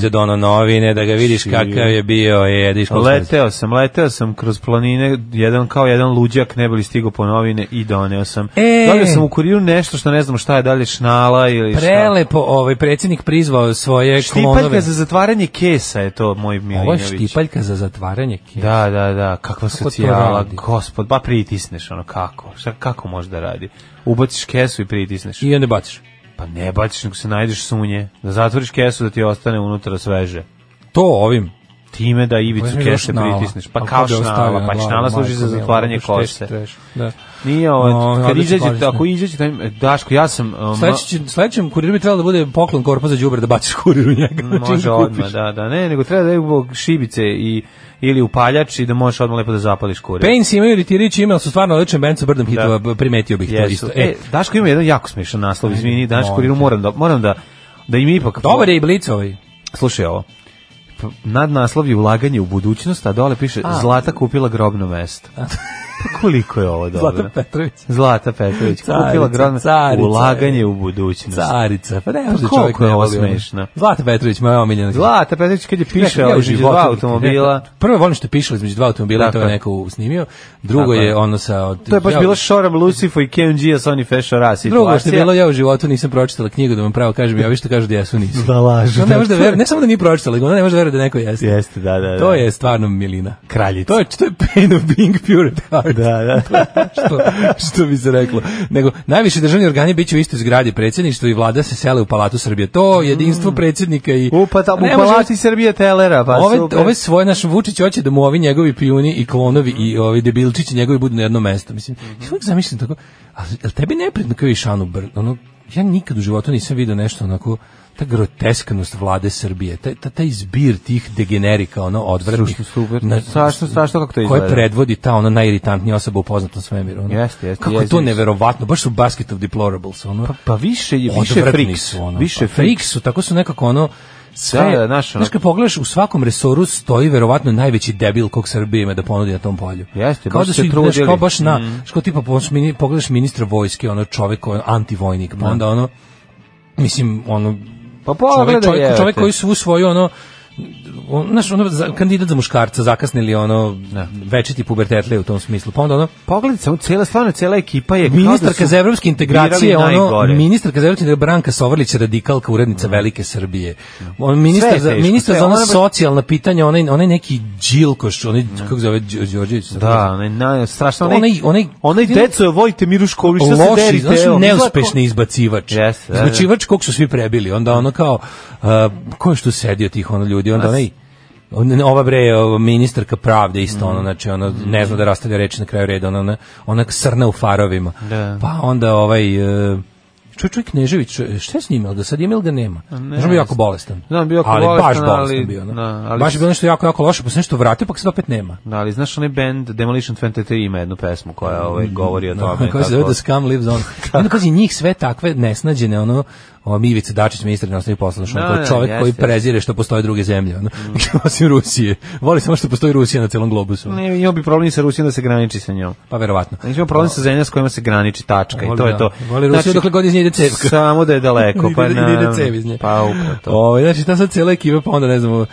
F: Mlađa dono novine da ga vidiš kakav je bio, je, da iškolstvo-
E: Leteo sam, leteo sam kroz planine, jedan kao jedan luđak, ne bili stigo po novine i doneo sam.
F: E!
E: Dobio sam u kuriru nešto što ne znam šta je, da li je šnala ili šta.
F: Prelepo ovaj predsjednik prizvao svoje
E: Štipaljka
F: klonove.
E: za zatvaranje kesa je to moj
F: Ovo je
E: Milinović.
F: štipaljka za zatvaranje kesa.
E: Da, da, da, kakva
F: Kako to
E: socijala,
F: radi?
E: gospod, ba pritisneš ono, kako, šta, kako može da radi? Ubaciš kesu i pritisneš.
F: I onda baciš.
E: Pa ne baciš, nego se najdeš sunje, da zatvoriš kesu da ti ostane unutra sveže.
F: To ovim.
E: Time da ivicu
F: Ovo je
E: kese
F: šnala.
E: pritisneš, pa
F: Ali
E: kao
F: ko bi ostavio
E: šnala,
F: na
E: pa
F: glavu,
E: šnala služi
F: majko
E: za
F: mila,
E: zatvaranje
F: kako šteš,
E: kose.
F: treš, Da.
E: Nije
F: No,
E: ovo, kad
F: odlično,
E: izađete,
F: odlično.
E: ako izađete, taj- e, Daško, ja sam... um,
F: Sledeći, sledećem kuriru bi trebalo da bude poklon korpa za đubre da baciš kurir u njega.
E: ma-
F: čim
E: Može
F: ga kupiš.
E: odmah, da, da, ne, nego treba da je zbog šibice i, ili upaljač i da možeš odmah lepo da zapališ kurir.
F: Pains imaju ritirići email su stvarno odličan band sa brdom hitova, b- primetio bih to
E: Jesu.
F: isto.
E: E, Daško ima jedan jako smešan naslov, izvini, Daško kuriru moram da, moram da, da im ipak...
F: dobar je i blic ovaj.
E: Slušaj ovo. P- Nadnaslov je ulaganje u budućnost, a dole piše Zlata kupila grobno mesto. Pa koliko je ovo dobro?
F: Zlatan Petrović.
E: Zlata Petrović kupila
F: Carica,
E: grobno
F: carica. e.
E: ulaganje u budućnost.
F: Carica, pa ne
E: Pa
F: može
E: koliko
F: čovjek
E: je
F: ne
E: ovo
F: voli ono.
E: smešno?
F: Zlata Petrović, moja omiljena.
E: Zlata Petrović kad je piše
F: Ja
E: ja,
F: u
E: između dva
F: životu nikad
E: automobila,
F: ne- Prvo volim što je pišao između dva automobila, i to je
E: Tako je.
F: neko snimio. Drugo
E: Tako je.
F: je ono sa...
E: to je baš
F: ja-
E: bilo Šoram Lucifo i KMG-a Sony Fashion Ras
F: Drugo što je bilo,
E: situacija.
F: ja u životu nisam pročitala knjigu, da vam pravo kažem, ja vi što kažu da jesu nisu.
E: Da lažu.
F: Ona ne, može da veruje, ne samo da nije pročitala, nego ona ne može da veruje da neko jeste.
E: Jeste, da, da, da.
F: To je stvarno milina.
E: kraljica.
F: To je, to je pain of being pure at heart,
E: Da, da.
F: što, što bi se reklo. Nego, najviši državni organi bit će u istoj zgradi predsjedništvo i vlada se sele u Palatu Srbije. To jedinstvo predsjednika i...
E: U, pa tamo u
F: Ne može-
E: palati Srbije Telera, pa
F: ove,
E: super.
F: ove svoje, naš Vučić hoće da mu ovi njegovi pijuni i klonovi i ovi debilčići njegovi budu na jednom mestu. Mislim,
E: Mhm.
F: ja uvijek zamišljam tako, ali jel tebi nepredno kao i Šanu Brn, ono, ja nikad u životu nisam vidio nešto onako, ta groteskanost vlade Srbije, taj, ta, taj zbir tih degenerika, ono, odvratnih.
E: Strašno, super. Strašno, strašno kako to
F: Koje
E: izgleda.
F: predvodi ta ona najiritantnija osoba u poznatom svemiru. Ono.
E: Jeste, jeste,
F: Kako je
E: jeste,
F: to
E: jeste.
F: neverovatno, baš su basket of deplorables. Ono
E: Pa više je više
F: odvratni
E: friks,
F: su ono.
E: više
F: Pa,
E: friks.
F: friks su, tako su nekako ono Sve,
E: Da,
F: da,
E: da, znaš, ono-
F: kad pogledaš, u svakom resoru stoji verovatno najveći debil kog Srbije ima da ponudi na tom polju.
E: Jeste,
F: kao
E: baš
F: da
E: se Mm.
F: su, ih, znaš,
E: trudili.
F: kao baš na, znaš, kao tipa pogledaš mini- pogledaš ministra vojske, ono čovek, ono, antivojnik, pa onda ono, mislim, ono,
E: Pa
F: čovjek,
E: pogledaj,
F: čovjek,
E: jebote.
F: čovjek koji svu svoju ono on, znaš, ono, za, kandidat za muškarca zakasnili ono večiti pubertetlije u tom smislu. Pa onda ono,
E: Pogledaj samo, cijela, stvarno cijela ekipa je... kao da
F: ministarka
E: su
F: za evropske integracije,
E: birali
F: ono,
E: najgore. Mhm.
F: ministarka za evropske integracije, Branka Sovrlić, radikalka, urednica Velike Srbije. On, ministar,
E: Sve je
F: za,
E: teško,
F: ministar
E: sve,
F: za ono
E: ona baš-
F: socijalna pitanja, onaj, onaj neki džilkoš, onaj, kako se zove, Đ- Đorđević? se zove?
E: Da, onaj, naj, strašno, onaj,
F: Onaj-
E: onaj,
F: onaj-
E: deco, volite miru školu, šta se
F: loši,
E: derite?
F: znaš,
E: evo,
F: neuspešni izbacivač.
E: Jeste, da, da.
F: izbacivač kog su svi prebili. Onda ono kao, uh, ko je što sedio tih ono ljudi? Onda onaj, on- ova bre ova ministarka pravde isto ono znači ono ne zna da rastavlja reči na kraju reda ona ona, ona srna u farovima
E: Da.
F: pa onda ovaj e, čuj čuj Knežević čuj, šta je s njim jel ga sad ima ili ga nema znači on bio jako bolestan
E: Da, on bio jako
F: ali baš
E: bolestan,
F: bolestan
E: ali-
F: bio ono.
E: da, ali-
F: baš je bilo nešto jako jako loše pa se nešto vratio pa se opet nema
E: Da, ali znaš onaj band Demolition 23 ima jednu pesmu koja ovaj, govori o tome.
F: Mm, Koja se zove
E: kako-
F: The Scum Lives On. I onda pazi, njih sve takve nesnađene, ono, o, Mivica Dačić, ministar inostranih poslova, što
E: Da,
F: no,
E: da,
F: čovjek
E: jeste,
F: ono, koji
E: jeste. Mm.
F: prezire što postoje druge zemlje, ono, osim Rusije. Voli samo što postoji Rusija na celom globusu. ono.
E: Ne, imao bi problem i sa Rusijom da se graniči sa njom.
F: Pa verovatno.
E: Znači, imamo problem sa zemljama s kojima se graniči tačka i
F: Voli,
E: to Znači, je
F: da.
E: to.
F: Voli Rusiju dokle god iz nje ide cevka.
E: Samo da je daleko.
F: Ide-
E: pa
F: ide-
E: na,
F: ide cev iz nje.
E: Pa upravo to.
F: Ovaj znači ta sad cela ekipa pa onda ne znamo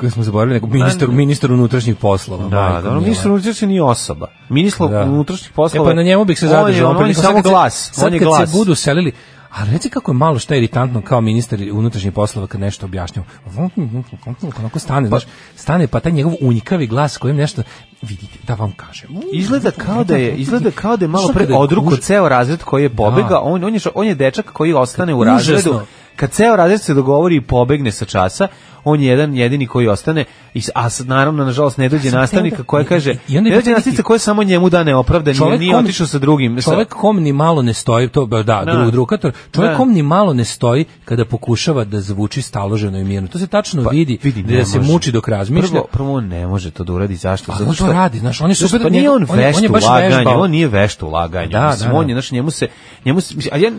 F: koji smo zaboravili, nego ministar, ministar unutrašnjih poslova.
E: Da, ono,
F: majko
E: dobro,
F: mila.
E: ministar unutrašnjih nije osoba. Ministar
F: Da.
E: unutrašnjih poslova.
F: E pa na njemu bih se
E: on je-
F: zadržao.
E: On je
F: otprilike.
E: samo
F: Sad kad se-
E: glas.
F: Sad
E: on je
F: kad
E: glas.
F: se budu selili, a reci kako je malo šta iritantno kao ministar unutrašnjih poslova kad nešto objašnjava. Vum, vum, vum, vum, vum, Onako stane, znaš, stane pa taj njegov unjikavi glas kojim nešto vidite da vam kažem. Vum,
E: Izgleda
F: vum,
E: kao
F: vum,
E: da je
F: vum,
E: izgleda kao da je malo
F: Znaš,
E: pre
F: kada je
E: odruko
F: guž-
E: ceo razred koji je
F: Da.
E: pobega, on on je on je dečak koji ostane u
F: Užasno.
E: razredu. Kad ceo razred se dogovori i pobegne sa časa, on je jedan jedini koji ostane i s- a s- naravno nažalost ne dođe
F: sam
E: nastavnika
F: hteo da-
E: koja
F: i-
E: kaže
F: i- i
E: ne
F: onda je
E: dođe
F: to
E: nastavnica
F: neki-
E: koja samo njemu da neopravdan jer nije
F: kom-
E: otišao sa drugim. sa-
F: Čovjek kom ni malo ne stoji, to da, da. drug drugator. Čovjek
E: Da.
F: kom ni malo ne stoji kada pokušava da zvuči staloženo i mirno. To se tačno
E: Pa,
F: vidi,
E: vidi,
F: da
E: ne
F: se
E: može.
F: muči dok razmišlja.
E: Prvo, prvo on ne može to da uradi, zašto?
F: Ali on to radi, znaš, on je super-
E: Pa nije
F: njegov-
E: on
F: on je- on
E: vešt
F: je
E: u
F: baš
E: laganju,
F: vežbao.
E: on nije vešt u laganju.
F: Da,
E: mislim,
F: da, da.
E: on je, znaš, njemu se, njemu se, mislim, a ja,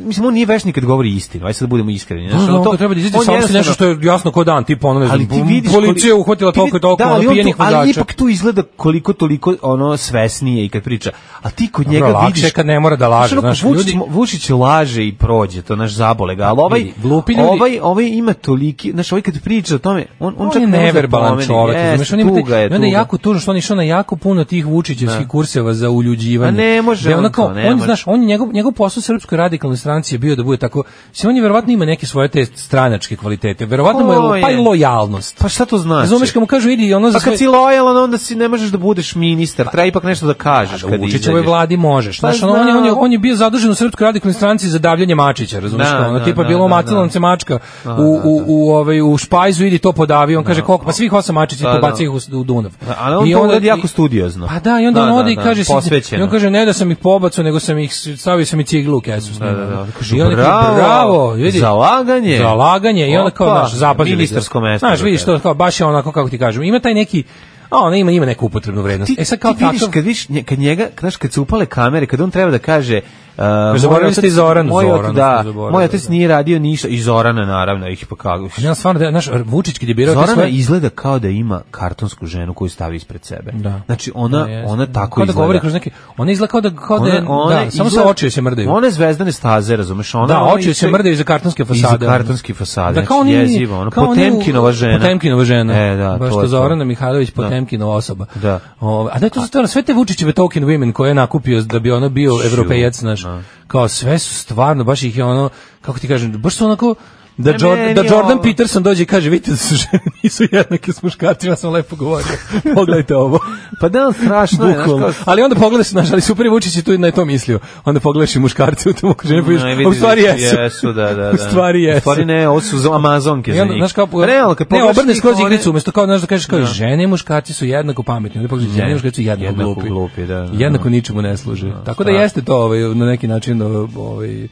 E: mislim, on nije vešt ni kad govori istinu, aj sad da budemo iskreni. Znaš,
F: Da, da,
E: ono
F: on to treba da izađe
E: on
F: saopšti nešto
E: jednostavno-
F: što je jasno ko dan, tipa ono ne znam,
E: ali ti vidiš
F: policija je
E: koliko-
F: uhvatila
E: ti
F: toliko i
E: vidi-
F: toliko
E: da,
F: ono
E: ali on tu-
F: pijenih vozača.
E: ali ipak tu izgleda koliko toliko ono svesnije i kad priča a ti kod njega
F: lakše
E: vidiš
F: je kad ne mora da laže,
E: ono,
F: znaš,
E: Vučić,
F: ljudi-
E: Vučić laže i prođe to naš zabole ga ali ovaj
F: Vidi, glupi ljudi-
E: ovaj ovaj ima toliki znaš ovaj kad priča o tome on on,
F: on,
E: čak ne
F: je
E: može da
F: neverbalan
E: promeni.
F: čovjek,
E: Jeste,
F: razumeš, on ima
E: tuga
F: te,
E: je,
F: i onda je
E: tuga.
F: jako tužno što on je išao na jako puno tih Vučićevskih kurseva za uljuđivanje.
E: Pa ne može
F: Gde ono
E: on
F: kao,
E: to, ne
F: on,
E: može.
F: znaš, on je njegov, njegov posao u Srpskoj radikalnoj stranci je bio da bude tako, mislim, on je verovatno ima neke svoje te stranačke kvalitete, verovatno mu je,
E: Ko
F: lo- pa i
E: je?
F: lojalnost.
E: pa šta to znači
F: Razumeš, kad mu kažu, idi, ono za
E: pa kad si
F: svoje...
E: lojalan onda si ne možeš da budeš ministar treba ipak nešto da kažeš
F: Pa
E: kad
F: Vučićevoj
E: izađeš.
F: vladi možeš.
E: Pa
F: Znaš, ono, on, je, on, je,
E: znam.
F: on je bio zadužen u Srpskoj radikalnoj stranci za davljanje Mačića, razumiješ?
E: Da,
F: ono,
E: da,
F: tipa,
E: da,
F: bilo
E: da,
F: omatila
E: da.
F: nam se mačka u, u, u, ovaj, u špajzu, idi to podavi, on kaže koliko, pa svih osam mačića
E: Da,
F: i
E: da.
F: pobaci ih u, u Dunav.
E: ali on
F: I
E: to
F: onda-
E: uradi jako
F: i-
E: studiozno
F: Pa da, i onda on ode i kaže,
E: posvećeno
F: i on kaže ne da sam ih pobacao, nego sam ih s- stavio sam i ciglu u kesu s njima.
E: da, da.
F: I onda kaže, bravo, vidi.
E: Zalaganje.
F: Zalaganje i onda kao
E: Opa,
F: naš zapazili.
E: ministarsko mesto.
F: Znaš, vidiš
E: da
F: to kao baš je onako kako ti kažem. Ima taj neki a ona ima ima neku upotrebnu vrednost.
E: Ti,
F: e sad kao
E: ti vidiš,
F: takav-
E: kad, vidiš, nje- kad njega, znaš, kad su upale kamere, kad on treba da kaže... Uh, moj
F: zaboravili
E: otac-
F: ste i Zoranu,
E: Moj,
F: Zoranu
E: otac, da,
F: ste zaboravili,
E: moj otac
F: da.
E: nije radio ništa. I Zorana, naravno, ih pa kako.
F: Ja stvarno, da, znaš, Vučić kad je birao... te
E: Zorana
F: svoje-
E: izgleda kao da ima kartonsku ženu koju stavi ispred sebe.
F: Da.
E: Znači, ona,
F: Da, jeste.
E: ona tako
F: kao da
E: izgleda.
F: govori kroz neki... Ona izgleda kao da... Kao da,
E: Ona-
F: je-
E: ona
F: da, samo se
E: izgleda-
F: oči joj se mrdaju.
E: Ona je zvezdane staze, razumeš? Ona,
F: da,
E: ona
F: oči joj se
E: isto-
F: mrdaju iza kartonske fasade. ono.
E: Iza kartonske fasade.
F: Da, kao oni,
E: jezivo, ono,
F: kao oni u-
E: Potemkinova žena.
F: Potemkinova žena.
E: E, da,
F: Baš
E: to je
F: to
E: to.
F: Zorana Mihajlović, Potemkinova osoba.
E: Da.
F: Ove, a da je to stvarno, sve te Vučićeve token women koje je nakupio da bi ono bio evropejac, znaš, kao sve su stvarno, baš ih je ono, kako ti kažem, baš su onako, Da,
E: Ne,
F: Jor-
E: meni
F: da
E: je
F: Jordan
E: ovo-
F: Peterson dođe i kaže, vidite da su žene nisu jednake s muškarcima, ja sam lepo govorio. Pogledajte ovo.
E: Pa da, strašno je. znaš,
F: Bukvalno.
E: kao-
F: Ali onda pogledaš, znaš, ali super je Vučić je tu na to mislio. Onda pogledaš i muškarce u tom okruženju, pa
E: Ne,
F: vidiš,
E: vidi,
F: a u stvari
E: vidi,
F: jesu.
E: da, da, da.
F: U stvari jesu.
E: U stvari ne, ovo su za- amazonke
F: I
E: za
F: onda,
E: njih.
F: znaš, kao,
E: Pa ne, ali kad
F: ne,
E: pogledaš
F: obrneš
E: njih,
F: skroz
E: one-
F: igricu, umjesto kao, znaš, da kažeš kao, žene i muškarci su jednako pametni, onda pogledaš, žene i
E: Ne,
F: muškarci su jednako,
E: jednako
F: glupi.
E: glupi, da, da,
F: jednako ničemu ne služe. Tako da
E: strašno.
F: jeste to ovaj, na neki način ovaj, e,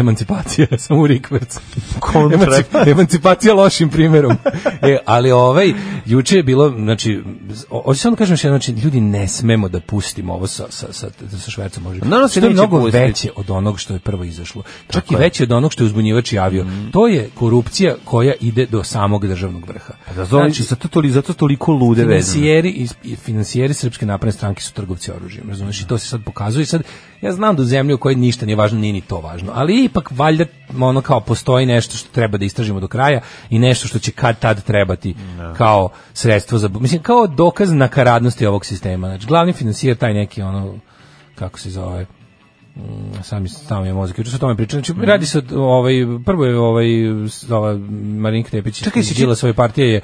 F: emancipacija, samo u Rikvercu.
E: Kontra.
F: Emanci- emancipacija lošim primjerom. e, ali ovaj, juče je bilo, znači, o- hoću samo da kažem još jedno, znači, ljudi ne smemo da pustimo ovo sa, sa, sa, sa švercom. Može.
E: Naravno se
F: Što je
E: neće
F: mnogo
E: pustiti.
F: veće od onog što je prvo izašlo. Čak i veće od onog što je uzbunjivač javio. To je korupcija koja ide do samog državnog vrha.
E: Znači, zato, toli, zato toliko lude vezano.
F: Finansijeri, iz, i finansijeri Srpske napredne stranke su trgovci oružjem, razumeš? I to se sad pokazuje. I sad, ja znam da u zemlji u kojoj ništa nije važno, nije ni to važno, ali ipak valjda ono kao postoji nešto što treba da istražimo do kraja i nešto što će kad tad trebati kao sredstvo za... Mislim, kao dokaz nakaradnosti ovog sistema. Znači, glavni finansijer, taj neki ono, kako se zove, sami sami je mozak. Juče su o tome pričali.
E: Mhm.
F: Znači, radi se o- ovaj prvo je ovaj s- ova Marinka Tepić
E: Čekaj,
F: Čekaj,
E: jesi
F: si dila
E: čit-
F: svoje partije je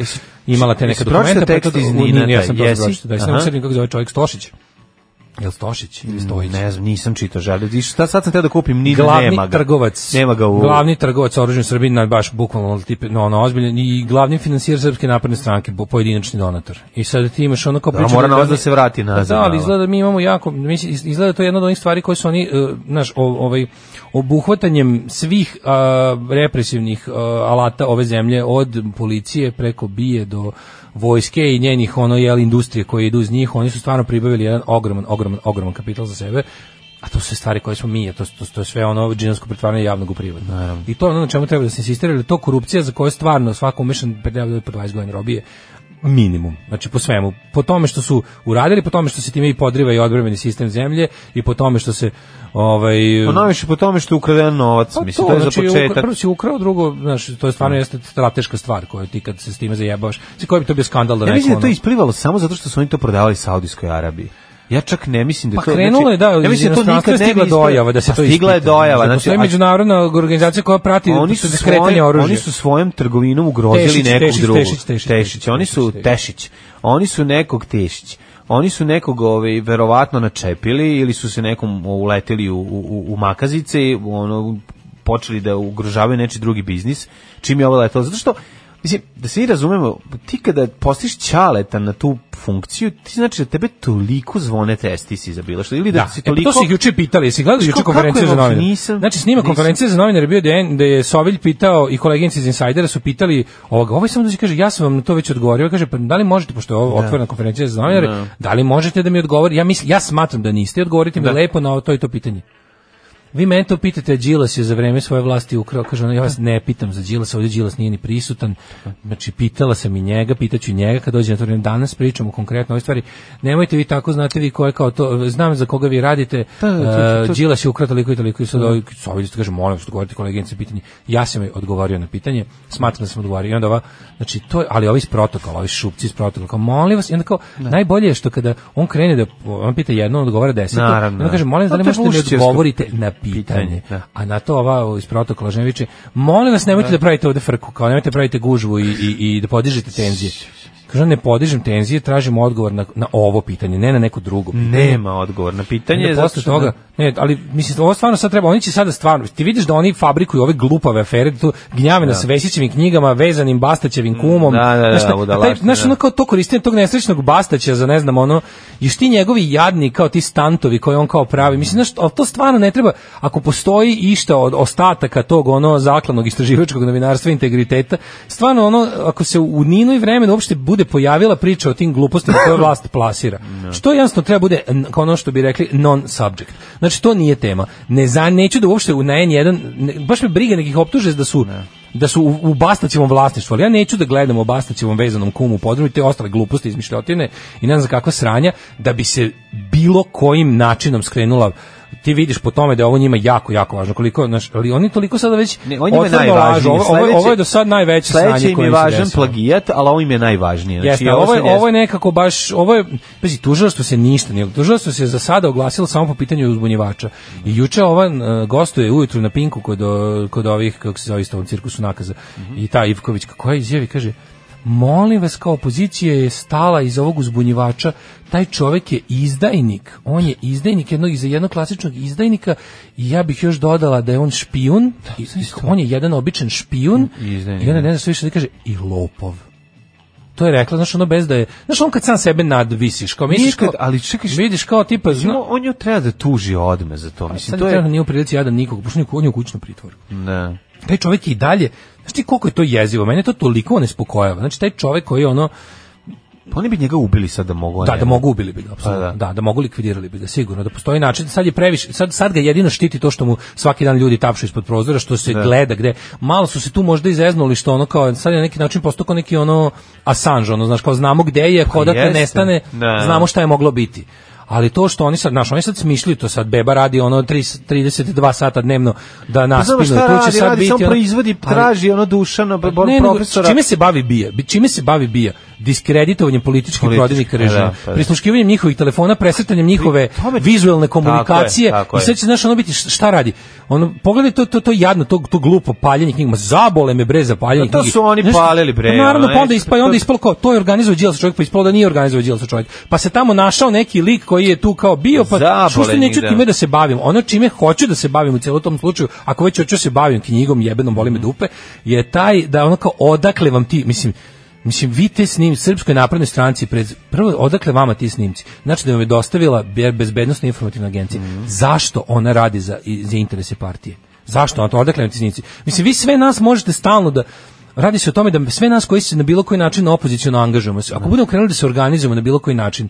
F: imala te neke
E: jesi pročitao
F: dokumente, pa
E: tekst
F: to-
E: iz
F: u-
E: Ninata?
F: nije, ja sam to
E: Jesi?
F: pročitao. Da,
E: Aha.
F: sam sedim kako zove čovjek Stošić. Mm, Jel Stošić ili Stojić?
E: Ne znam, nisam čitao žalio. I šta sad sam teo da kupim, ni
F: glavni
E: nema ga.
F: trgovac
E: Nema ga u...
F: glavni trgovac oružjem Srbije na baš bukvalno ono tipe no ono ozbiljan i glavni finansijer srpske napredne stranke bo- pojedinačni donator i sad ti imaš ono kao
E: Da,
F: priču
E: mora novac da se vrati nazad,
F: Pa
E: ono.
F: da, ali
E: malo.
F: izgleda da mi imamo jako mislim iz- izgleda to je jedna od onih stvari koje su oni eh, znaš o- ovaj obuhvatanjem svih a, represivnih a, alata ove zemlje od policije preko bije do vojske i njenih ono jel industrije koje idu iz njih oni su stvarno pribavili jedan ogroman ogroman ogroman kapital za sebe a to su sve stvari koje smo mi, a to, to, to je sve ono džinsko pretvaranje javnog u privatno. I to je ono na čemu treba da se insistira, jer je to korupcija za koju stvarno svako umešan predavlja po 20 godina robije minimum. Znači po svemu. Po tome što su uradili, po tome što se time i podriva i odbrambeni sistem zemlje i po tome što se ovaj
E: Pa najviše po tome što je ukraden novac,
F: pa
E: mislim, to, je za
F: znači, ukra-
E: početak.
F: Prvo si ukrao, drugo, znaš, to je stvarno jeste strateška stvar koju ti kad se s time zajebavaš. Znači, koji bi to bio skandal da
E: Ja
F: neko...
E: mislim da je to
F: ono-
E: isplivalo samo zato što su oni to prodavali Saudijskoj Arabiji. Ja čak ne mislim da
F: Pa
E: to... znači,
F: krenulo je, da,
E: ja
F: iz
E: mislim da to
F: inostranstva
E: nikad
F: je
E: ne bi
F: stigla
E: ispalo.
F: dojava da se
E: Pa
F: to
E: Stigla je
F: ispita.
E: dojava,
F: Da
E: znači...
F: postoji
E: a-
F: međunarodna organizacija koja prati
E: oni su svojim,
F: oružja.
E: oni su svojom trgovinom ugrozili
F: Tešić,
E: nekog
F: Tešić,
E: drugog.
F: Tešić, Tešić, Tešić,
E: oni su
F: Tešić,
E: Tešić. Oni su nekog Tešić. Oni su nekog ovaj verovatno načepili ili su se nekom uleteli u, u, u makazice i ono počeli da ugrožavaju nečiji drugi biznis. Čim je ovo letelo zato što Mislim, da se mi razumemo, ti kada postiš ćaleta na tu funkciju, ti znači da tebe toliko zvone testisi za bilo što, ili da,
F: Da,
E: si
F: e, pa
E: toliko...
F: to su ih juče pitali, jesi gledali
E: Znaš,
F: juče
E: kako-
F: konferenciju
E: kako
F: za
E: je,
F: novinare?
E: nisam-
F: znači, snima
E: nisam.
F: konferencije za novinare je bio da je, da je Sovilj pitao i koleginici iz Insajdera su pitali ovoga, ovaj samo dođe i kaže, ja sam vam na to već odgovorio, kaže, pa da li možete, pošto je ovo otvorena konferencija za novinare, da li možete da mi odgovori, ja, mislim, ja smatram da niste, odgovorite mi lepo na ovo, to i to pitanje. Vi mene to pitate, Đilas je za vreme svoje vlasti ukrao, kaže ona, ja vas ne pitam za Đilasa, ovdje Đilas nije ni prisutan, znači pitala sam i njega, pitaću i njega kad dođe na to vreme, danas pričamo konkretno o ovoj stvari, nemojte vi tako, znate vi ko je kao to, znam za koga vi radite,
E: Da, da, Pa, to-
F: eh,
E: to-
F: Đilas je ukrao toliko i toliko i sad ovaj, sa ovdje ste kaže, molim vas odgovorite koleginice pitanje, ja sam joj odgovorio na pitanje, smatram da sam odgovorio, i onda ova, znači to je, ali ovi iz protokola, ovi šupci iz protokola, kao, molim vas, i onda kao, najbolje je što kada on krene da, on pita jedno, on odgovara deset,
E: Naravno.
F: i onda kaže, molim vas, da li
E: Pa to je
F: možete da mi
E: Vučićevsko
F: odgovorite na pitanje.
E: pitanje, da.
F: A na to ova iz protokola Žneviće, molim vas nemojte da pravite ovde frku, kao nemojte da pravite gužvu i, i, i da podižete tenzije. Kaže, ne podižem tenzije, tražim odgovor na, na ovo pitanje, ne na neko drugo pitanje.
E: Nema odgovor na pitanje.
F: Onda
E: zato
F: posle
E: što-
F: toga, ne, ali mislim ovo stvarno sad treba, oni će sada stvarno, ti vidiš da oni fabrikuju ove glupave afere, tu gnjave nas Vesićevim knjigama, vezanim
E: Mm.
F: Bastaćevim kumom.
E: da, da, da,
F: znaš, a taj-
E: budalaštine,
F: znaš,
E: da.
F: ono kao to koristenje tog nesrećnog Bastaća za ne znam ono, i što ti njegovi jadni kao ti stantovi koje on kao pravi. Mislim znaš, ali to stvarno ne treba ako postoji išta od ostataka tog ono zakladnog istraživačkog novinarstva i integriteta, stvarno ono ako se u Ninu i vremenu uopšte bude pojavila priča o tim glupostima koje vlast plasira. Što jasno treba bude n- kao ono što bi rekli non subject. Znači to nije tema. Ne za neću da uopšte u na N1 ne- baš me briga nekih optuže da su da su u, u Bastaćevom vlasništvu, ali ja neću da gledam o Bastaćevom vezanom kumu podrumu i te ostale gluposti izmišljotine i ne znam kakva sranja, da bi se bilo kojim načinom skrenula ti vidiš po tome da je ovo njima jako, jako važno. Koliko, znaš, ali oni toliko sada već
E: Ne, on njima je
F: otvoreno
E: najvažniji.
F: lažu. Ovo, ovo, je-
E: Sledeće-
F: ovo je do sad najveće
E: Sledeće
F: sranje
E: im
F: koje
E: je
F: im se
E: važan
F: desilo.
E: plagijat, ali ovo im je najvažnije. Znači,
F: Jeste, ovo, je,
E: sad jeste.
F: ovo je nekako baš, ovo je, pazi, tužilaštvo se ništa nije, tužilaštvo se za sada oglasilo samo po pitanju uzbunjivača. I juče ova e, gostuje ujutru na Pinku kod, o- kod ovih, kako se zove isto u ovom cirkusu nakaza,
E: Mhm.
F: i ta Ivković, koja izjavi, kaže, molim vas, kao opozicija je stala iz ovog uzbunjivača, taj čovek je izdajnik, on je izdajnik jednog, iza jednog klasičnog izdajnika i ja bih još dodala da je on špijun, I- on je jedan običan špijun,
E: I izdajnik,
F: i onda
E: da.
F: ne znam što više da kaže, i lopov. to je rekla, znaš, ono bez da je, znaš, on kad sam sebe nadvisiš, kao misliš,
E: Nikad,
F: kao,
E: ali čekaj, šta-
F: vidiš kao tipa, zna,
E: No, on nju treba da tuži odme za to. Mislim,
F: Pa sad
E: to je...
F: nije u prilici jadan nikog, pošto on je- on je u kućnom pritvoru.
E: Ne.
F: taj čovjek je i dalje, znaš ti koliko je to jezivo, mene to toliko nespokojava. Znači taj čovjek koji je ono,
E: Pa oni bi njega ubili sad da mogu. a
F: da,
E: ne.
F: da mogu ubili bi ga, apsolutno.
E: Pa da.
F: da. da, mogu likvidirali bi ga, sigurno, da postoji način, sad je previše, sad, sad ga jedino štiti to što mu svaki dan ljudi tapšu ispod prozora, što se gleda gde, malo su se tu možda i zeznuli što ono kao, sad je na neki način postao kao neki ono Assange, ono, znaš, kao znamo gde je, ako odatle
E: Pa jeste.
F: nestane,
E: Da.
F: znamo šta je moglo biti. Ali to što oni sad, znaš, oni sad smišljuju to sad, beba radi ono 3, 32 sata dnevno da
E: Pa
F: naspinu,
E: znamo šta
F: tu će
E: radi,
F: sad
E: radi,
F: biti...
E: samo
F: ono-
E: proizvodi,
F: Ali- Pa
E: traži ono Dušana, b- b-
F: ne, nego,
E: profesora.
F: čime se bavi bija? Bi- Čime se bavi bija? Diskreditovanjem političkih
E: Politički,
F: protivnika režima,
E: da, pa da.
F: prisluškivanjem njihovih telefona, presretanjem njihove
E: tome-
F: vizuelne komunikacije.
E: Tako je, tako
F: I
E: je.
F: sad će znaš ono biti š- šta radi? Ono pogledaj to to to jadno, to to glupo paljenje knjigama. Zabole me bre za paljenje
E: Pa to
F: knjige.
E: su oni
F: Znaš,
E: palili, bre,
F: pa naravno
E: ono,
F: pa onda
E: znaš,
F: ispalo
E: to-
F: onda ispalo kao to je organizovao Đilas čovjek, pa ispalo da nije organizovao Đilas čovjek. Pa se tamo našao neki lik koji je tu kao bio, pa
E: Zabole
F: što neću
E: njih, da.
F: time da se bavim. Ono čime hoću da se bavim u celom tom slučaju, ako već hoću da se bavim knjigom jebenom boli me
E: Mhm.
F: dupe, je taj da ono kao odakle vam ti, mislim, Mislim, vi te snim, Srpskoj naprednoj stranci, pred, prvo, odakle vama ti snimci? Znači da vam je dostavila be- bezbednostna informativna agencija.
E: Mhm.
F: Zašto ona radi za, i- za interese partije? Zašto ona to? Odakle vam ti snimci? Mislim, vi sve nas možete stalno da, Radi se o tome da sve nas koji se na bilo koji način opoziciono angažujemo se, ako budemo krenuli da se organizujemo na bilo koji način,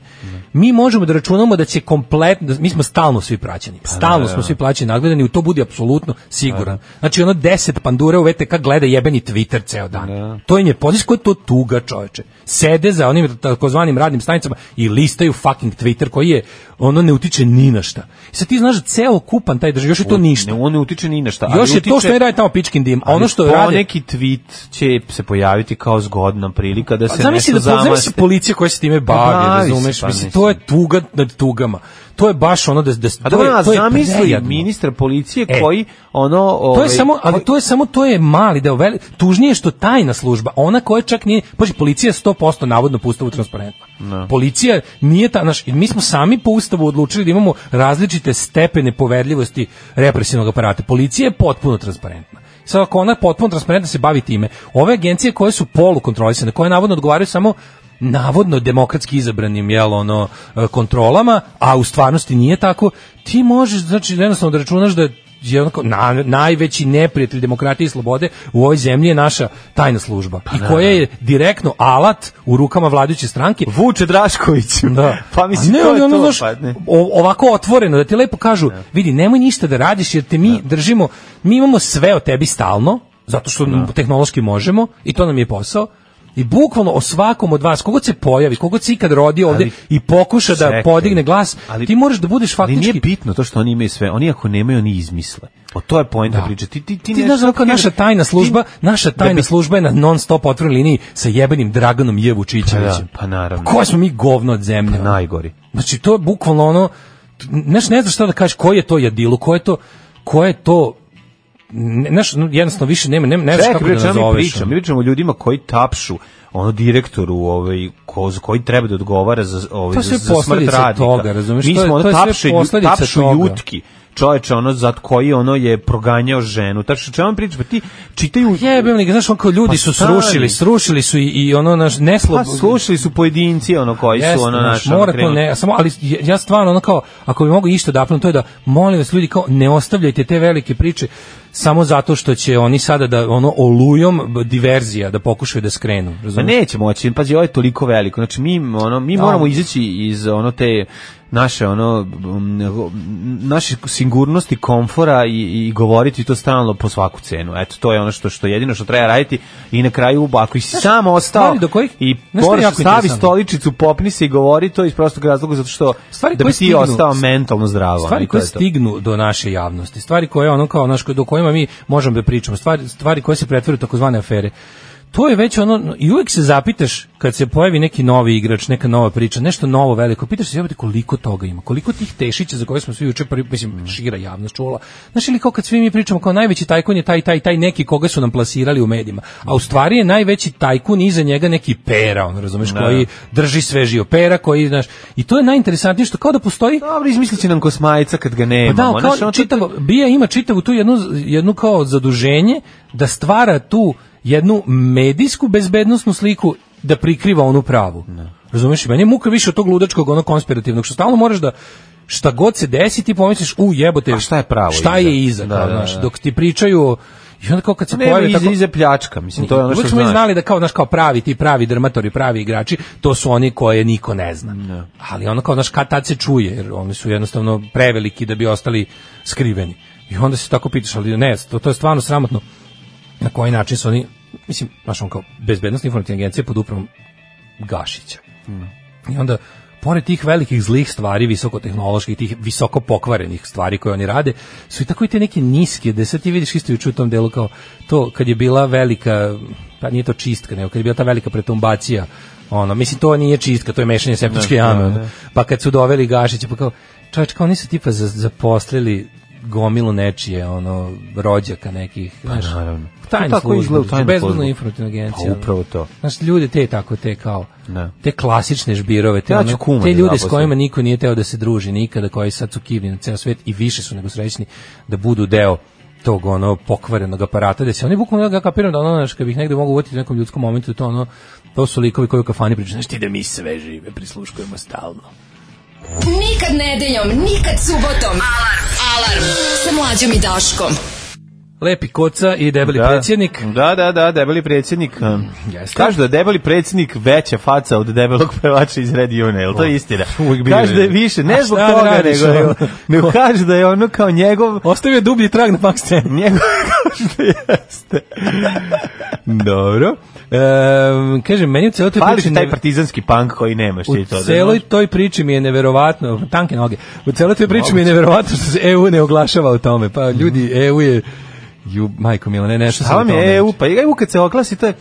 F: mi možemo da računamo da će kompletno, da mi smo stalno svi praćeni,
E: Pa
F: stalno smo svi plaćeni, nagledani, u to budi apsolutno siguran. Znači ono 10 pandura u VTK gleda jebeni Twitter ceo dan. To im je poziv koji je to tuga čoveče. Sede za onim takozvanim radnim stanicama i listaju fucking Twitter koji je, ono ne utiče ni na šta. I sad ti znaš da ceo kupan taj držav, još je to ništa.
E: Ne, on ne utiče ni na šta. ali
F: Još je to
E: utiče-
F: što ne radi tamo pičkin dim, a ono
E: ali
F: što radi...
E: Poneki tweet će se pojaviti kao zgodna prilika da
F: Pa
E: se
F: zamisli
E: nešto
F: da
E: zamaste.
F: zamisli policija koja se time bavi,
E: Pa bavi se,
F: razumeš?
E: pa
F: mislim,
E: mislim.
F: to je tuga nad tugama. To je baš ono da da
E: A
F: to
E: dobro,
F: je,
E: a
F: to je
E: zamisli
F: prejadno.
E: ministra policije
F: E.
E: koji ono...
F: To je
E: ovaj,
F: samo, ali to je samo to je mali deo, veli, tužnije je što tajna služba, ona koja čak nije, paži, policija je 100% navodno po ustavu transparentna. Policija nije ta, znaš, mi smo sami po ustavu odlučili da imamo različite stepene poverljivosti represivnog aparata. Policija je potpuno transparentna. Sad ako ona je potpuno transparentna se bavi time, ove agencije koje su polukontrolisane, koje navodno odgovaraju samo navodno demokratski izabranim jel ono e, kontrolama, a u stvarnosti nije tako, ti možeš znači jednostavno da računaš da je je onako na, najveći neprijatelj demokratije i slobode u ovoj zemlji je naša tajna služba
E: Pa
F: i koja je direktno alat u rukama vladajuće stranke
E: Vuče Drašković.
F: da.
E: pa mislim,
F: A ne,
E: to
F: ali
E: je
F: ono,
E: to,
F: znaš,
E: pa ne.
F: o- ovako otvoreno, da ti lepo kažu, vidi, nemoj ništa da radiš, jer te mi držimo, mi imamo sve o tebi stalno, zato što tehnološki možemo, i to nam je posao, i bukvalno o svakom od vas, kogod se pojavi, kogod se ikad rodi ovdje
E: Ali-
F: i pokuša da
E: Čekaj.
F: podigne glas,
E: Ali-
F: ti moraš da budeš
E: Ali
F: faktički...
E: nije bitno to što oni imaju sve. Oni ako nemaju, oni izmisle. O to je poenta
F: Da.
E: priče. Ti, ti, ti,
F: ti
E: ne-
F: znaš da kao naša tajna služba,
E: Ti-
F: naša
E: da
F: tajna
E: bi-
F: služba je na non stop otvorenoj liniji sa jebenim Draganom Jevučićevićem.
E: Pa da, pa naravno. Pa
F: Koja smo mi govno od zemlje? ono?
E: Najgori.
F: Znači to je bukvalno ono znaš, ne znaš šta da kažeš, koji je to jadilo, koje je to koje je to ne, znaš, no, jednostavno više nema, nema, ne znaš
E: Čekaj,
F: kako da
E: bre, čemu mi
F: nazoveš. ono.
E: pričamo? Mi pričamo o ljudima koji tapšu ono direktoru ovaj ko, koji treba da odgovara za ovaj
F: To je
E: za,
F: sve
E: za smrt
F: posledica
E: radnika.
F: toga, razumeš?
E: Mi
F: To je-
E: smo ono
F: to je sve
E: tapšu,
F: posledica
E: tapšu
F: toga.
E: jutki. Čoveče, ono zat koji ono je proganjao ženu. Tačno čemu mi pričamo? Ti čitaju
F: Jebem li ga, znaš, onako ljudi
E: Pa
F: su
E: stani.
F: srušili, srušili su i, i ono naš neslob...
E: Pa slušali su pojedinci ono koji su
F: Jeste,
E: ono
F: znaš,
E: naš
F: mora to ne, samo ali ja- ja stvarno ono kao ako bi mogu išta da apnem, to je da molim vas ljudi kao ne ostavljajte te velike priče samo zato što će oni sada da ono olujom b- diverzija da pokušaju da skrenu,
E: Ma
F: razumeš?
E: Pa neće moći, pazi, ovo je toliko veliko. Znači mi ono mi
F: Da.
E: moramo izaći iz ono te naše ono m, naše sigurnosti, komfora i, i govoriti to stalno po svaku cenu. Eto to je ono što što jedino što treba raditi i na kraju ako si sam ostao
F: stvari do kojih-
E: i
F: znaš šta je
E: moraš
F: jako
E: stavi
F: interesantno?
E: stoličicu, popni se i govori to iz prostog razloga zato što
F: Stvari
E: da bi
F: koje
E: ti
F: stignu-
E: ostao mentalno zdravo. ono,
F: Stvari
E: i to
F: koje
E: je to.
F: stignu do naše javnosti, stvari koje ono kao naš do kojima mi možemo da pričamo, stvari, stvari koje se pretvore u takozvane afere. To je već ono, i uvijek se zapitaš kad se pojavi neki novi igrač, neka nova priča, nešto novo veliko, pitaš se jebote koliko toga ima, koliko tih tešića za koje smo svi juče, prvi,
E: Mm.
F: mislim, šira javnost čula. Znaš ili kao kad svi mi pričamo kao najveći tajkun je taj, taj, taj neki koga su nam plasirali u medijima, a u stvari je najveći tajkun iza njega neki pera, on razumeš, koji drži sve živo, pera koji, znaš, i to je najinteresantnije što kao da postoji
E: Dobro, izmislit će nam kosmajica kad ga
F: pa
E: nemamo.
F: da, ali
E: Znaš, ono,
F: kao
E: to-
F: čitavo, Bija ima čitavu tu jednu, jednu kao zaduženje da stvara tu jednu medijsku bezbednostnu sliku da prikriva onu pravu. Razumeš, meni je muka više od tog ludačkog, ono konspirativnog, što stalno moraš da šta god se desi, ti pomisliš, u jebote,
E: A šta je pravo
F: Šta
E: iza?
F: je iza,
E: Da,
F: kao,
E: da,
F: znaš,
E: da.
F: dok ti pričaju o- i onda kao kad se
E: Ne,
F: pojavi
E: iza,
F: tako
E: iza pljačka, mislim, to je ono što
F: Uvijek smo mi
E: znaš.
F: znali da kao, znaš, kao pravi, ti pravi drmatori, pravi igrači, to su oni koje niko ne zna. Ali ono kao, znaš, kad tad se čuje, jer oni su jednostavno preveliki da bi ostali skriveni. I onda se tako pitaš, ali ne, to, to je stvarno sramotno na koji način su oni, mislim, znaš, on kao, bezbednostna informativna agencija pod upravom Gašića. I onda pored tih velikih zlih stvari, visokotehnoloških, tih visoko pokvarenih stvari koje oni rade, su i tako i te neke niske, da sad ti vidiš isto juče u tom delu kao to kad je bila velika, pa nije to čistka, nego kad je bila ta velika pretumbacija, ono, mislim to nije čistka, to je mešanje septičke jame, ono. pa kad su doveli Gašića, pa kao, čovječ, kao oni su tipa za- zaposlili gomilu nečije, ono, rođaka nekih, znaš,
E: Pa naravno.
F: tajne
E: To tako
F: službe,
E: izgleda u tajnu
F: bezbedno
E: službu.
F: informativna agencija.
E: Pa
F: ono.
E: upravo to.
F: Znaš, ljude te tako, te kao,
E: Da.
F: te klasične žbirove, te,
E: Ja
F: ono-
E: ću kuma
F: te
E: da
F: ljude s
E: zaposlim.
F: kojima niko nije teo da se druži nikada, koji sad su kivni na ceo svet i više su nego srećni da budu deo tog ono pokvarenog aparata, da se oni bukvalno ja kapiram da ono, znaš, kad bih negde mogu uvotiti u nekom ljudskom momentu, to ono, to su likovi koji u kafani pričaju, znaš ti da mi sve žive, prisluškujemo stalno.
D: Nikad nedeljom, nikad subotom. Alarm. Alarm. Sa mlađom i Daškom.
F: Lepi koca i debeli
E: Da.
F: predsjednik.
E: Da, da, da, debeli predsjednik. um,
F: Jeste.
E: Kažu da je debeli predsjednik veća faca od debelog pevača iz Red Juna, je li to istina?
F: uvijek bio
E: Kažu da je
F: je.
E: više,
F: A
E: ne zbog
F: šta da
E: toga,
F: radiš,
E: nego,
F: ono?
E: nego kažu da je ono kao njegov
F: Ostavio je dublji trag na punk scenu.
E: Njegov što jeste.
F: Dobro. Ehm, kažem, meni u celoj toj
E: Fali
F: priči
E: ti
F: ne-
E: taj partizanski punk koji nemaš
F: U
E: ti to. da
F: celoj toj priči mi je neverovatno, tanke noge, u celoj toj priči mi je neverovatno što se EU ne oglašava o tome. Pa ljudi, EU je, ju, majko mila, ne,
E: Šta
F: nešto sam o
E: vam
F: tome
E: Mhm. je
F: reći.
E: EU? Pa EU kad se oklasi, to je,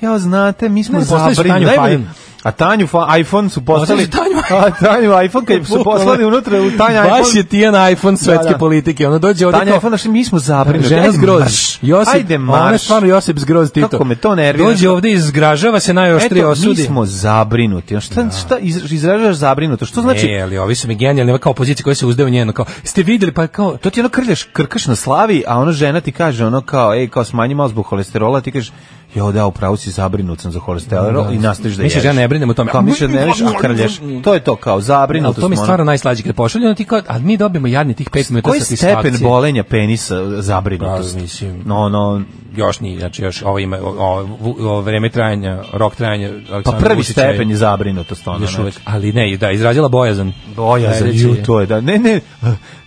E: ja znate, mi smo
F: Ne, poslali su
E: zabrinuti.
F: Tanju
E: Najbolje-
F: Fajn.
E: A Tanju fa- iPhone su poslali.
F: Poslali su
E: A, Tanju iPhone kad su poslali unutra u Tanju iPhone.
F: Baš je Tijan iPhone svetske
E: Da, da.
F: politike. Ono dođe ovde
E: Tanja
F: kao-
E: Jefon, znaš, mi smo zabrinuti.
F: Žena
E: Ajde
F: zgroz.
E: marš.
F: Josip,
E: Ajde
F: Ona je
E: marš.
F: stvarno Josip zgroz Tito.
E: Kako me to nervira.
F: Dođe ovde i izgražava se najoštrije
E: Eto, mi
F: osudi.
E: smo zabrinuti. Ono, Šta, šta iz- izražavaš zabrinuto? Što znači,
F: Ne, E, ali ovi su mi genijalni, ova kao opozicija koja se uzde u njeno, kao, ste vidjeli, pa kao,
E: to ti ono krljaš, krkaš na slavi, a ono žena ti kaže ono kao, ej, kao smanji malo zbog holesterola, ti kažeš, jo da, upravo si zabrinut sam za holesterol i nastaviš da ješ.
F: Misliš, ja ne brinem o tome.
E: Kao misliš da ne briniš, a krljaš. To je to kao,
F: ali
E: zabrinuto
F: to mi je
E: smo, ono.
F: stvarno najslađe kad pošalju, ono ti kao, ali mi dobijemo jadni tih 5 minuta
E: Koji
F: satisfakcije.
E: stepen bolenja penisa e, zabrinutost?
F: Pa, mislim.
E: No, no,
F: još ni znači još ovo ima o- o- vu- ovo vreme trajanja rok trajanja
E: pa
F: Aleksandra
E: prvi
F: Vučića je
E: stepen je zabrinutost. Ono,
F: još
E: znači.
F: uvek ali ne da izrazila bojazan
E: Bojazan,
F: Sledeći
E: ju,
F: je-
E: to je da. Ne, ne,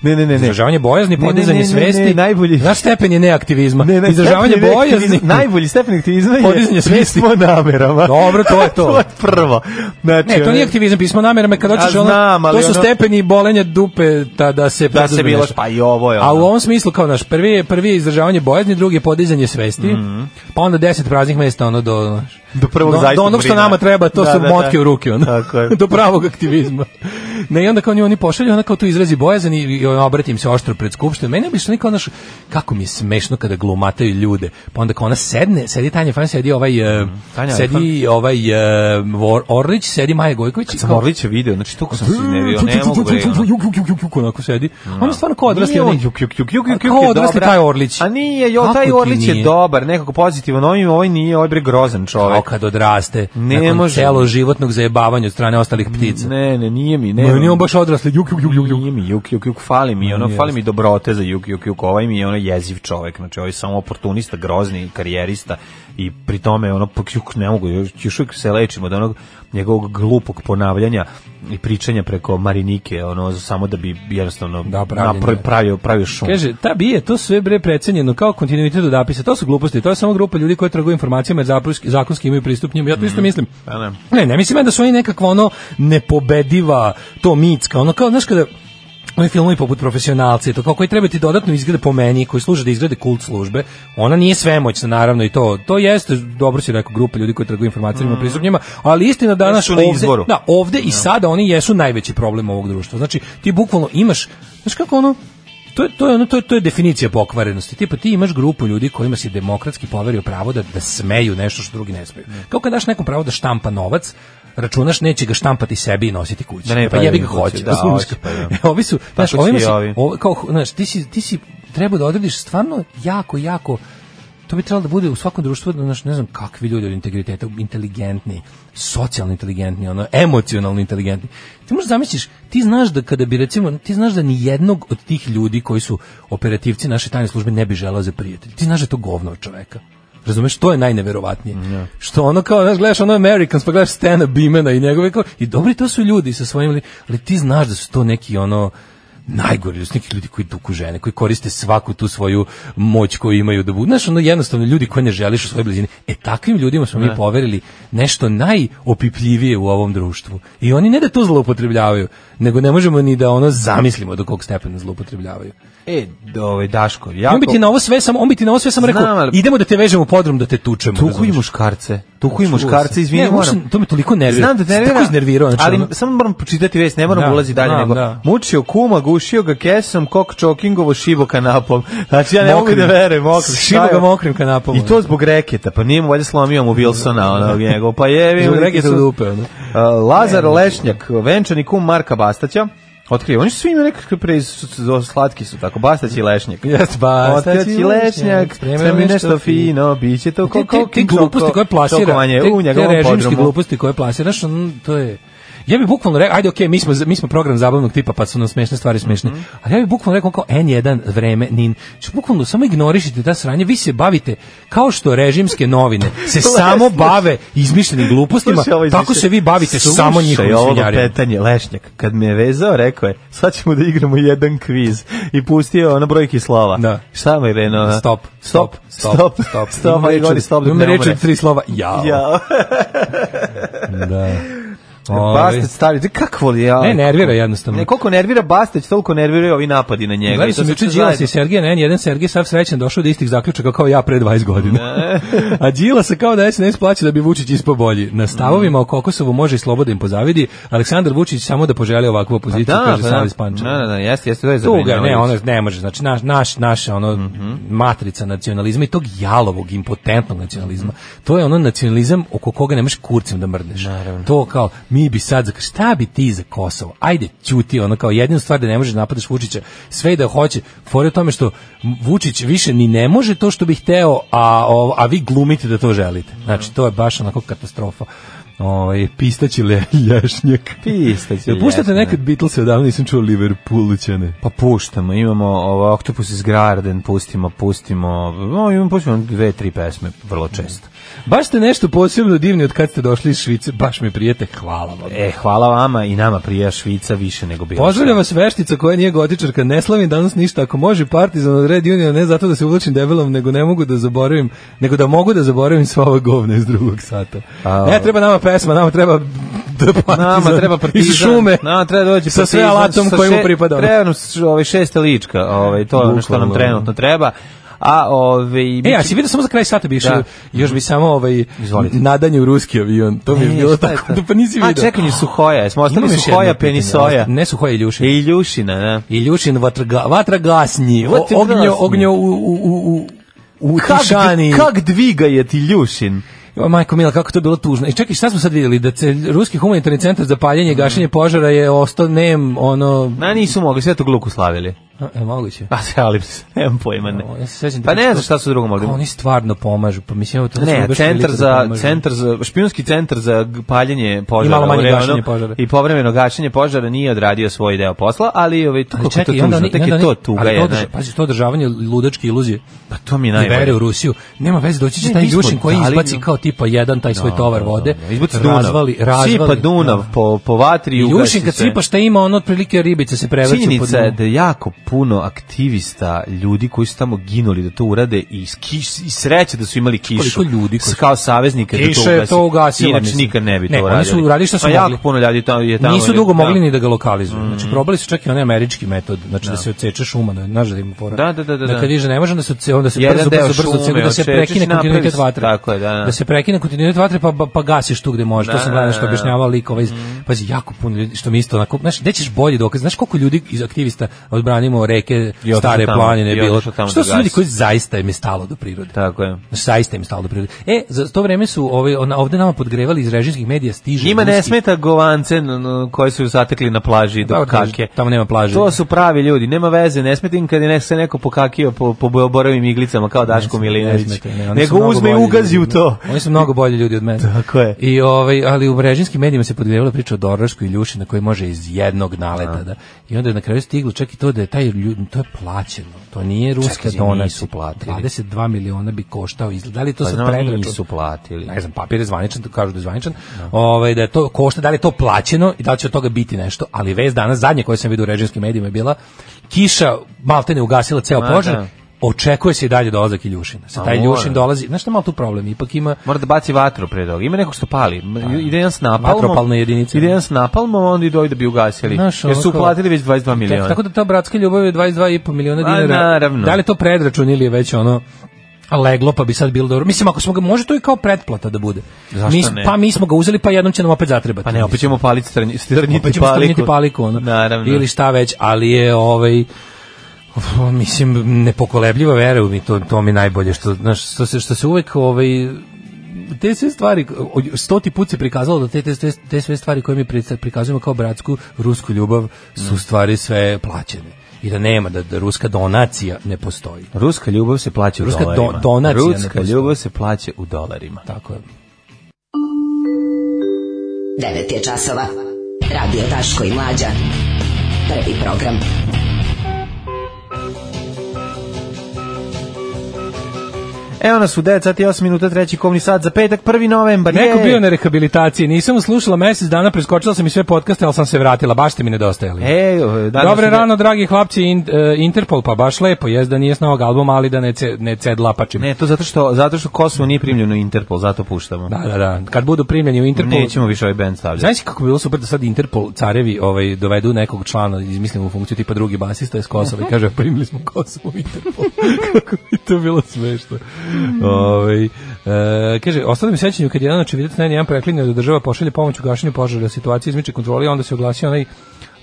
E: ne, ne, ne. ne.
F: izražavanje bojazni
E: Ne, ne,
F: podizanje
E: ne, ne, ne,
F: svesti
E: najbolji-
F: naš stepen je neaktivizma
E: Ne, ne,
F: Pa izražavanje
E: stepen
F: bojazni
E: aktivizma- Najbolji stepen aktivizma je
F: Podizanje svesti.
E: pismo namerama.
F: Dobro, to je to.
E: to je prvo. Znači,
F: Ne, to
E: ono,
F: nije aktivizam, pismo namerama kad hoćeš
E: A
F: ono,
E: znam, ali
F: to su
E: ono-
F: stepeni bolenja dupe ta, da se
E: Da se
F: preduzme
E: bilo-
F: nešto.
E: pa i ovo je
F: A u
E: ono.
F: ovom smislu kao naš prvi je prvi je izražavanje bojazni, drugi je podizanje svesti. Pa onda 10 praznih mesta ono do znaš,
E: Mhm. Do prvog
F: do,
E: zaista
F: do onog što
E: brina.
F: nama treba, to
E: Da,
F: su
E: da,
F: motke
E: da.
F: u ruke ono.
E: Tako je.
F: do pravog aktivizma. Ne, i onda kao nju oni pošalju, ona kao tu izrazi bojazan i, i obratim se oštro pred skupštinom. Meni bi što niko naš kako mi je smešno kada glumataju ljude. Pa onda kao ona sedne, sedi Tanja Fan, sedi ovaj e,
E: Mhm. Tanja
F: sedi ovaj e, Vor- Orlić, sedi Maja Gojković i
E: sam
F: kao-
E: Orlića video, znači toliko sam se iznervio, ne mogu bre. ono.
F: Juk, juk, juk, juk, juk, onako sedi. On je stvarno kao odrasli.
E: Nije on
F: onaj-
E: juk, juk, juk, juk, juk,
F: Kao
E: juk je
F: odrasli
E: dobra.
F: taj Orlić.
E: A nije, jo,
F: Kako ti
E: taj Orlić je
F: nije?
E: dobar, nekako pozitivan, ovaj, ovaj nije, ovaj bre grozan
F: Kao
E: čovek.
F: kad odraste,
E: Ne
F: nakon
E: može.
F: celo životnog zajebavanja od strane ostalih ptica.
E: Ne, ne, nije mi, ne.
F: Ne, on je on baš odrasli, juk, juk, juk, juk, juk.
E: Nije mi juk, juk, juk, fali mi, ono,
F: Nije
E: fali mi dobrote za juk, juk, juk, ovaj mi je ono jeziv čovek, znači ovaj je samo oportunista, grozni, karijerista i pri tome, ono, pak juk, ne mogu, još, još uvijek se lečim od onog njegovog glupog ponavljanja i pričanja preko Marinike, ono, samo da bi jednostavno
F: Da, pravljenje.
E: napravio, pravio, pravio šum.
F: Kaže, ta bi je to sve bre precenjeno kao kontinuitet od apisa. To su gluposti, to je samo grupa ljudi koji trguju informacijama jer zapruski- zakonski imaju pristup njima. Ja to isto mislim.
E: Pa ne.
F: Ne, ne mislim ja da su oni nekakva ono nepobediva, to mitska, ono kao, znaš kada oni filmovi poput profesionalci, to kao koji treba ti dodatno izglede po meni, koji služe da izgrade kult službe, ona nije svemoćna, naravno, i to, to jeste, dobro si rekao, grupa ljudi koji trguju informacijama mm. pristupnjima, ali istina danas
E: Mhm. Jesu na
F: ovde,
E: izvoru.
F: da, ovde i sada oni jesu najveći problem ovog društva. Znači, ti bukvalno imaš, znaš kako ono, To je, to, je ono, to, je, to je definicija pokvarenosti. Tipa ti imaš grupu ljudi kojima si demokratski poverio pravo da, da smeju nešto što drugi ne smeju. Kao kad daš nekom pravo da štampa novac, računaš neće ga štampati sebi i nositi kući.
E: Da ne
F: pa jebi
E: pravi
F: ga
E: kući,
F: hoće.
E: da,
F: razumeš? E,
E: hoće, pa da.
F: Ovi su, znaš,
E: Tako
F: ovima
E: su i
F: si-
E: ovi.
F: ovo, kao, znaš, ti si, ti si treba da odrediš stvarno jako, jako To bi trebalo da bude u svakom društvu, znaš, ne znam kakvi ljudi od integriteta, inteligentni, socijalno inteligentni, ono, emocionalno inteligentni. Ti možda zamisliš, ti znaš da kada bi recimo, ti znaš da ni jednog od tih ljudi koji su operativci naše tajne službe ne bi želeo za prijatelj. Ti znaš da je to govno od čoveka. Razumeš, to je najneverovatnije. Što ono kao, znaš, gledaš ono Americans, pa gledaš Stana Bimena i njegove kao, i dobri to su ljudi sa svojim, li- ali ti znaš da su to neki ono, najgori, ljudi, neki ljudi koji duku žene, koji koriste svaku tu svoju moć koju imaju da budu. Znaš, ono jednostavno ljudi koje ne želiš u svojoj blizini. E takvim ljudima smo mi poverili nešto najopipljivije u ovom društvu. I oni ne da to zloupotrebljavaju, nego ne možemo ni da ono zamislimo do kog stepena zloupotrebljavaju.
E: E, do- ovaj Daško,
F: I
E: jako...
F: On bi ti na ovo sve samo, on bi ti na ovo sve samo rekao,
E: Znam, ali-
F: idemo da te vežemo u podrum da te tučemo.
E: Tuku i
F: razumeš?
E: muškarce. Tuku i muškarce,
F: Ne,
E: izvini,
F: mušam-
E: moram.
F: to me toliko nervira.
E: Znam da
F: Sam
E: nervira,
F: tako iznervirao, znači,
E: ali
F: ono-
E: samo moram pročitati vest, ne moram
F: Da,
E: ulaziti dalje.
F: znam,
E: nego,
F: da.
E: Mučio kuma, gušio ga kesom, kok čokingovo, šivo kanapom. Znači ja ne mogu
F: Mokrim.
E: da verujem, mokrim.
F: Šivo
E: šta je-
F: ga mokrim kanapom,
E: I to
F: ono.
E: zbog reketa, pa nije mu valjda slomio mu Wilsona, ono, njegov. Pa je,
F: Zbog
E: vidim,
F: reketa
E: neki su-
F: u dupe, ono.
E: Uh, Lazar Lešnjak, venčani kum Marka Bastaća, otkrio. Oni su svi imaju nekakve pre su- su- slatki su, tako, Bastać i Lešnjak.
F: Jes, Bastać i
E: Otkrio ti
F: Lešnjak,
E: lešnjak, spremio mi nešto fino, bit će to
F: Te,
E: ko,
F: te,
E: ko,
F: te gluposti koje plasira,
E: čokovanje
F: te,
E: u
F: te
E: njegovom
F: režimske
E: podrumu.
F: gluposti koje plasira, znaš, ono, to je... Ja bih bukvalno rekao, ajde, okej, mi smo, mi smo program zabavnog tipa, pa su nam smešne stvari smešne,
E: Mhm.
F: ali ja bih bukvalno rekao kao N1, vreme, nin, što bukvalno samo ignorišite ta sranja, vi se bavite, kao što režimske novine se samo bave izmišljenim glupostima,
E: Slušaj ovo izvješće.
F: tako se vi bavite
E: Slušaj
F: samo njihovim
E: ovo
F: svinjarima.
E: petanje, Lešnjak, kad me je vezao, rekao je, sad ćemo da igramo jedan kviz i pustio ono brojki slova.
F: Da.
E: Šta mu je krenuo? ono?
F: Stop,
E: stop, stop, stop, stop, stop,
F: Imam
E: ali
F: reč
E: govori
F: od-
E: stop dok
F: imam
E: ne
F: reč
E: umre.
F: od tri slova, jao.
E: Ja.
F: Da. Ovaj.
E: Bastać stari, te kako li ja?
F: Ne, nervira jednostavno.
E: Ne, koliko nervira Bastać, toliko nerviraju ovi napadi na njega.
F: Gledao
E: I to
F: sam
E: sve
F: juče
E: sve
F: Đilas
E: zajedno.
F: i Sergej Nen, jedan Sergej sav srećan došao do istih zaključaka kao ja pre 20 godina. A Đilas se kao da SNS plaća da bi Vučić ispao bolji. Na stavovima o Kokosovu može i sloboda im pozavidi. Aleksandar Vučić samo da poželi ovakvu opoziciju,
E: Da,
F: kaže
E: pa
F: Sava
E: da,
F: iz Pančeva.
E: Da, da, da, jeste, jeste, to je
F: Tuga, ne,
E: zabrinjavajuće.
F: ono ne može. Znači naš naš naša ono matrica nacionalizma i tog jalovog impotentnog nacionalizma. To je ono nacionalizam oko koga nemaš kurcem da mrdneš. To kao mi bi sad za šta bi ti za Kosovo? Ajde, ćuti, ono kao jedinu stvar da ne možeš da napadaš Vučića, sve i da hoće. Fore u tome što Vučić više ni ne može to što bi hteo, a o- a vi glumite da to želite. Znači to je baš onako katastrofa. Ovaj pistaći le, lješnjak.
E: Pistać je
F: Jel puštate
E: lješnjak.
F: nekad Beatles odavno nisam čuo Liverpoolućane.
E: Pa puštamo, imamo ovo, Octopus iz Garden, pustimo, pustimo, no, imamo, pustimo dve, tri pesme, vrlo često.
F: Baš ste nešto posebno divni od kad ste došli iz Švice, baš mi prijete, hvala vam.
E: E, hvala vama i nama prija Švica više nego bilo.
F: Pozdravlja vas veštica koja nije gotičarka, ne slavim danas ništa, ako može Partizan od Red Union, ne zato da se uvlačim debelom, nego ne mogu da zaboravim, nego da mogu da zaboravim sva ova govna iz drugog sata.
E: A-
F: Ne treba nama pesma, nama treba da Partizan
E: Nama treba partizan.
F: iz šume,
E: Nama treba dođe
F: sa sve
E: partizan,
F: alatom
E: sa
F: koji mu
E: še-
F: pripada. ono.
E: Treba nam š- ovaj šesta lička, ovaj to je ono što nam
F: Bukvalno.
E: trenutno treba. A ovaj
F: E, a si vidio samo za kraj sata bi išao,
E: Da.
F: još bi samo ovaj
E: Izvolite.
F: nadanje u ruski avion, to mi je
E: E,
F: bilo
E: šta je
F: tako,
E: to?
F: da pa nisi
E: A
F: vidio.
E: čekanje Suhoja, jesmo ostali
F: Imam još jedno
E: Suhoja,
F: pitanje.
E: Penisoja.
F: Ne Suhoja, Iljušina.
E: I Iljušina, da.
F: Iljušin vatrga, vatragasni, o-
E: Vatrogasni.
F: ognjo, ognjo u, u, u, u, u
E: Kak,
F: tišani.
E: kak dviga je ti Iljušin?
F: O, Majko Mila, kako je to bilo tužno. I čekaj, šta smo sad vidjeli? Da se Ruski humanitarni centar za
E: Mm.
F: paljenje i gašenje požara je ostao nem, ono...
E: Na nisu mogli, sve to gluku slavili.
F: A, E, moguće.
E: Pa se ali nemam pojma ne.
F: O, ja se sećam da
E: Pa ne
F: pričam-
E: znam šta su drugo mogli.
F: Kao Oni stvarno pomažu, pa mislim, evo to su
E: Ne,
F: baš
E: centar
F: velike da
E: za
F: pomažu.
E: centar za špijunski centar za g- paljenje požara
F: malo manje
E: u Revanu
F: gašenje požara.
E: I povremeno gašenje požara nije odradio svoj deo posla, ali ovaj tu
F: Ali
E: kako je to
F: i
E: tužno,
F: onda oni-
E: tek
F: i onda
E: je to
F: oni-
E: tuga
F: ali
E: je.
F: to održa-
E: ne.
F: Pazi, to održavanje ludačke iluzije.
E: Pa to mi je
F: i vere
E: najbolje.
F: u Rusiju. Nema veze, doći će
E: Ne,
F: taj
E: mi smo
F: Ljušin koji
E: dali-
F: izbaci kao tipa jedan taj svoj tovar vode.
E: Izbaci Dunav.
F: Razvali, razvali.
E: Sipa Dunav po, po vatri i ugasi
F: Ljušin kad
E: se.
F: sipa šta ima, ono otprilike ribice se prevrću pod
E: Činjenica je da je jako puno aktivista, ljudi koji su tamo ginuli da to urade i, s kiš, i sreće da su imali kišu.
F: Koliko ljudi koji su-
E: Kao saveznike da to
F: Kiša je
E: ugasi.
F: to ugasila,
E: Inače
F: mislim.
E: nikad ne bi to
F: Ne, oni su uradili šta su
E: Pa
F: mogli.
E: jako puno ljudi tamo je tamo. Mm.
F: Nisu dugo
E: da.
F: mogli ni da ga lokalizuju. Znači probali su čak i onaj američki metod, znači da, se odseče šuma, da znaš da ima fora.
E: Da, da, da, da,
F: Da kad
E: da.
F: više ne može da se odse- onda se
E: Jedan
F: brzo
E: deo
F: brzo brzo
E: šume
F: odseče, da se
E: odsečeš i
F: prekine
E: napravi
F: kontinuitet
E: se.
F: vatre.
E: Tako je, da, da.
F: se prekine kontinuitet vatre pa pa, pa gasiš tu gde možeš. to
E: Da, da,
F: sam gledao
E: da,
F: što
E: da. Mm.
F: objašnjavao likova iz pazi jako puno ljudi što mi isto onako, znaš, gde ćeš bolji dokaz? Znaš koliko ljudi iz aktivista odbranimo mimo reke
E: I otišao
F: stare
E: tamo,
F: planine
E: i
F: bilo.
E: otišao tamo
F: Što
E: da
F: su ljudi
E: gasi.
F: koji zaista im je stalo do prirode.
E: Tako je.
F: Zaista im je stalo do prirode. E, za to vreme su ovaj, ona- ovde nama podgrevali iz režimskih medija stiže.
E: Njima ne
F: ruski-
E: smeta govance n- n- koji su zatekli na plaži do
F: Dobro,
E: kake.
F: tamo nema plaže.
E: To su pravi ljudi, nema veze, ne smeta im kad je nek- se neko pokakio po, po borovim iglicama kao Daško
F: smeta, ne
E: Milinović.
F: smeta, ne, oni su
E: Nego
F: mnogo
E: uzme i
F: bolji
E: ugazi u
F: ljudi.
E: to.
F: Oni su mnogo bolji ljudi od mene.
E: Tako je.
F: I ovaj, ali u brežinskim medijima se podgrevala priča o Dorošku i Ljuši na koji može iz jednog naleta. Da. I onda je na kraju stiglo čak i to da je taj ljud, to je plaćeno. To nije ruska
E: Čekaj,
F: donacija.
E: nisu platili.
F: 22 miliona bi koštao izgled. Da li je to
E: Pa
F: sa
E: znam,
F: predračun?
E: nisu platili.
F: Ne znam, papir je zvaničan, kažu da je zvaničan. Ovaj, da je to košta, da li je to plaćeno i da li će od toga biti nešto. Ali vez danas, zadnje koje sam vidio u režinskim medijima je bila, kiša maltene ugasila ceo
E: Ma,
F: požar,
E: da.
F: Očekuje se i dalje dolazak Iljušina. Sa
E: A
F: taj
E: mora.
F: Iljušin dolazi, znaš šta je malo tu problem, ipak ima
E: Mora da baci vatru pre toga. Ima nekog što pali.
F: Pa,
E: M- Ide jedan s napalmom.
F: Vatropalna jedinica.
E: Ide jedan s napalmom, a onda i dojde bi ugasili.
F: Znaš,
E: Jer su
F: onako-
E: uplatili već 22 miliona.
F: Tako da ta bratska ljubav je 22,5 miliona
E: Ma,
F: dinara.
E: naravno.
F: Da li je to predračun ili je već ono leglo pa bi sad bilo dobro. Mislim ako smo ga može to i kao pretplata da bude.
E: Zašto
F: Mi s-
E: ne?
F: Pa mi smo ga uzeli pa jednom će nam opet zatrebati.
E: Pa ne, opet ćemo paliti strnji, strnjiti
F: opet ćemo
E: Pa paliku.
F: strnjiti paliku ono.
E: Naravno.
F: Ili šta već, ali je ovaj uf, mislim nepokolebljiva vera u mi to to mi je najbolje što znaš što se što se uvek ovaj te sve stvari, o- stoti put se prikazalo da te, te, sve- te sve stvari koje mi pri- prikazujemo kao bratsku rusku ljubav su stvari sve plaćene i da nema, da, da ruska donacija ne postoji.
E: Ruska ljubav se plaća
F: Ruska
E: u
F: do-
E: dolarima.
F: donacija ne
E: Ruska
F: postoji.
E: ljubav se plaća u dolarima.
F: Tako je.
D: 9 je časova. Radio Daško i Mlađa. Prvi program.
E: Evo nas u 9 sati i 8 minuta, treći komni sat za petak, 1. novembar.
F: Neko
E: je.
F: bio na rehabilitaciji, nisam mu slušala mesec dana, preskočila sam i sve podcaste, ali sam se vratila, baš ste mi nedostajali.
E: E, o, danas
F: Dobre
E: je-
F: rano, dragi hlapci, in, e, Interpol, pa baš lepo, jest da nije s novog albuma, ali da ne, ce, ne cedlapačim.
E: Ne, to zato što, zato što Kosovo nije primljeno u Interpol, zato puštamo.
F: Da, da, da. Kad budu primljeni u Interpol...
E: Nećemo više ovaj band stavljati.
F: Znaš si kako bi bilo super da sad Interpol carevi ovaj, dovedu nekog člana, iz- mislim u funkciju tipa drugi basista iz Kosova i kaže primili smo Kosovo u Interpol. kako bi to bilo smešno. Ovaj, e, kaže, ostalo mi sećanju kad jedan očevidac na jedan preklinio da država pošalje pomoć u gašenju požara situacije izmiče kontrole i onda se oglasio onaj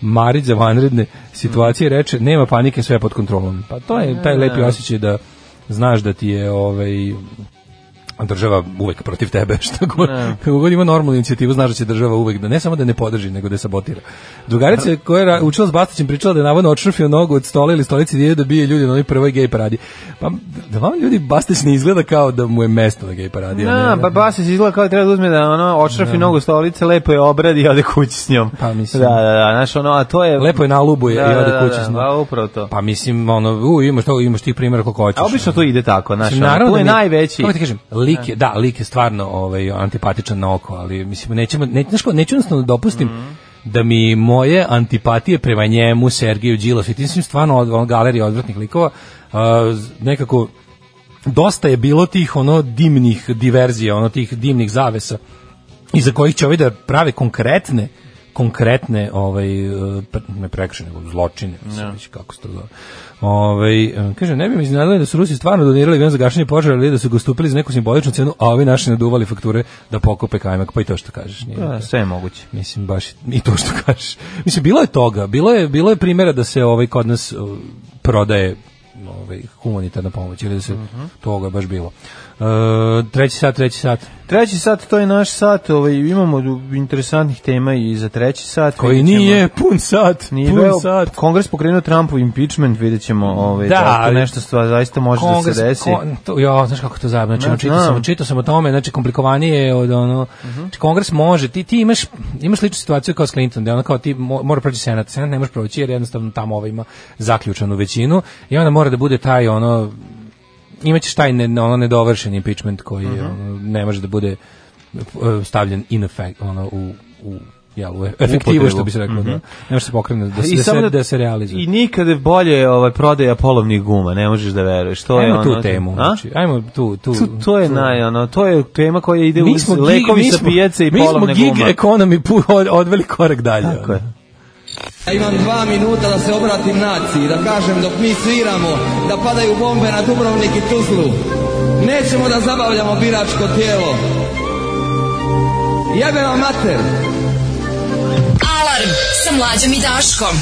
F: Marić za vanredne situacije reče nema panike sve je pod kontrolom. Pa to je taj lepi osjećaj da znaš da ti je ovaj država uvek protiv tebe što god, kako god ima normalnu inicijativu znaš da će država uvek da ne samo da ne podrži nego da je sabotira. Drugarica koja je ra- učila s Bastaćem pričala da je navodno odšrfio nogu od stola ili stolice dije da bije ljudi na onoj prvoj gej paradi. Pa da vam ljudi Bastać ne izgleda kao da mu je mesto na gej paradi. a
E: Da,
F: ne-
E: pa Basić izgleda kao da treba da uzme da ono, očrafi nogu stolice, lepo je obradi i ode kući s njom.
F: Pa, mislim.
E: Da, da, da, znaš, ono, a to je...
F: Lepo je nalubuje
E: Da,
F: i ode
E: da,
F: kući
E: da,
F: s njom.
E: Pa upravo to.
F: Pa mislim ono u imaš to imaš ti primjer koliko hoćeš.
E: A obično to ide tako, znaš,
F: Mislim,
E: ono, tu je
F: Znači, da mi
E: najveći...
F: Kako ti kažem, lik je, da, lik je stvarno ovaj, antipatičan na oko, ali mislim, nećemo, ne, znaš ko, neću jednostavno da dopustim da mi moje antipatije prema njemu, Sergiju Đilasu i tim svim stvarno od, ono, galerije odvratnih likova, a, z- nekako dosta je bilo tih ono dimnih diverzija, ono tih dimnih zavesa iza kojih će ovi da prave konkretne konkretne ovaj e, pr- ne prekršaje nego zločine mislim već kako se to zove. Ovaj e, kaže ne bi mi iznenadilo da su Rusi stvarno donirali ven za gašenje požara ili da su gostupili za neku simboličnu cenu, a ovi naši naduvali fakture da pokope kajmak, pa i to što kažeš. Nije,
E: Da, sve je moguće.
F: Mislim baš i to što kažeš. Mislim bilo je toga, bilo je bilo je primjera da se ovaj kod nas uh, prodaje ovaj humanitarna pomoć ili da se toga baš bilo. E, treći sat, treći sat.
E: Treći sat, to je naš sat, ovaj, imamo du- interesantnih tema i za treći sat.
F: Koji
E: vidjet ćemo-
F: nije pun sat,
E: Nije
F: pun
E: bio-
F: sat.
E: Kongres pokrenuo Trumpov impeachment, vidjet ćemo ovaj,
F: Da,
E: da, ako
F: ali-
E: nešto stva, zaista može da se desi.
F: kon- to, ja, znaš kako to zajebano, znači,
E: Ne,
F: ono, čitao
E: znam. Mhm.
F: sam, čitao sam o tome, znači komplikovanije je od ono, znači, kongres može, ti, ti imaš, imaš sličnu situaciju kao s Clinton, da je ono kao ti mo- mora proći senat, senat ne može proći jer jednostavno tamo ova ima zaključanu većinu i onda mora da bude taj ono, imaćeš taj ne, ono nedovršen impeachment koji
E: Mhm.
F: je, ono, ne može da bude e, stavljen in effect, ono, u, u jel, u e- efektivu,
E: upotrebu. Mhm.
F: što bi se reklo, da. ne može se pokrenuti, da, se-
E: I
F: da,
E: samo
F: se, da se realizuje.
E: I nikada bolje ovaj, prodaja polovnih guma, ne možeš da veruješ. To je
F: Ajmo
E: ono,
F: tu temu,
E: A?
F: znači, ajmo tu, tu,
E: To, to je naj, ono, to je tema koja ide
F: mi
E: uz
F: smo gig,
E: lekovi
F: mi
E: sa
F: smo-
E: pijace i
F: mi smo
E: polovne
F: gig
E: gume.
F: economy pu- od, odveli korak dalje. ono.
E: Tako je.
I: Ja imam dva minuta da se obratim naciji, da kažem dok mi sviramo, da padaju bombe na Dubrovnik i Tuzlu. Nećemo da zabavljamo biračko tijelo. Jebe vam mater!
D: Alarm sa Mlađom i Daškom.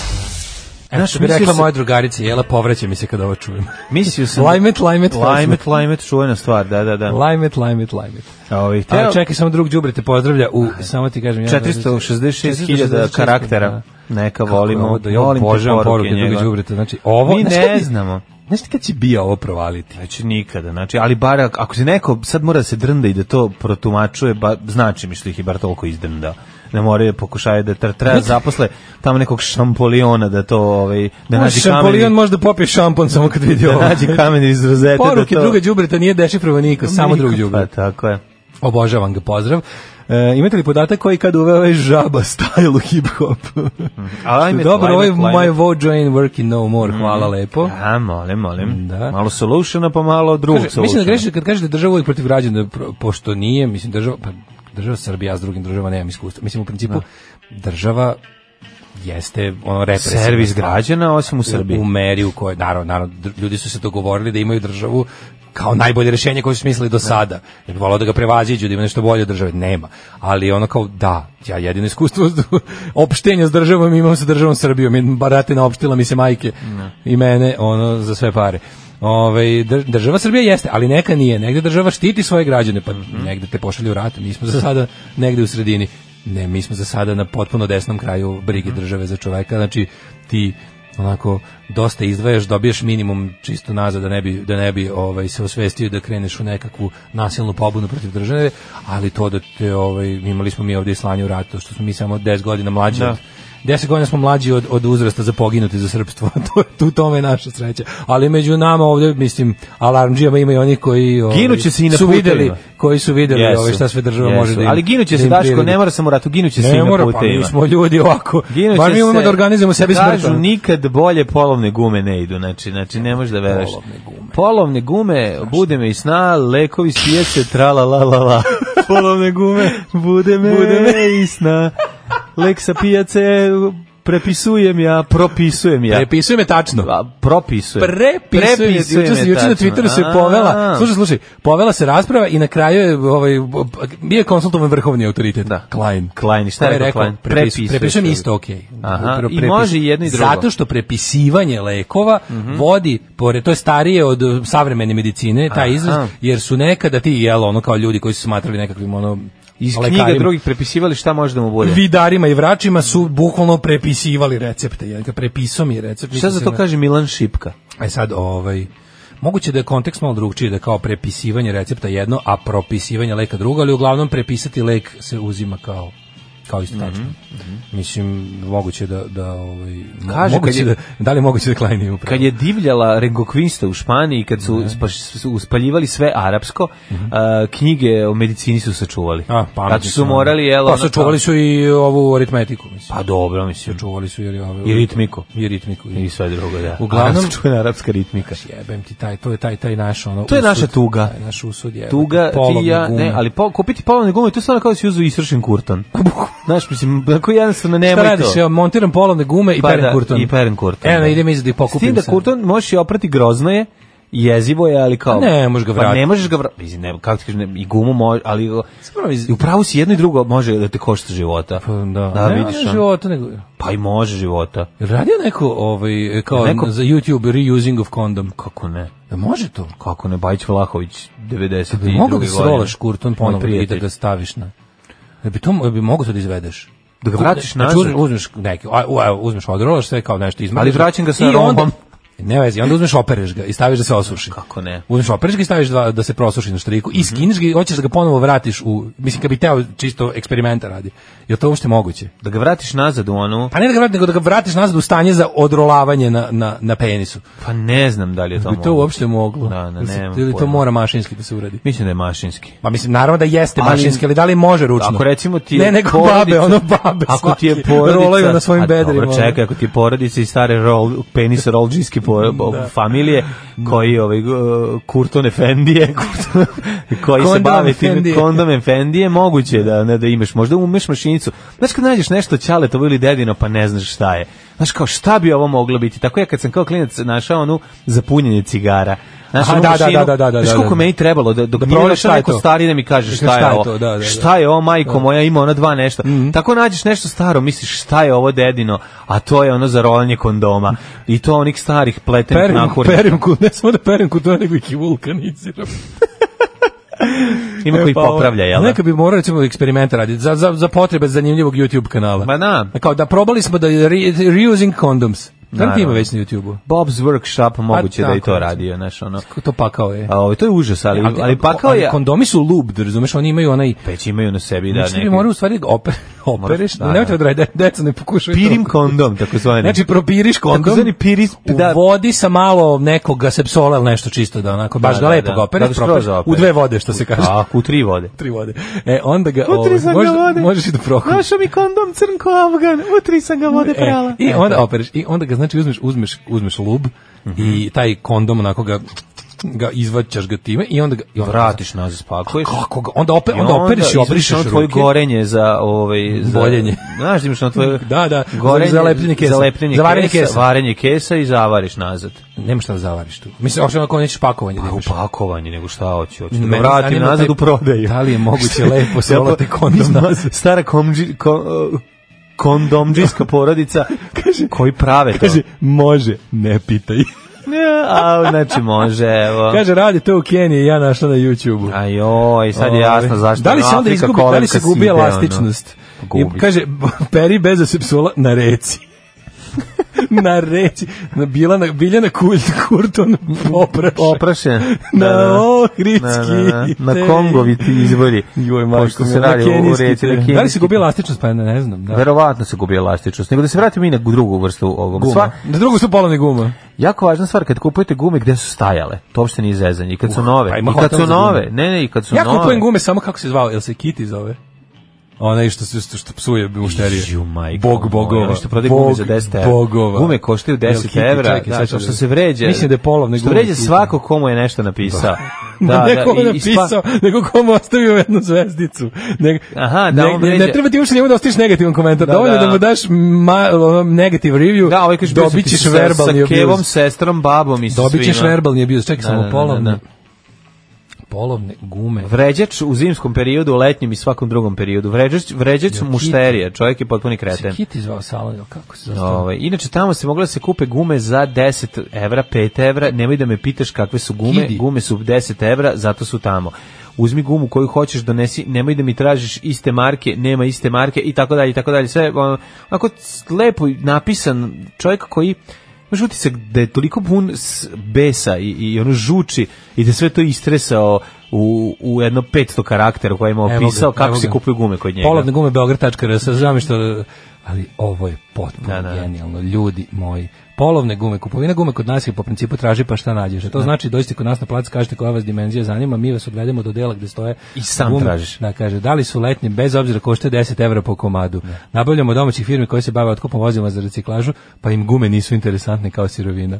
F: Znaš, što bi
E: mislio
F: rekla
E: sam-
F: moja drugarica, jela, povraća mi se kad ovo čujem.
E: Mislio sam...
F: Limet, limet,
E: Limet, limet, čuvena stvar, da, da, da.
F: Limet, limet, limet.
E: A ovi,
F: A
E: hteo-
F: čekaj, samo drug đubre te pozdravlja u, samo ti kažem...
E: 466.000
F: 466.000
E: karaktera. Neka volimo,
F: da ja
E: volim te
F: obožavam poruke
E: njega.
F: drugog đubreta. Znači, ovo...
E: Mi
F: znaš
E: ne
F: kad bi-
E: znamo.
F: Znaš ti kad će bija ovo provaliti?
E: Znači nikada, znači, ali bar ak- ako se neko sad mora da se drnda i da to protumačuje, ba, znači mi što ih je bar toliko izdrnda. Ne moraju da pokušaju da tra- treba zaposle tamo nekog šampoliona da to, ovaj, da nađe
F: Šampolion
E: kamen,
F: možda popije šampon samo kad vidi
E: da
F: ovo.
E: nađe kamen iz rozete.
F: Poruke
E: da to,
F: druga đubreta nije dešifrovao niko, samo drug
E: Pa
F: đubre.
E: tako je.
F: Obožavam ga, pozdrav. E, imate li podatak koji kad uveo ovaj žaba style u hip-hop?
E: Mhm. Ajme,
F: Dobro,
E: ajme, Mhm.
F: ovaj
E: ajme.
F: My Vojo ain't working no more, hvala lepo.
E: A, molim, molim.
F: Da.
E: Malo solutiona, pa malo drugog
F: Kaže, mislim da
E: solutiona.
F: grešite kad kažete država uvijek protiv građana, pro- pošto nije, mislim država, pa država Srbija, ja s drugim državama nemam iskustva. Mislim u principu država jeste ono represivna
E: Servis
F: stvar.
E: građana, osim u Srbiji.
F: U meri u kojoj, naravno, naravno, dr- ljudi su se dogovorili da imaju državu kao najbolje rešenje koje su smislili do sada. Ja bih volao da ga prevaziđu, da ima nešto bolje od države. Nema. Ali ono kao, da, ja jedino iskustvo s- opštenja s državom imam sa državom Srbijom. I Baratina opštila mi se majke i mene, ono, za sve pare. Ove, dr- država Srbija jeste, ali neka nije. Negde država štiti svoje građane, pa
E: Mhm.
F: negde te pošalju u rat. Mi smo za sada negde u sredini. Ne, mi smo za sada na potpuno desnom kraju brige
E: Mhm.
F: države za čoveka. Znači, ti onako dosta izdvajaš, dobiješ minimum čisto nazad da ne bi, da ne bi ovaj, se osvestio da kreneš u nekakvu nasilnu pobunu protiv države, ali to da te, ovaj, imali smo mi ovdje i slanje u ratu, što smo mi samo 10 godina mlađi
E: Da.
F: od 10 godina smo mlađi od, od uzrasta za poginuti za srpstvo. to, je- tu tome je naša sreća. Ali među nama ovdje, mislim, alarmđijama ima i oni koji ovaj,
E: Ginuće se i na
F: su
E: putevima.
F: videli, koji su videli
E: Jesu.
F: ovaj, šta sve država
E: Jesu.
F: može da im,
E: Ali ginuće
F: da
E: se,
F: im
E: Daško,
F: priredi.
E: ne mora sam u ratu, ginuće se i
F: Ne
E: na
F: mora, pa
E: putevima.
F: mi smo ljudi ovako.
E: Ginuće
F: Bar mi umemo
E: se,
F: da organizujemo sebi smrt.
E: Kažu
F: ono.
E: nikad bolje polovne gume ne idu, znači, znači ne možeš da veruješ.
F: Polovne gume.
E: Polovne gume, bude me i sna, lekovi s pijace, tra la la la la. polovne gume, bude me, bude me i sna. Lek sa pijace, prepisujem ja, propisujem ja.
F: Prepisujem je tačno.
E: A, propisujem.
F: Prepisuje,
E: Prepisujem
F: juče se
E: je
F: juče na
E: tačno.
F: Twitteru se
E: A,
F: povela. Slušaj, slušaj, povela se rasprava i na kraju je ovaj b- b- bio je konsultovan vrhovni autoritet.
E: Da.
F: Klein.
E: Klein, šta je
F: Koji
E: rekao Klein?
F: prepis-
E: Prepisuje
F: Prepisujem
E: se.
F: isto, okej.
E: Aha,
F: Pre-
E: i
F: prepis-
E: može i jedno i drugo. Mhm.
F: Zato što prepisivanje lekova vodi pored to je starije od uh, savremene medicine taj izraz
E: Aha.
F: jer su nekada ti jel ono kao ljudi koji su smatrali nekakvim ono
E: Iz knjiga
F: lekarima,
E: drugih prepisivali šta može da mu bude.
F: vidarima i vračima su bukvalno prepisivali recepte, jel ga prepisom je recept.
E: Šta
F: mislim
E: za
F: se
E: to
F: na-
E: kaže Milan Šipka?
F: E sad, ovaj, moguće da je kontekst malo drugčiji, da je kao prepisivanje recepta jedno, a propisivanje leka drugo, ali uglavnom prepisati lek se uzima kao kao isto
E: Mhm,
F: tačno. Mislim, moguće da... da ovaj, mo-
E: Kaže,
F: moguće
E: kad je-
F: da, da li je moguće da Klein nije upravo?
E: Kad je divljala Rengokvinsta u Španiji, kad su spaš- su uspaljivali sve arapsko, a, knjige o medicini su sačuvali.
F: Mhm. A, pametni
E: Znači su morali, jel,
F: Pa
E: ono,
F: sačuvali su Mhm. i ovu aritmetiku, mislim.
E: Pa dobro, mislim.
F: Sačuvali su jer je ove-
E: I ritmiku.
F: I ritmiku.
E: I sve drugo, da.
F: Uglavnom- Znači,
E: Arapska čuvena arapska ritmika.
F: Jebem ti taj, to je taj, taj naš ono...
E: To je naša tuga.
F: Taj naš usud je.
E: Tuga, ti i ja, ne, ali po, kupiti polovne gume, to je stvarno kao da si uzeo isršen kurton. Znaš, mislim, tako jednostavno nemoj to.
F: Šta radiš? Ja montiram polovne gume i
E: Pa
F: perem
E: da,
F: kurton.
E: i perem kurton,
F: Evo,
E: da.
F: idem izad i
E: S
F: pokupim
E: tim da
F: sad.
E: kurton možeš i oprati grozno je, jezivo je, ali kao...
F: Pa ne, možeš ga
E: Pa ne
F: vratiti.
E: možeš ga vratiti. Mislim, ne, kako ti kažem, ne, i gumu može, ali...
F: Zapravo iz-
E: U pravu si jedno i drugo može da te košta života.
F: Pa da,
E: da
F: ne,
E: vidiš.
F: ne,
E: ono.
F: života, nego...
E: Pa i može života.
F: Jel Radio neko, ovaj, kao
E: Neko-
F: za YouTube reusing of condom.
E: Kako ne?
F: Da može to?
E: Kako ne? Bajić Vlahović, 92.
F: Da bi mogao da
E: godine.
F: srolaš kurton
E: Moj
F: ponovno i da
E: prijatelj.
F: ga staviš na... Da bi, to, da bi mogo to da izvedeš?
E: Da ga vratiš
F: znači,
E: nazad?
F: uzmeš, uzmeš neki, a, u- a, uzmeš odrolaš sve kao nešto izmrzaš.
E: Ali vraćam ga sa
F: i onda-
E: robom.
F: Ne vezi, onda uzmeš opereš ga i staviš da se osuši.
E: Kako ne? Mhm.
F: Uzmeš opereš ga i staviš dva, da se prosuši na štriku i skineš ga i hoćeš da ga ponovo vratiš u... Mislim, kad bi teo čisto eksperimenta radi. Je to uopšte moguće?
E: Da ga vratiš nazad u onu...
F: Pa ne da ga vratiš, nego da ga vratiš nazad u stanje za odrolavanje na, na, na penisu.
E: Pa ne znam da li je to
F: bi to
E: moguće.
F: uopšte moglo.
E: Da, da,
F: Ili se-
E: nemam
F: Ili to
E: pojma.
F: mora mašinski da se uradi.
E: Mislim da je mašinski.
F: Pa mislim, naravno da jeste
E: Ali-
F: mašinski, ali da li može ručno?
E: Ako recimo ti je
F: Ne, nego
E: porodica-
F: babe, ono babe.
E: Ako ti je
F: svaki
E: porodica,
F: Rolaju na
E: a
F: svojim bedrima. ono.
E: Dobro, čekaj, ako ti je porodica i stare rol, penis rolđinske po,
F: Da.
E: familije, koji ovaj uh, Kurton Efendije, Kurton- koji se
F: Kondom
E: bavi tim
F: Efendije.
E: kondom Efendije, moguće da ne da imaš, možda umeš mašinicu. Znaš kad nađeš nešto ćale to ili dedino, pa ne znaš šta je. Znaš kao, šta bi ovo moglo biti? Tako ja kad sam kao klinac našao onu za punjenje cigara. Znaš,
F: Aha,
E: onu
F: da, da,
E: mašinu,
F: da, da, da,
E: znaš
F: da,
E: koliko
F: da.
E: meni trebalo da, dok
F: Da
E: nije
F: proveriš
E: našao
F: šta je
E: neko
F: to.
E: stari da mi kaže
F: Dakle,
E: šta
F: šta
E: je
F: je
E: ovo.
F: to, da, da, da.
E: Šta je ovo, majko moja, ima ona dva nešto. Tako nađeš nešto staro, misliš šta je ovo dedino, a to je ono za rolanje kondoma. I to onih starih pletenih
F: Perim,
E: nahurnika.
F: perim ku, ne samo da perim ku, to nego ih i vulkaniziram.
E: Ima
F: E,
E: koji
F: pa, ovo,
E: popravlja, jel? da?
F: Neka bi morali ćemo eksperimente raditi za, za, za potrebe zanimljivog YouTube kanala.
E: Ma da.
F: Kao da probali smo da je re, reusing condoms. Da ti ima
E: Naravno.
F: već na YouTube-u?
E: Bob's Workshop moguće da je i
F: tako,
E: to
F: recimo.
E: radio, znaš, ono.
F: Ko To pakao je.
E: A, ovo, to je užas, ali, ali pakao je...
F: Kondomi su lubd, razumeš, oni imaju onaj...
E: Već imaju na sebi, da,
F: znači, ti
E: neki...
F: bi morao u stvari da oper, opereš,
E: da, da.
F: da, nemojte da radite, deca ne pokušaju
E: Pirim
F: to.
E: kondom, tako zvani.
F: Znači, propiriš kondom,
E: Takozvani piris- da.
F: u vodi sa malo nekoga sepsola ili nešto čisto, da onako, baš
E: Da,
F: da,
E: da,
F: lepo
E: da.
F: ga opereš,
E: Da ga skroz
F: propereš, u
E: opereš.
F: dve vode, što se kaže.
E: Tako, u tri vode.
F: tri vode. E, onda ga,
E: U tri
F: ovaj,
E: sam ga
F: možda-
E: vode.
F: možeš i da prokuš.
E: Našao mi kondom crnko Afgan, utri sam ga vode prala.
F: I onda opereš i onda ga znači uzmeš uzmeš uzmeš lub
E: Mhm.
F: i taj kondom onako ga ga izvaćaš ga time i onda ga i onda
E: Vratiš nazad, spakuješ.
F: kako ga onda opet
E: I
F: onda operiš i
E: izbrišeš
F: obrišeš
E: ono tvoje
F: ruke.
E: gorenje za ovaj za
F: Boljenje.
E: Znaš, imaš na tvoje
F: Da, da,
E: gorenje
F: za lepljenje kesa.
E: za lepljenje
F: Za varenje
E: kesa,
F: kesa.
E: varenje kesa i zavariš nazad.
F: Nema šta da zavariš tu. Mislim uopšte onako nećeš pakovanje da
E: Pa u
F: imaš.
E: pakovanje, nego šta hoću, hoću da me
F: Mene
E: vratim
F: zanima
E: nazad
F: taj-
E: u prodaju.
F: Da li je moguće lepo solati kondom
E: Zna-
F: nazad?
E: Stara komđi, ko, kondomđijska porodica koji prave to.
F: Kaže, može, ne pitaj.
E: Ne, a, znači može, evo.
F: Kaže, radi to u Keniji i ja našla na YouTube-u.
E: Ajoj, sad je jasno zašto.
F: Ovaj, Da li
E: je
F: se onda
E: Afrika
F: izgubi, da li se
E: kolevka
F: gubi
E: site, ono.
F: elastičnost?
E: Gubi.
F: I kaže, peri bez asepsula na reci. na reci. Na bila na biljana kulj, kurton poprašen.
E: ono. Oprašen.
F: Na
E: Da, da.
F: ohridski.
E: Na, na, na.
F: te-
E: na Kongovi ti izvori.
F: Joj,
E: Pošto
F: majko,
E: se
F: na
E: radi u
F: kenijski
E: reci.
F: te.
E: na
F: Da li
E: kenijski.
F: se gubi elastičnost? Pa ne, ne znam. Da.
E: Verovatno se gubi elastičnost. Nego da se vratimo i na drugu vrstu ovog.
F: Guma.
E: Sva,
F: Na drugu su polovne guma.
E: jako važna stvar, kad kupujete gume gde su stajale, to uopšte nije zezanje. I kad su nove.
F: pa ima
E: I kad
F: hotel
E: su
F: za gume.
E: nove. Ne, ne, i kad su
F: Ja
E: nove.
F: kupujem gume samo kako se zvao, jel se Kitty zove? Onaj što, se- što, što psuje mušterije.
E: Ju, majko
F: Bog
E: moja,
F: bogova.
E: oni Što prodaje gume
F: Bog
E: za 10 evra.
F: bogova.
E: Gume koštaju 10
F: Jel, Kitty,
E: evra.
F: čekaj, sad
E: da,
F: ću
E: što
F: da-
E: se vređa.
F: Mislim da je polovne
E: Što
F: gume
E: vređa
F: Kitty.
E: svako komu je nešto napisao.
F: da, ne
E: i-
F: kome
E: i spa-
F: napisao, nego kome ostavio jednu zvezdicu. Ne,
E: Aha, da,
F: ne,
E: on
F: ne,
E: vređa.
F: ne treba ti uopšte njemu da ostaviš negativan komentar.
E: Da,
F: Da, Dovoljno
E: da.
F: da mu daš ma, ono, negative review,
E: Da, ovaj kaže
F: dobit ćeš verbalni
E: sa, sa kevom,
F: abuse.
E: sestrom, babom i sa
F: Dobit ćeš
E: svima.
F: verbalni abuse. Čekaj,
E: Da,
F: samo
E: da, da,
F: polovne,
E: da.
F: polovne gume.
E: Vređač u zimskom periodu, u letnjem i svakom drugom periodu. Vređač, vređač mušterija, čovjek je potpuni
F: Se
E: kreten.
F: Kitty zvao salon, ili kako se zove?
E: Ovaj, inače, tamo se moglo da se kupe gume za 10 evra, 5 evra, nemoj da me pitaš kakve su gume,
F: Kidi.
E: gume su 10 evra, zato su tamo. Uzmi gumu koju hoćeš, donesi, nemoj da mi tražiš iste marke, nema iste marke, i tako dalje, i tako dalje. Sve, ono, onako c- lepo napisan čovjek koji imaš utisak da je toliko pun s- besa i, i ono žuči i da je sve to istresao u, u jedno 500 karaktera koje je
F: Evo ga,
E: opisao kako
F: evo
E: se
F: ga.
E: kupuju gume kod njega.
F: Polovne gume Beograd.rs, žao mi što... Ali ovo je potpuno
E: Da, da, da.
F: genijalno, ljudi moji. Polovne gume, kupovina gume kod nas je po principu traži pa šta nađeš. A to znači dođite kod nas na plac, kažete koja vas dimenzija zanima, mi vas odvedemo do dela gde stoje
E: I sam tražiš.
F: Da, kaže, da li su letnje, bez obzira koštaju 10 evra po komadu. Nabavljamo od domaćih firmi koje se bave otkupom vozila za reciklažu, pa im gume nisu interesantne kao sirovina.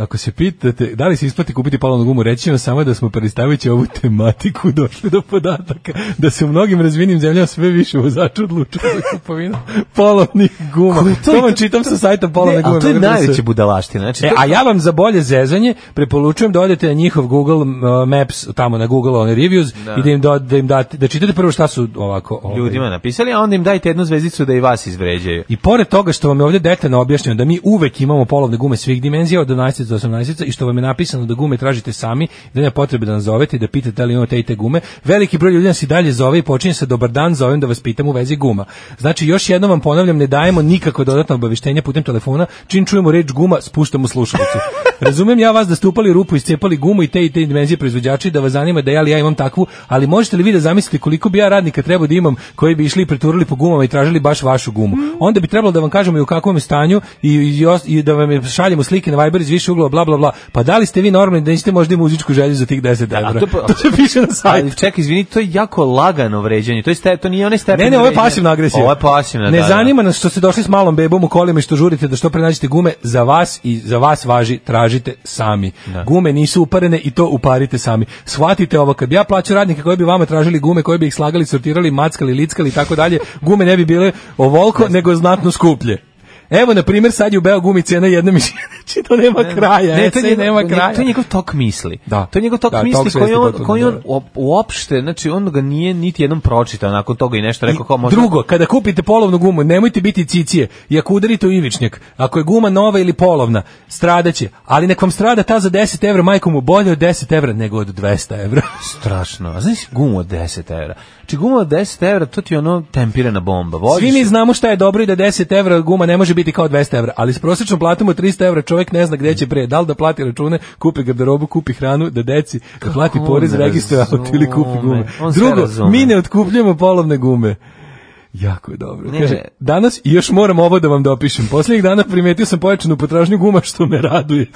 F: Ako se pitate da li se isplati kupiti polovnu gumu, reći ću vam samo da smo predstavljajući ovu tematiku došli do podataka da se u mnogim razvijenim zemljama sve više vozača odlučuju za kupovinu polovnih guma. To, vam čitam sa sajta polovne
E: Ne,
F: gume.
E: E, ali to je
F: Beograd.rs.
E: najveća budalaština. Znači,
F: E,
E: to-
F: a ja vam za bolje zezanje preporučujem da odete na njihov Google uh, Maps, tamo na Google one reviews i da im, do, da im date, da čitate prvo šta su ovako... ovaj,
E: ljudima napisali, a onda im dajte jednu zvezdicu da i vas izvređaju.
F: I pored toga što vam je ovdje detaljno objašnjeno da mi uvek imamo polovne gume svih dimenzija od 12 do 18 i što vam je napisano da gume tražite sami, da nema potrebe da nas zovete i da pitate da li imate i te gume, veliki broj ljudi nas i dalje zove i počinje sa dobar dan, zovem da vas pitam u vezi guma. Znači još jednom vam ponavljam, ne dajemo nikako dodatno obavještenja putem telefona, čim čujemo reč guma, spuštamo slušalicu. Razumijem ja vas da ste upali rupu i scepali gumu i te i te dimenzije proizvođači da vas zanima da ja li ja imam takvu, ali možete li vi da zamislite koliko bi ja radnika trebao da imam koji bi išli i preturali po gumama i tražili baš vašu gumu. Onda bi trebalo da vam kažemo i u kakvom je stanju i, i, os- i da vam je šaljemo slike na Viber iz više uglova, bla bla bla. Pa da li ste vi normalni da nećete možda i muzičku želju za tih 10
E: a
F: evra?
E: to
F: To,
E: pa-
F: se piše na
E: Ali
F: sajtu.
E: čekaj, izvini, to je jako lagano vređanje. To, je ste, to nije onaj stepen.
F: Ne, ne, ovo je
E: vređanja.
F: pasivna agresija.
E: Ovo je pasivna,
F: Ne
E: da, da.
F: zanima nas što ste došli s malom bebom u kolima i što žurite da što pre nađete gume za vas i za vas važi tražite sami. Gume nisu uparene i to uparite sami. Shvatite ovo, kad bi ja plaćao radnike koji bi vama tražili gume, koji bi ih slagali, sortirali, mackali, lickali i tako dalje, gume ne bi bile ovolko, nego znatno skuplje. Evo, na primjer, sad je u Beo gumi cena jedna mišljena. Znači, to nema kraja. Ne,
E: to je njegov- to
F: nema
E: je-
F: kraja.
E: To je njegov tok misli.
F: Da.
E: To je njegov tok
F: Da, tok
E: misli
F: svesti,
E: koji on,
F: potpuno,
E: koji on
F: da.
E: uop- uopšte, znači on ga nije niti jednom pročitao nakon toga i nešto rekao kao možda...
F: Drugo, kada kupite polovnu gumu, nemojte biti cicije. I ako udarite u ivičnjak, ako je guma nova ili polovna, stradaće. Ali nek vam strada ta za 10 evra, majko mu bolje od 10 evra nego od 200 evra.
E: Strašno. A znaš gumu od 10 evra? Znači gumu od 10 evra, to ti je ono tempirana bomba. Voziš
F: Svi mi znamo šta je dobro i da 10 evra guma ne može biti kao 200 evra, ali s prosječnom platom od 300 evra čovjek ne zna gde će pre, da li da plati račune, kupi garderobu, kupi hranu, da deci, da plati
E: on
F: porez,
E: ne
F: registruje auto ili kupi
E: razume?
F: gume.
E: On sve
F: Drugo,
E: razume.
F: mi ne otkupljujemo polovne gume. Jako je dobro.
E: Ne.
F: Kaže, danas i još moram ovo da vam dopišem. Posljednjih dana primetio sam pojačanu potražnju guma što me raduje.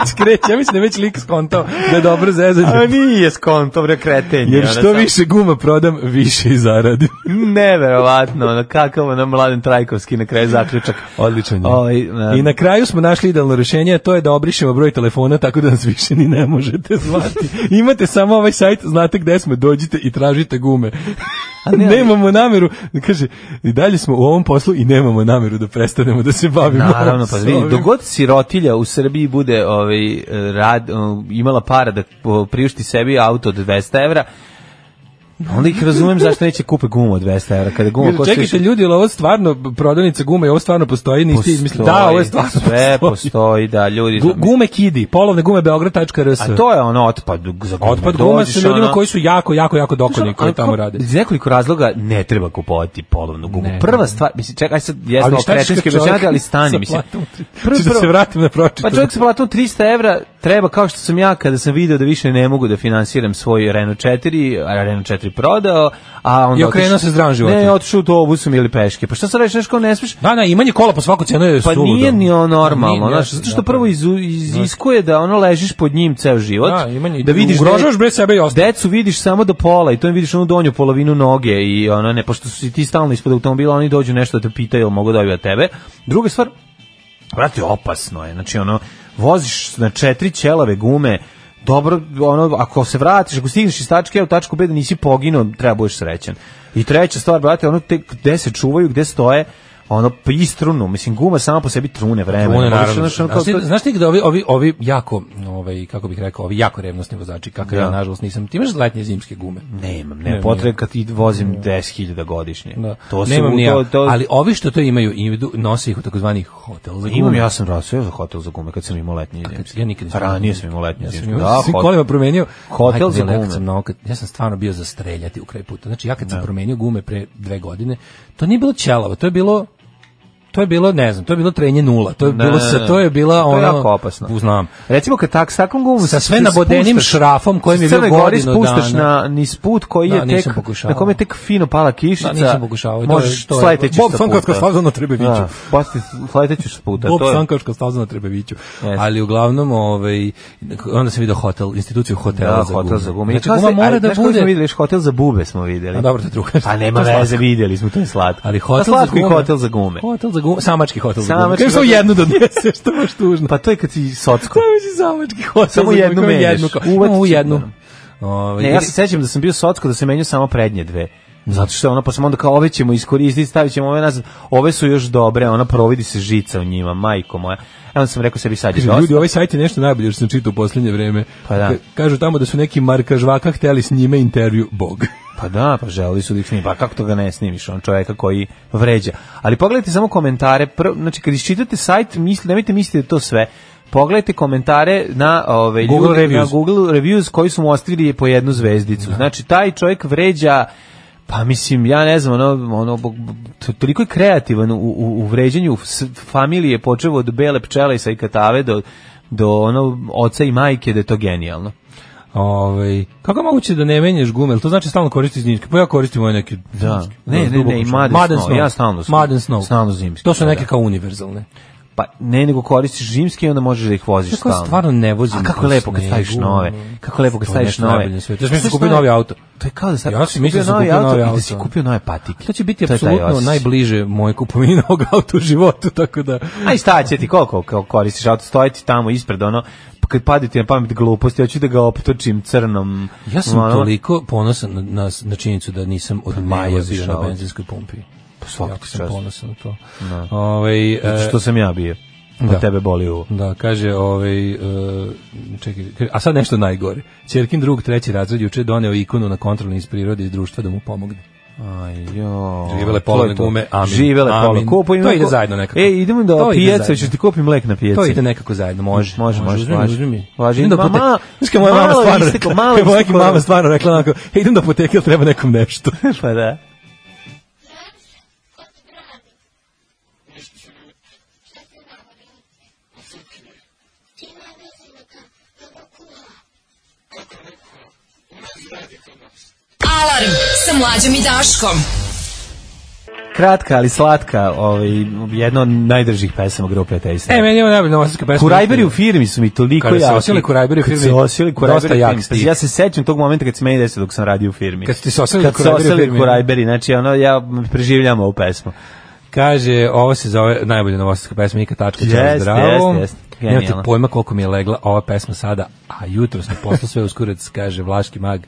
F: On skreće, ja mislim da je već lik skontao da je dobro zezanje.
E: nije skonto, bre, kretenje. ono
F: Jer što više guma prodam, više i zaradim.
E: Neverovatno, ono, kakav ono mladen Trajkovski na kraju zaključak.
F: Odličan je.
E: Ovaj, da.
F: I na kraju smo našli idealno rješenje, a to je da obrišemo broj telefona tako da nas više ni ne možete zvati. Imate samo ovaj sajt, znate gde smo, dođite i tražite gume. A
E: ne, ali-
F: nemamo nameru, kaže, i dalje smo u ovom poslu i nemamo nameru da prestanemo da se bavimo.
E: Naravno, pa
F: s
E: vidi,
F: ovim.
E: dogod sirotilja u Srbiji bude ovaj, eh, rad, eh, imala para da po- priušti sebi auto od 200 evra, onda ih razumem zašto neće kupe gumu od 200 evra. Kada guma
F: Jer,
E: košta
F: Čekajte
E: više-
F: ljudi, jel ovo stvarno prodavnica gume, ovo stvarno postoji, niste izmislili. Da, ovo je stvarno
E: Sve
F: postoji.
E: postoji, da, ljudi...
F: Gu- Gume kidi, polovne gume beograd.rs.
E: A to je ono otpad za gume.
F: Otpad guma
E: Dođeš,
F: su ljudima
E: ono-
F: koji su jako, jako, jako dokoni
E: Znaš, ono,
F: koji
E: ali
F: tamo
E: ko-
F: rade.
E: Iz nekoliko razloga ne treba kupovati polovnu gumu.
F: Ne,
E: Prva stvar, mislim, čekaj, sad jesmo
F: Ali šta ćeš
E: okretenski
F: kad čovjek
E: objašnjati, ali
F: sa
E: stani, mislim.
F: platom tri- Ću da se vratim na pročito.
E: Pa čovjek sa platom 300 evra treba, kao što sam ja kada sam video da više ne mogu da finansiram svoj Renault 4, a Renault 4 prodao, a onda...
F: I okrenuo
E: otišao-
F: se zdravim životom.
E: Ne, otišao to obusom ili peške. Pa šta sad radiš, nešto kao ne smiješ?
F: Da, da, imanje kola po svaku cenu je
E: Pa
F: suludo.
E: nije ni ono
F: Nije,
E: normalno,
F: nije,
E: znaš, zato što
F: da,
E: prvo izu- iziskuje da ono ležiš pod njim ceo život,
F: Da, imanje,
E: da vidiš
F: ugrožavaš bre sebe i ostalo.
E: Decu vidiš samo do pola i to im vidiš onu donju polovinu noge i ono ne, pošto su ti stalno ispod automobila, oni dođu nešto da te pitaju, jel mogu dobiti od tebe. Druga stvar, brate, opasno je. Znači, ono, voziš na četiri ćelave gume, dobro, ono, ako se vratiš, ako stigneš iz tačke A u tačku B da nisi poginuo, treba budeš srećan. I treća stvar, brate, ono, te, gde se čuvaju, gde stoje, ono, i strunu, mislim, guma sama po sebi trune vremena. Moraš,
F: One, naravno.
E: znaš, ono,
F: Znaš
E: kao
F: ti,
E: to-
F: znaš ti da ovi, ovi, ovi jako, ovaj, kako bih rekao, ovi jako revnosni vozači, kakav ja,
E: Da.
F: nažalost, nisam. Ti imaš letnje i zimske gume?
E: Nemam, nemam potrebe kad i vozim 10.000 godišnje.
F: Da.
E: To su,
F: Nemam ni ja.
E: to, to,
F: Ali ovi što to imaju, idu, nose ih u takozvani hotel za gume.
E: Imam, ja sam rasio za hotel za gume kad sam imao letnje
F: Kad-
E: zimske.
F: ja nikad nisam.
E: pa Ranije sam imao letnje
F: Ja sam
E: zimske.
F: imao-
E: Da,
F: sam
E: hot-
F: kolima promenio.
E: Hotel
F: Majko
E: za
F: mila, kad
E: gume.
F: sam nauka, ja sam stvarno bio za streljati u kraj puta. Znači ja kad sam promenio gume pre dve godine, to nije bilo ćelavo, to je bilo To je bilo, ne znam, to je bilo trenje nula. To je
E: Ne,
F: bilo
E: ne,
F: sa
E: ne.
F: to je bila
E: To je
F: ono
E: jako opasno.
F: Znam.
E: Recimo kad tak, s takvom gumom
F: Sa
E: se
F: sve
E: ti
F: nabodenim
E: spuštaš-
F: šrafom kojim je
E: s Crne
F: bio
E: Gore
F: godinu
E: spuštaš
F: dana.
E: na niz put koji
F: Da,
E: je tek
F: nisam pokušavao.
E: na kome je tek fino pala kišica.
F: Da, Znači, nisam pokušavao, i to je-
E: Možeš
F: to je-
E: sleteć
F: Bob
E: sa
F: Sankarska
E: puta.
F: staza na Trebeviću.
E: Da, pasti sleteću s puta.
F: ono Bob
E: Pa to je-
F: Sankaška staza na Trebeviću.
E: Jeste.
F: Ali uglavnom, ovaj, onda sam vidio hotel, instituciju hotela
E: Da,
F: za
E: hotel za gume. I
F: Znači,
E: kao
F: guma
E: se-
F: mora
E: a,
F: da
E: znaš kako smo
F: bude...
E: videli, još hotel za bube smo videli.
F: A dobro, to je druga
E: A
F: stvar.
E: nema
F: To je
E: veze,
F: slatko.
E: vidjeli smo, to je slatko.
F: Ali
E: Pa
F: hotel
E: slatko
F: za
E: i
F: gume.
E: hotel za gume.
F: Hotel za gume, samački hotel za gume.
E: Samački
F: Kažeš samo
E: hotel-
F: jednu da doneseš, to je baš tužno.
E: Pa to je kad si socko.
F: Samački samački hotel
E: Samo
F: za gume,
E: jednu
F: kao
E: menjaš.
F: jednu, kao-
E: Uvatit
F: Imamo
E: ću
F: jednu.
E: jednom.
F: Ovaj,
E: Ne, ja
F: vidi-
E: se sećam da sam bio socko da se menjao samo prednje dve. Zato što ono, pa sam onda kao, ove ćemo iskoristiti, stavit ćemo ove nazad, ove su još dobre, ona providi se žica u njima, majko moja. Evo sam rekao sebi sad je
F: Kaže,
E: dosta.
F: ljudi, ovaj sajt je nešto najbolje što sam čitao u posljednje vreme.
E: Pa da.
F: Ka- Kažu tamo da su neki markažvaka hteli s njime intervju Bog.
E: Pa da, pa želi su da ih snimi. Pa kako to ga ne snimiš, on čoveka koji vređa. Ali pogledajte samo komentare, prv, znači kad iščitate sajt, misli, nemojte misliti da je to sve. Pogledajte komentare na ove
F: Google
E: ljudi- na
F: reviews.
E: Google reviews koji su mu ostavili po jednu zvezdicu. Znači taj čovjek vređa Pa mislim, ja ne znam, ono, ono bo- bo- to- toliko je kreativan u, u, u vređanju s- familije, počeo od bele pčele i sa ikatave do, do ono, oca i majke, da je to genijalno.
F: Ovaj, kako je moguće da ne menjaš gume? Jel To znači stalno koristiš zimske. Pa ja koristim ove neke...
E: Da.
F: zimske.
E: Ne, ne,
F: Duboko
E: ne, i
F: šum.
E: Madden Snow, ja stalno snow.
F: Madden Snow.
E: Stalno zimske,
F: To su neke
E: da.
F: kao univerzalne.
E: Pa ne, nego koristiš zimski i onda možeš da ih voziš
F: Kako ja
E: stalno.
F: stvarno ne vozim
E: A kako
F: po
E: je lepo kad
F: snegu,
E: staviš nove.
F: ono.
E: Kako je lepo kad
F: To je
E: staviš
F: nešto
E: nove.
F: najbolje na svijetu. Ja sam
E: Znaš
F: kupio
E: šta je?
F: novi auto.
E: To je kao da sad
F: Ja sam mislio da sam kupio novi
E: i da
F: auto,
E: si
F: ono.
E: kupio nove patike.
F: To će biti
E: je taj
F: apsolutno
E: osjećaj.
F: najbliže moje kupovini novog auta u životu, tako da...
E: A i šta će ti, koliko kao koristiš auto, stoji ti tamo ispred, ono, pa kad padi ti na pamet gluposti, ja ću da ga optočim crnom.
F: Ja sam
E: ono.
F: toliko ponosan na, na, na činjenicu da nisam od maja
E: voziš
F: bio na
E: auto.
F: benzinskoj pumpi.
E: Pa svaka
F: jako
E: ti
F: sam
E: čast.
F: ponosan na to.
E: Da.
F: Ovaj, e,
E: Zato što sam ja bio. Od
F: da.
E: tebe boli ovo.
F: Da, kaže, ovaj, e, čekaj, kaže, a sad nešto najgore. Ćerkin drug, treći razred, juče je doneo ikonu na kontrolni iz prirode i društva da mu pomogne.
E: Aj, jo.
F: Živele
E: To je
F: polovne
E: to.
F: gume, amin.
E: Živele
F: Amin.
E: polovne. Kupujem-
F: To ide zajedno nekako.
E: E, idemo do
F: To ide
E: pijace,
F: zajedno.
E: ćeš ti kupim lek na pijaci.
F: To ide nekako zajedno, može.
E: Može, može,
F: uzmi mi,
E: može.
F: Uzmi mi.
E: Važi.
F: Idem do
E: Ma, ma,
F: apoteke. Znaš kad moja mama
E: malo
F: stvarno
E: isteklo,
F: rekla,
E: malo
F: kad moja
E: isteklo.
F: mama stvarno rekla onako, "E, idem do apoteke, jel treba nekom nešto.
E: pa da.
D: Alarm sa mlađom i Daškom.
E: Kratka, ali slatka, ovaj, jedna od najdržih pesama grupe Taste.
F: E, meni je ovo najbolja novosadska pesma.
E: Kurajberi u firmi su mi toliko
F: Kada
E: jaki.
F: se osjeli kurajberi u
E: Kad se
F: firmi,
E: osjeli kurajberi
F: dosta
E: u
F: jak
E: firmi.
F: stih.
E: Pazi, Ja se sećam tog momenta kad se meni desilo dok sam radio u firmi.
F: Kad su ti se osjeli
E: Kad se
F: kurajberi u
E: osjeli
F: firmi.
E: kurajberi, znači ono, ja preživljam ovu pesmu.
F: Kaže, ovo se zove najbolja novosadska pesma Ika Tačka, čao
E: Jeste,
F: zdravo.
E: jeste, jeste.
F: Nemate
E: Genijalno.
F: pojma koliko mi je legla ova pesma sada, a jutro sam posla sve uskurac, kaže Vlaški mag.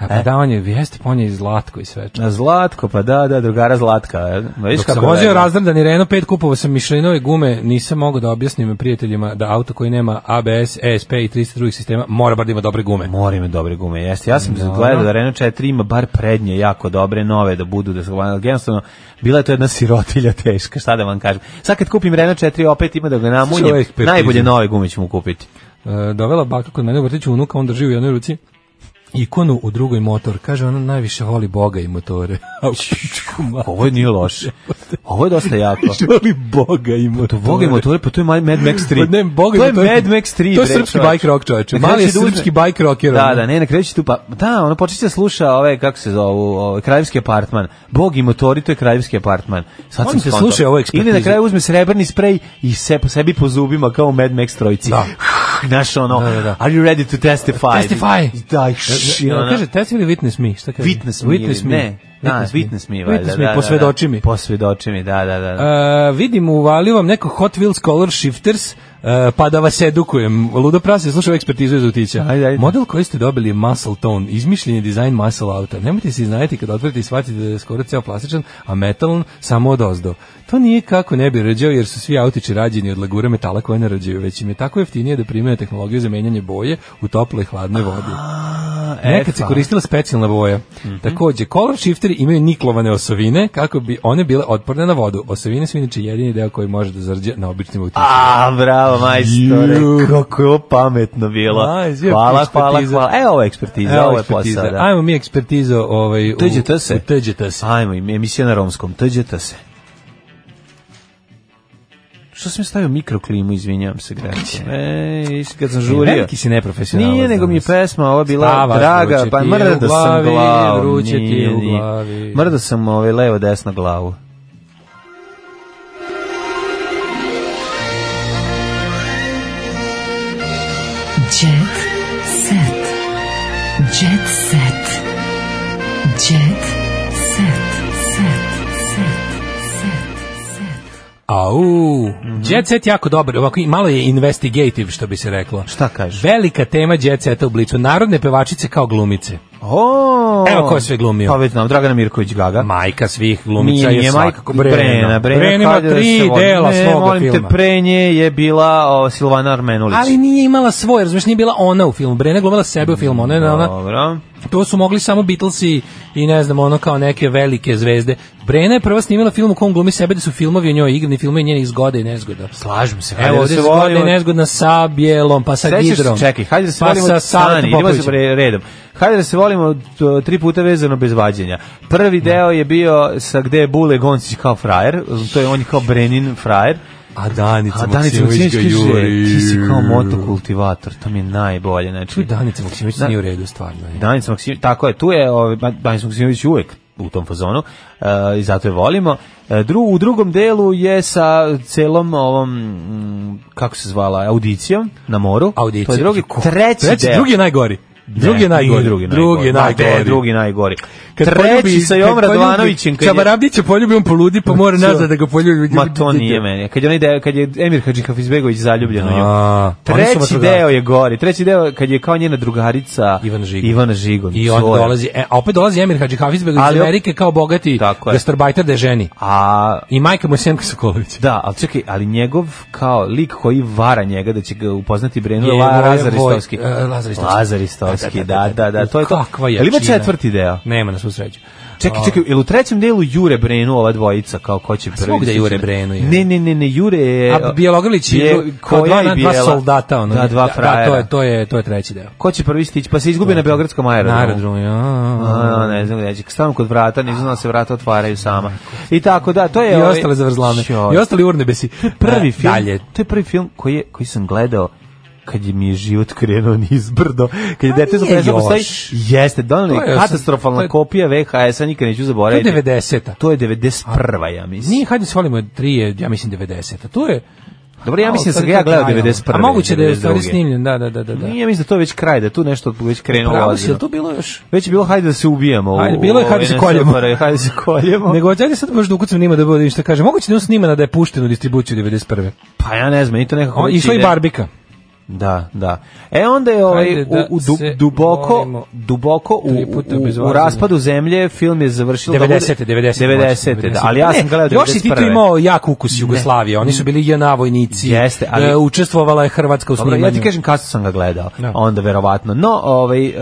E: E.
F: A pa da, on je, jeste, pa on je i zlatko i sve.
E: A Zlatko, pa da, da, drugara Zlatka. e. Ma, Viš
F: Dok sam
E: kako
F: vozio
E: je,
F: razdrandani Renault 5, kupovao sam Michelinove gume, nisam mogao da objasnim prijateljima da auto koji nema ABS, ESP E i 300 drugih sistema mora bar da ima dobre gume.
E: Mora ima dobre gume, jeste. Ja sam gledao da Renault 4 ima bar prednje jako dobre nove da budu, da se ali jednostavno bila je to jedna sirotilja teška, šta da vam kažem. Sad kad kupim Renault 4 opet ima da ga namunjem,
F: Čovjek petizam.
E: najbolje nove gume ću mu kupiti.
F: E, dovela baka kod mene u vrtiću unuka, on drži u jednoj ruci ikonu u drugoj motor. Kaže, ona najviše voli Boga i motore. A u pičku mater.
E: Ovo je nije loše. Ovo je dosta jako.
F: voli Boga i motore.
E: To Boga i motore, pa to je Mad Max 3.
F: Pa ne, Boga i
E: to je
F: motore.
E: Mad Max 3.
F: To je
E: bre,
F: srpski
E: čovječe.
F: bike rock, čovječe.
E: Na kraju
F: Mali je
E: će da uzme-
F: srpski bike rocker,
E: Da,
F: ono.
E: da, ne, na kraju će tu pa da, ono počeće da sluša ove kako se zovu, ove, kraljevski apartman. Bog i motori, to je kraljevski apartman. Sad
F: On
E: sam
F: se
E: skontao.
F: sluša ovo ekspertizu.
E: Ili na kraju uzme srebrni sprej i se po sebi po zubima kao u Mad Max trojici.
F: Da.
E: Naš ono,
F: Da, da, da.
E: are you ready to testify?
F: Testify.
E: Da, i
F: Da,
E: šš, i
F: da,
E: ono.
F: kaže, test ili witness me? Šta kaže?
E: Witness me, ili- ne, da,
F: Witness me.
E: witness me, valjda,
F: Witness
E: da, da,
F: me,
E: da.
F: posvedoči mi.
E: Posvedoči mi, da, da, da. da.
F: E, vidim, uvalio vam neko Hot Wheels Color Shifters, e, pa da vas edukujem. Ludo Prase, slušaj ovu ekspertizu iz utića.
E: Ajde, ajde.
F: Model koji ste dobili je Muscle Tone, izmišljen je dizajn muscle auta. Nemojte se iznajeti kad otvorite i shvatite da je skoro ceo plastičan, a metalan samo od ozdo. To nije kako ne bi rađao, jer su svi autići rađeni od lagure metala koje ne rađaju, već im je tako jeftinije da primaju tehnologiju za menjanje boje u toploj i hladnoj vodi. Nekad se
E: eto.
F: koristila specijalna boja. Takođe, color shifteri imaju niklovane osovine kako bi one bile otporne na vodu. Osovine su inače jedini deo koji može da zarđe na običnim utičima.
E: A, bravo, majstore,
F: Ju.
E: kako je ovo pametno bilo.
F: Aj, je
E: hvala, hvala,
F: ekspertiza.
E: hvala. Evo ovo je ekspertiza,
F: Evo
E: ovo je
F: ekspertiza.
E: posao. Da.
F: Ajmo mi ekspertizo ovaj, u
E: Tđete se.
F: u tđete se.
E: Ajmo, im- emisija na romskom, tđete se. Što sam stavio mikroklimu, izvinjavam se, Gretko. Ej, kad sam žurio.
F: Veliki si neprofesionalac.
E: Nije, nego mi je
F: danas.
E: pesma ova bila
F: Spavaš,
E: draga,
F: vruće
E: pa
F: ti je
E: mrda
F: u
E: da sam
F: glavi,
E: glavu.
F: vruće ti
E: nije,
F: je u
E: nije.
F: glavi.
E: Mrda sam ovaj, levo desno glavu.
D: Jet set. Jet set. Jet set. Set. Set.
F: Au,
E: Mhm.
F: Jet Set jako dobar, ovako i malo je investigative što bi se reklo.
E: Šta kažeš?
F: Velika tema Jet Seta u blicu, narodne pevačice kao glumice.
E: O,
F: Evo ko je sve glumio.
E: Pa već znam, Dragana Mirković Gaga.
F: Majka svih
E: Nije,
F: glumica
E: nije
F: je
E: majka
F: svakako
E: Brena.
F: Brena. Brena ima
E: kaže da se
F: tri
E: voli.
F: dela
E: ne,
F: svoga
E: molim
F: filma.
E: te, pre nje je bila o, Silvana Armenulić.
F: Ali nije imala svoj, razumiješ, nije bila ona u filmu. Brena je glumila sebe u filmu, ona, je ona,
E: Dobro.
F: to su mogli samo Beatlesi i ne znam, ono kao neke velike zvezde. Brena je prvo snimila film u kom glumi sebe da su filmovi o njoj igrani, filmovi njenih zgoda i nezgoda.
E: Slažem se.
F: Evo ovdje je zgodna i nezgodna sa bijelom, pa sa
E: Sećaš
F: Gidrom.
E: se, čekaj, hajde da se
F: pa
E: volimo,
F: sa Savetom
E: stani, idemo se
F: Popovićem.
E: pre- redom. Hajde da se volimo t- tri puta vezano bez vađenja. Prvi deo je bio sa gde je Bule Goncić kao frajer, to je on je kao Brenin frajer.
F: A Danica
E: A Danica
F: Maksimović
E: Maksimović
F: ga
E: kaže,
F: juri.
E: ti si kao motokultivator, to mi je najbolje.
F: Tu
E: Znači,
F: je Danica Maksimović
E: Da.
F: nije u redu, stvarno. je.
E: Danica Maksimović, tako je, tu je ovaj, Ma- Danica Maksimović uvek u tom fazonu e, i zato je volimo. E, dru, u drugom delu je sa celom ovom, mm, kako se zvala, audicijom na moru.
F: Audicija.
E: To je drugi,
F: Ko-
E: treći,
F: Treći,
E: deo.
F: drugi je najgori. Drugi je najgori.
E: Drugi, je
F: Drugi je
E: Ma,
F: najgori.
E: de, drugi je najgori.
F: Kad
E: Treći
F: poljubi-
E: sa
F: kad
E: Jom
F: poljubi
E: Radovanovićem. kad je-
F: Čabarabdića poljubi, on poludi, pa mora nazad da ga poljubi.
E: Ma to nije meni. Kad je onaj deo, kad je Emir Hadžihafizbegović zaljubljen u nju.
F: A, oni su
E: Treći
F: vatrogasci.
E: deo je gori. Treći deo kad je kao njena drugarica
F: Ivan Žigon.
E: Ivana Žigon.
F: I on
E: svoja.
F: dolazi, e, a opet dolazi Emir Hadžihafizbeg iz
E: Ali op-
F: Amerike kao bogati
E: Tako je.
F: gastarbajter da je ženi.
E: A
F: I majka mu je Semka Sokolović.
E: Da, ali čekaj, ali njegov kao lik koji vara njega da će ga upoznati Brenu je
F: Je
E: La-
F: Voja-
E: Lazar Istovski.
F: Voj- e, Lazar Istovski.
E: Lazar Istovski, da, da, da, to je to.
F: Kakva
E: Ali ima
F: jačina.
E: četvrti deo.
F: Nema na svu sreću.
E: Čekaj, čekaj, ili u trećem delu jure Brenu ova dvojica kao ko će prvi?
F: svugde
E: stići?
F: Jure Brenu je.
E: Ne, ne, ne, ne, Jure je...
F: A Bjelogrlić
E: Bje-
F: je kao
E: koja
F: dva,
E: i
F: dva
E: Bijela.
F: soldata. Ono,
E: Da, dva
F: Da,
E: frajera.
F: to je, to je, to je treći deo.
E: Ko će prvi stići? Pa se izgubi na Beogradskom aerodromu.
F: Na aerodromu, ja.
E: A, ne znam gde će. Stavim kod vrata, ne znam da se vrata otvaraju sama. I tako da, to je...
F: I
E: ovaj-
F: ostale zavrzlame.
E: Ćao.
F: I ostali urnebesi.
E: To je prvi
F: E,
E: film.
F: Dalje.
E: To je prvi film koji je koji sam gledao kad je mi je život krenuo nizbrdo. Kad je dete za
F: Pa nije
E: prešlo
F: još.
E: postoji, jeste, donali
F: To je
E: katastrofalna
F: to je-
E: kopija VHS-a, nikad neću
F: To je
E: zaboraviti.
F: 90-a.
E: To je 91. ja mislim.
F: Nije, hajde svolimo, je tri je, ja mislim, 90-a. To je...
E: Dobro, ja
F: A,
E: mislim da
F: u
E: sam
F: stvari
E: ga ja
F: to je
E: gledao
F: kraj, ono.
E: 91.
F: A moguće da je u stvari
E: 92..
F: snimljen, da, da, da. da. da.
E: Nije, mislim da to je već kraj, da je tu nešto već krenulo
F: Pravo si,
E: ozbiljno.
F: jel to bilo još?
E: Već je bilo hajde da se ubijemo. u-
F: Hajde, bilo je,
E: u
F: hajde se
E: ove
F: koljemo.
E: nesopare, Hajde se koljemo.
F: Nego, ajde sad možda ukucam nima da bude ništa kaže. Moguće da je on snimana da je pušten u distribuciju 91.
E: Pa ja ne znam, meni to nekako...
F: On,
E: već
F: išla i
E: ide.
F: Barbika.
E: Da, da. E onda je ovaj,
F: Hajde da
E: u, u du-
F: se
E: duboko,
F: molimo
E: duboko u,
F: tri puta
E: u-
F: bez
E: u
F: vazduha.
E: raspadu zemlje film je završilo... da bude-
F: 90. 90.
E: 90. da, ali ja
F: Pa Ne,
E: sam gledao 91.
F: Još si ti tu imao jak ukus Jugoslavije. Oni su bili JNA vojnici.
E: Jeste, ali-
F: E, učestvovala je Hrvatska u
E: Dobro,
F: snimanju.
E: ja ti kažem kasno sam ga gledao,
F: Da.
E: onda verovatno. No, ovaj, e,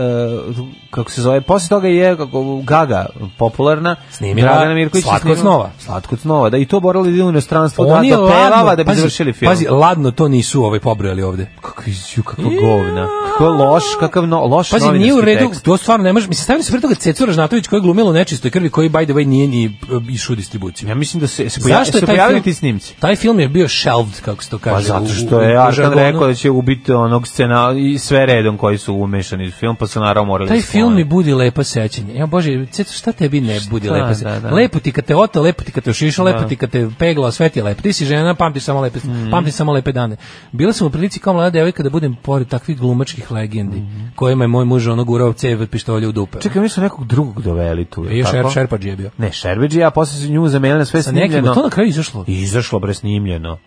E: kako se zove, posle toga je kako, Gaga popularna.
F: Snimila
E: Dragana Mirković je
F: Slatko od
E: snimila-
F: snova.
E: Slatko od snova, da i to borali da idu u inostranstvo, da,
F: Oni
E: da
F: je ladno-
E: pevava da bi
F: pazi,
E: završili film.
F: Pazi, ladno to nisu ovaj pobrojali ovde.
E: kako, ju, kako govna, kako loš, kakav no, loš
F: Pazi,
E: novinarski
F: nije u redu,
E: tekst.
F: to stvarno ne može. Mislim, stavili su pre toga Cecu Ražnatović koji je glumila u nečistoj krvi, koji, by the way, nije ni e, išao u distribuciju.
E: Ja mislim da se, se, poja,
F: Zašto
E: se
F: je taj
E: pojavili
F: film-
E: ti snimci.
F: Taj film je bio shelved, kako se to kaže.
E: Pa
F: u-
E: zato
F: u-
E: što
F: u-
E: je
F: u
E: Arkan
F: žargonu.
E: rekao da će ubiti onog scena i sve redom koji su umešani u film, pa su naravno morali
F: Taj
E: da sklone.
F: film mi budi lepo sećanje. Ja bože, Ceco, šta tebi ne budi lepo sećanje?
E: da, da.
F: Lepo ti kad te ota, lepo ti kad te ošiša, lepo ti kad te pegla, sve ti je lepo. Ti si žena, pamtiš samo lepe,
E: Mhm.
F: pamtiš samo lepe dane. Bila sam u prilici kao mlada devojka da budem pored takvih glumačkih legendi, kojima je moj muž ono gurao cev od pištolja u dupe.
E: Mhm. Čekaj, mi su nekog drugog doveli tu, je
F: I još
E: tako?
F: Šer, Šerpađi je bio.
E: Ne, Šerbeđi, a posle su nju zamenili na sve
F: Sa nekim,
E: snimljeno.
F: to na kraju izašlo.
E: I izašlo bre snimljeno.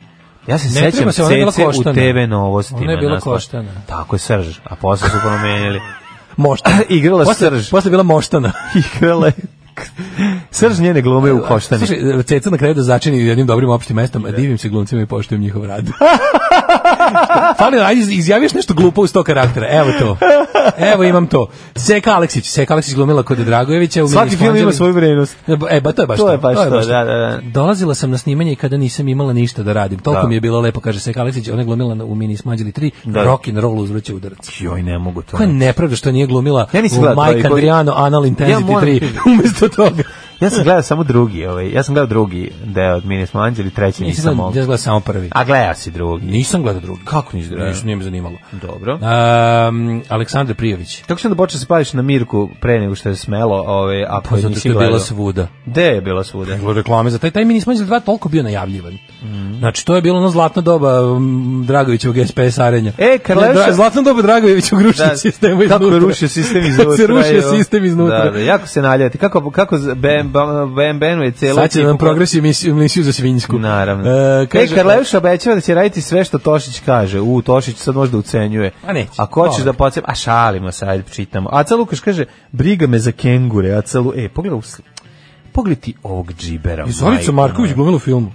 E: Ja se
F: Ne
E: sećam
F: treba se, ona je bila
E: Cece u
F: koštana.
E: TV novostima.
F: Ona je bila
E: naslov.
F: koštana.
E: Tako je Srž, a posle su promenili.
F: Moštana.
E: Igrala
F: posle,
E: Srž.
F: Posle je bila moštana.
E: Igrala je- Srž njene glume u koštani.
F: Slušaj, Ceca na kraju da začini jednim dobrim opštim mestom, a divim se glumcima i poštujem njihov rad. Fali, ajde, izjaviš nešto glupo u sto karaktera. Evo to. Evo imam to. Seka Aleksić. Seka Aleksić glumila kod Dragojevića. U
E: Svaki
F: Milis
E: film ima
F: Vanđeli.
E: svoju vrednost.
F: E, ba, to je baš
E: To je baš to, da, da, da.
F: Dolazila sam na snimanje i kada nisam imala ništa da radim. Toliko
E: Da.
F: mi je bilo lepo, kaže Seka Aleksić, ona je glumila na- u Mini Smađeli 3,
E: Da.
F: rock and roll uzvrće udarac.
E: Joj, ne mogu to.
F: Koja je nepravda što nije glumila
E: Ja nisam
F: u
E: gledao
F: Mike
E: Trojku.
F: Adriano Anal Intensity
E: moram-
F: 3 umesto toga.
E: Ja sam gledao samo drugi, ovaj. Ja sam gledao drugi deo od Minis Manđeli, treći
F: Nisam
E: nisam
F: gledao, ja
E: mogu.
F: sam gledao samo prvi.
E: A gledao si drugi.
F: Nisam gledao drugi. Kako nisi
E: gledao?
F: Nisam, nije me zanimalo.
E: Dobro.
F: Um, Aleksandar Prijević.
E: Kako sam da počeo se paviš na Mirku pre nego što je smelo, ovaj, a
F: Pa
E: pa
F: zato
E: nisi
F: što je
E: gledao?
F: bila svuda.
E: Gde je bila svuda?
F: Bilo reklame za taj, taj mini smađel 2 toliko bio najavljivan. Znači, to je bilo ono zlatno doba um, Dragovićevog SPS arenja.
E: E, Karleuša-
F: Dra- Zlatno doba Dragovićevog rušenja
E: Da,
F: sistema iznutra.
E: kako je rušio sistem iznutra.
F: Kako se rušio
E: evo.
F: sistem iznutra.
E: Da, da, jako se naljati. Kako, kako z- BM, BM, BM je celo...
F: Sad će nam progresi emisiju, emisiju za Svinjsku.
E: Naravno.
F: E,
E: e, Karleuša obećava da će raditi sve što Tošić kaže. U, Tošić sad možda ucenjuje.
F: A neće.
E: Ako hoćeš
F: Dobro.
E: da podsjeti... A šalimo se, ajde čitamo. Aca Lukaš kaže, briga me za kengure. Aca Lu... E, pogledaj u sli- Pogledaj ti ovog džibera.
F: I Zorica
E: majko
F: Marković
E: moja.
F: glumila u filmu.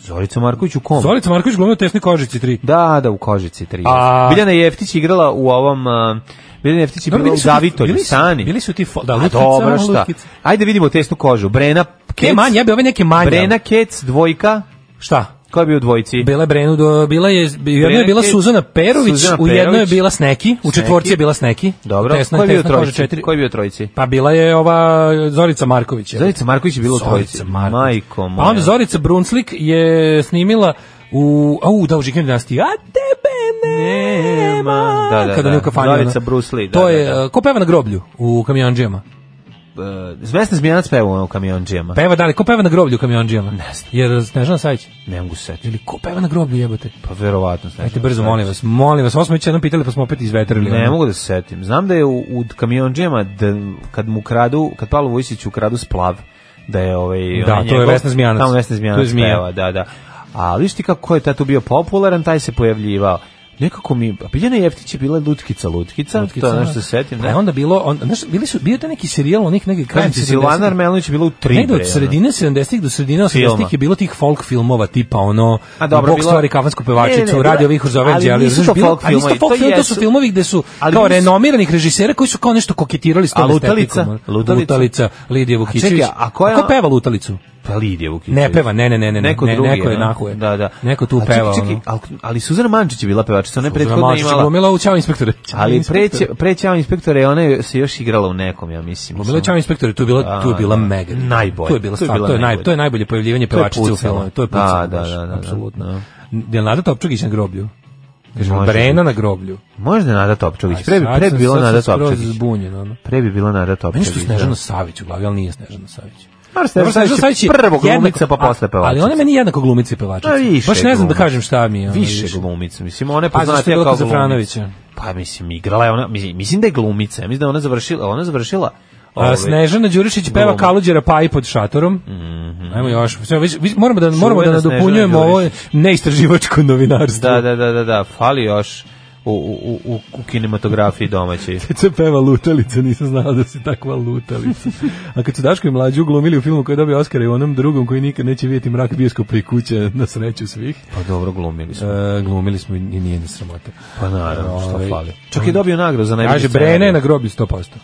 E: Zorica Marković u kom?
F: Zorica Marković glumila u Tesnoj kožici 3.
E: Da, da, u Kožici 3.
F: A-
E: Biljana Jeftić igrala u ovom... Uh, Biljana Jeftić je
F: Dobro,
E: bila u
F: bili su ti-
E: Zavitolju,
F: bili su-
E: Sani.
F: Bili su ti... fo- Da,
E: A
F: lutkica, ono,
E: dobro šta.
F: lutkica.
E: Ajde vidimo tesnu kožu. Brena Kec.
F: Ke manje, ja bi ove neke manje.
E: Brena Kec, dvojka.
F: Šta?
E: Ko je bio u dvojici?
F: Bila je Brenu, do- bila je, u jednoj je bila
E: Kec,
F: Suzana Perović,
E: Suzana
F: u jednoj je
E: Perović.
F: bila Sneki, u četvorci
E: Sneki.
F: je bila Sneki.
E: Dobro.
F: Tesna,
E: Ko je bio u
F: tesna koža
E: trojici?
F: četiri.
E: Ko je bio u trojici?
F: Pa bila je ova Zorica Marković. je li?
E: Zorica Marković je bila u trojici.
F: Zorica Marković.
E: Majko moja.
F: Pa onda Zorica Brunslik je snimila u... Au, da, u Žikin dinastiji. A tebe nema.
E: Nema. Da, da,
F: Kada
E: da.
F: nije u kafani.
E: Zorica
F: ona.
E: Bruce Lee, da,
F: to
E: da,
F: je,
E: da.
F: ko peva na groblju u kamionđijama?
E: E, Zvesna Zmijanac peva ono u kamionđijama.
F: Pa Peva da li, ko peva na groblju u kamionđijama?
E: Ne znam.
F: Jer Snežana Sajić?
E: Ne mogu se setiti.
F: Ili ko peva na groblju jebote?
E: Pa verovatno. Snežana
F: Ajte brzo,
E: Sajić.
F: molim vas, molim vas. Ovo smo već jednom pitali pa smo opet izvetrili.
E: Ne
F: ono.
E: mogu da se setim. Znam da je u, u kamionđijama, da, kad mu kradu, kad Pavlo Vujsiću kradu splav, da je ovaj...
F: Da,
E: onaj
F: to je Vesna Zmijanac.
E: Tamo Vesna Zmijanac
F: To je zmija.
E: peva, da, da. A vidiš ti kako je tad tu bio popularan, taj se pojavljivao. Nekako mi, a Biljana Jeftić je bila lutkica, lutkica, to je ono što se setim.
F: Pa je
E: Ne?
F: onda bilo, on, znaš, bili su, bio je taj neki serijal onih nekih krajem
E: Kažem ti, Silvana
F: 70-ih.
E: Armelović je bila u tri.
F: Pa Negde
E: bre,
F: od
E: ono.
F: sredine 70-ih do sredine
E: Filma.
F: 80-ih je bilo tih folk filmova tipa ono
E: A dobro,
F: Bog
E: bilo-
F: stvari kafansku
E: Ne, ne,
F: pevačicu,
E: ne,
F: radio
E: bila-
F: vihor za Avenđe,
E: ali
F: ali,
E: nisu
F: znaš,
E: to
F: bilo-
E: folk
F: ali nisu to
E: filmovi,
F: folk
E: to
F: filmovi, to su
E: jesu-
F: filmovi gde su
E: ali
F: kao
E: bili su-
F: renomiranih režisera koji su kao nešto koketirali s tom
E: A Lutalica?
F: estetikom, ono.
E: Lutalica?
F: Lutalica, Lidija Vukićević.
E: čekaj, a ko je on-
F: peva Lutalicu?
E: Pa Lidija Vukić.
F: Ne peva, ne, ne, ne, ne, ne,
E: Neko
F: ne,
E: drugi,
F: neko je
E: ono.
F: nahuj.
E: Da, da.
F: Neko tu
E: A čekaj,
F: peva,
E: čekaj,
F: ono.
E: ali, ali Suzana Mančić je bila pevačica, ona je prethodno
F: Mačić
E: imala...
F: glumila u Ćao inspektore.
E: Ali pre
F: Inspektore.
E: prećao inspektore, ona je se još igrala u nekom, ja mislim.
F: Glumila je Ćao inspektore, tu je bila,
E: A,
F: tu je bila
E: da.
F: mega.
E: Najbolje.
F: Tu je bila
E: Tu je
F: stvar,
E: bila
F: to je, naj,
E: najbolje.
F: to je najbolje pojavljivanje
E: To je
F: pevačice u
E: pucalo.
F: filmu. To je
E: Da,
F: pucalo,
E: da,
F: baš,
E: da, da, da.
F: apsolutno.
E: Da.
F: Jel Nada Topčugić na groblju? Kaže,
E: Može
F: Brena na groblju.
E: Možda je Nada Topčević.
F: Aj,
E: Pre bi
F: sad
E: pre bi
F: sam-
E: bila
F: sad sam
E: Nada
F: skroz
E: Topčević.
F: zbunjen, ono.
E: Pre bi bila Nada Topčević.
F: Meni što Snežana
E: da.
F: Savić u glavi, ali nije Snežana Savić.
E: Dobro, Snežana
F: Dobro,
E: Savić je prvo
F: jednako-
E: glumica, pa
F: a-
E: posle pevačica.
F: Ali ona je meni jednako glumica i pevačica.
E: A, više
F: Baš ne znam da
E: glumica.
F: kažem šta mi je. ono,
E: Više glumica, mislim, ona je
F: Pa, zašto je
E: poznatija
F: bila
E: kao
F: kod Zafranovića?
E: glumica. Pa mislim, igrala je ona, mislim, mislim da je glumica, ja mislim da je ona završila, ona završila Ovaj,
F: A, Snežana Đurišić peva
E: Glum.
F: Kaluđera Paji pod šatorom. Ajmo još. Sve, vi- vi- moramo da, moramo da
E: Mhm. Čuvena Snežana
F: nadopunjujemo ovo
E: Đurišić.
F: neistraživačko novinarstvo.
E: Da, da, da, da, da, fali još u, u, u, u kinematografiji domaćoj.
F: se peva lutalica, nisam znao da si takva lutalica. A kad su Daško i Mlađu glumili u filmu koji je dobio Oscara i u onom drugom koji nikad neće vidjeti mrak bioskopa i kuće na sreću svih,
E: Pa dobro, glumili smo.
F: e, glumili smo i nije na sramota.
E: Pa naravno, što
F: Ovaj,
E: fali. Čak je dobio nagradu za najbolji
F: Kaže, Brena je na groblju 100%.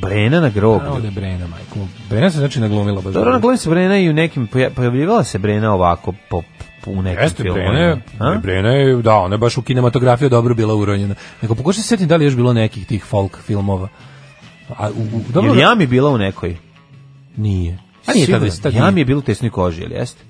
E: Brena na groblju.
F: Ovdje je Brena, majko. Brena se znači naglumila baš.
E: Dobro, na glumi se Brena i u nekim, poja- pojavljivala se Brena ovako po, po- u nekim
F: Jeste,
E: filmovima.
F: Brena, je-
E: ono, A?
F: Brena je, da, ona je baš u kinematografiju dobro bila uronjena. Nego pokušaj se sjetiti da li je još bilo nekih tih folk filmova. A, u, u, dobro,
E: Je li Jami bila u nekoj?
F: Nije. A nije tad,
E: Sigurno.
F: tad nije.
E: Jami je bila u tesnoj koži, jel jeste?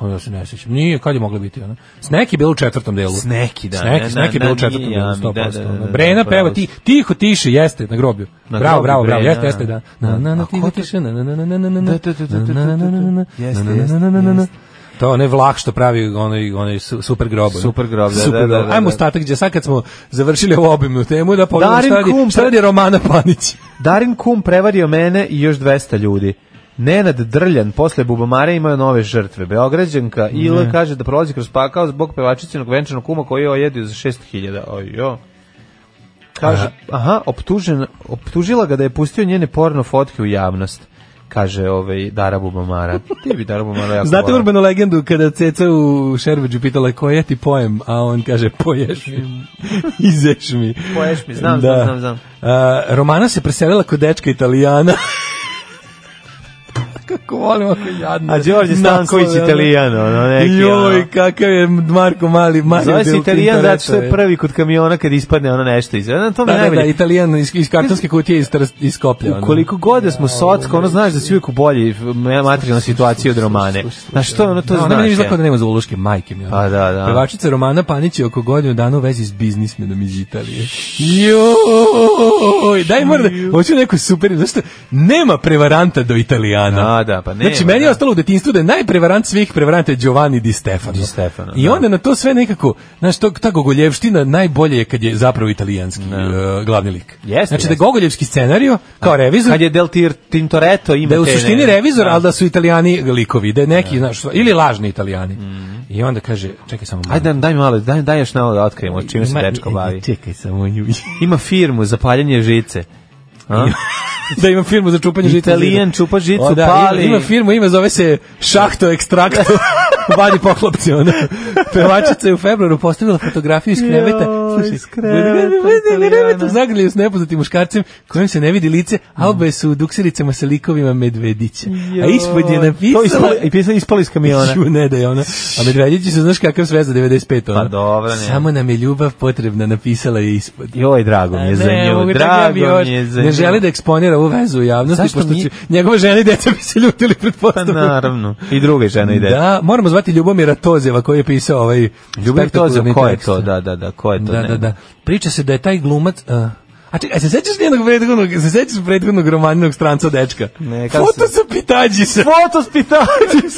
F: Pa ja se ne sećam. Nije, kad je mogla biti ona? Sneki je bila u četvrtom delu.
E: Sneki, da,
F: Sneki,
E: ne,
F: Sneki
E: ne,
F: je bila u
E: ne,
F: četvrtom
E: nije
F: delu,
E: Jami,
F: 100%.
E: da, da, da, da,
F: Brena
E: da,
F: peva
E: pravo
F: ti,
E: si.
F: tiho tiše, jeste, na groblju.
E: Na groblju
F: bravo, bravo, bravo,
E: Brena.
F: jeste, jeste, da. Na, na, na,
E: A
F: tiho
E: ko ti-
F: tiše, na, na, na, na, na, na, na, na,
E: Da, da, da, da, da,
F: na, na, na, na, na, na,
E: Jeste,
F: na, na,
E: jeste,
F: na, na, na, na.
E: jeste.
F: To onaj vlah što pravi onaj, onaj su- super grob. ono.
E: Super grob, da,
F: Super
E: da,
F: grob.
E: da, da, da.
F: Ajmo ostatak, gdje sad kad smo završili ovu obimnu temu, da pogledamo
E: Darin
F: šta radi,
E: Kum,
F: šta radi Romana Panić.
E: Darin Kum prevario mene i još 200 ljudi. Nenad Drljan posle Bubamare imaju nove žrtve. Beograđanka Ila kaže da prolazi kroz pakao zbog pevačicinog venčanog kuma koji je ojedio za 6000. Ojo. Kaže, aha, optužen, optužila ga da je pustio njene porno fotke u javnost kaže ovaj Dara Bubamara. Ti bi Dara Bubamara jako
F: Znate
E: volao.
F: urbanu legendu kada ceca u Šerbeđu pitala koji je ti pojem, a on kaže poješ mi, izeš mi.
E: Poješ mi, znam, znam, znam, znam.
F: A, Romana se preselila kod dečka Italijana. Kako volim ako je jadno.
E: A Đorđe Stanković
F: Naslove, ono.
E: Italijan, ono neki. ono.
F: Joj, kakav je Marko Mali. Mario
E: Zove se
F: Del
E: Italijan zato
F: Tintoretto
E: što je prvi kod kamiona kad ispadne ono nešto iz. Na to mi
F: Da,
E: je
F: da, da,
E: najbolje.
F: Italijan iz, iz kartonske kutije iz, Trst- iz Koplja. ono.
E: Koliko god da smo socka, ono znaš da si uvijek u bolji f- materijalnoj situaciji od romane. Znaš što ono to
F: da, ona
E: znaš?
F: meni izgleda
E: je?
F: kao da nema za uloške majke mi. ono.
E: Pa da, da.
F: Pevačica Romana Panić je oko godinu dana u vezi s biznismenom iz Italije. Joj, daj mora da, hoću neku super, zašto nema prevaranta do Italijana.
E: Da, da, pa nema,
F: Znači, meni je
E: da.
F: ostalo u detinstvu da je najprevarant svih prevaranta je Giovanni Di Stefano.
E: Di Stefano,
F: I
E: da.
F: onda na to sve nekako, znaš, to, ta gogoljevština najbolje je kad je zapravo italijanski e, glavni lik.
E: Jeste,
F: znači, da
E: jeste.
F: gogoljevski scenario, kao revizor,
E: Kad je Del Tir Tintoretto ima
F: da je u
E: te
F: suštini
E: ne-
F: revizor, ali da su italijani likovi, da je neki, znaš, ili lažni italijani.
E: Mm.
F: I onda kaže, čekaj samo malo.
E: Ajde, daj malo, daj, daj još malo da otkrijemo čime se
F: Ima- E,
E: dečko bavi.
F: Čekaj samo nju.
E: Ima firmu za paljenje žice. A?
F: da ima firmu za čupanje žice.
E: Italijan čupa žicu,
F: O, da,
E: pali.
F: Ima, ima firmu, ime zove se Šahto Ekstrakto. Vadi poklopci, ono. Pevačica je u februaru postavila fotografiju iz kreveta.
E: Joj,
F: Slušaj,
E: iz kreveta,
F: kreveta
E: Italijana.
F: zagrljaju s nepoznatim muškarcem kojem se ne vidi lice, a obe su u duksiricama sa likovima medvedića. A ispod je
E: To
F: napisala...
E: ispali- i pisali ispali iz kamiona.
F: Ju, ne da je ona. A Medvedjići su, znaš kakav sve za 95 ona.
E: Pa dobro, ne.
F: Samo nam je ljubav potrebna, napisala je ispod.
E: Joj, drago mi je za
F: Ne, mogu
E: nju,
F: čak ja bi
E: drago
F: još-
E: mi je za nju.
F: Ne želi da eksponira ovu vezu u javnosti,
E: Zašto
F: pošto
E: mi-
F: će njegove žene i deca bi se ljutili
E: Pa
F: pretpostavljam.
E: naravno. I druga žena ide.
F: Da, moramo zvati Ljubomira Tozeva koji je pisao ovaj
E: Ljubim to za
F: spektakularni
E: ko je
F: tekst.
E: to, da, da, da, ko je to.
F: Da,
E: ne.
F: da, da. Priča se da je taj glumac... a, A čekaj, a se sećaš njenog prethodnog, se sećaš prethodnog romaninog stranca dečka?
E: Ne, kako
F: Foto
E: se-
F: sa pitađisa.
E: Foto s pitađi,
F: Ti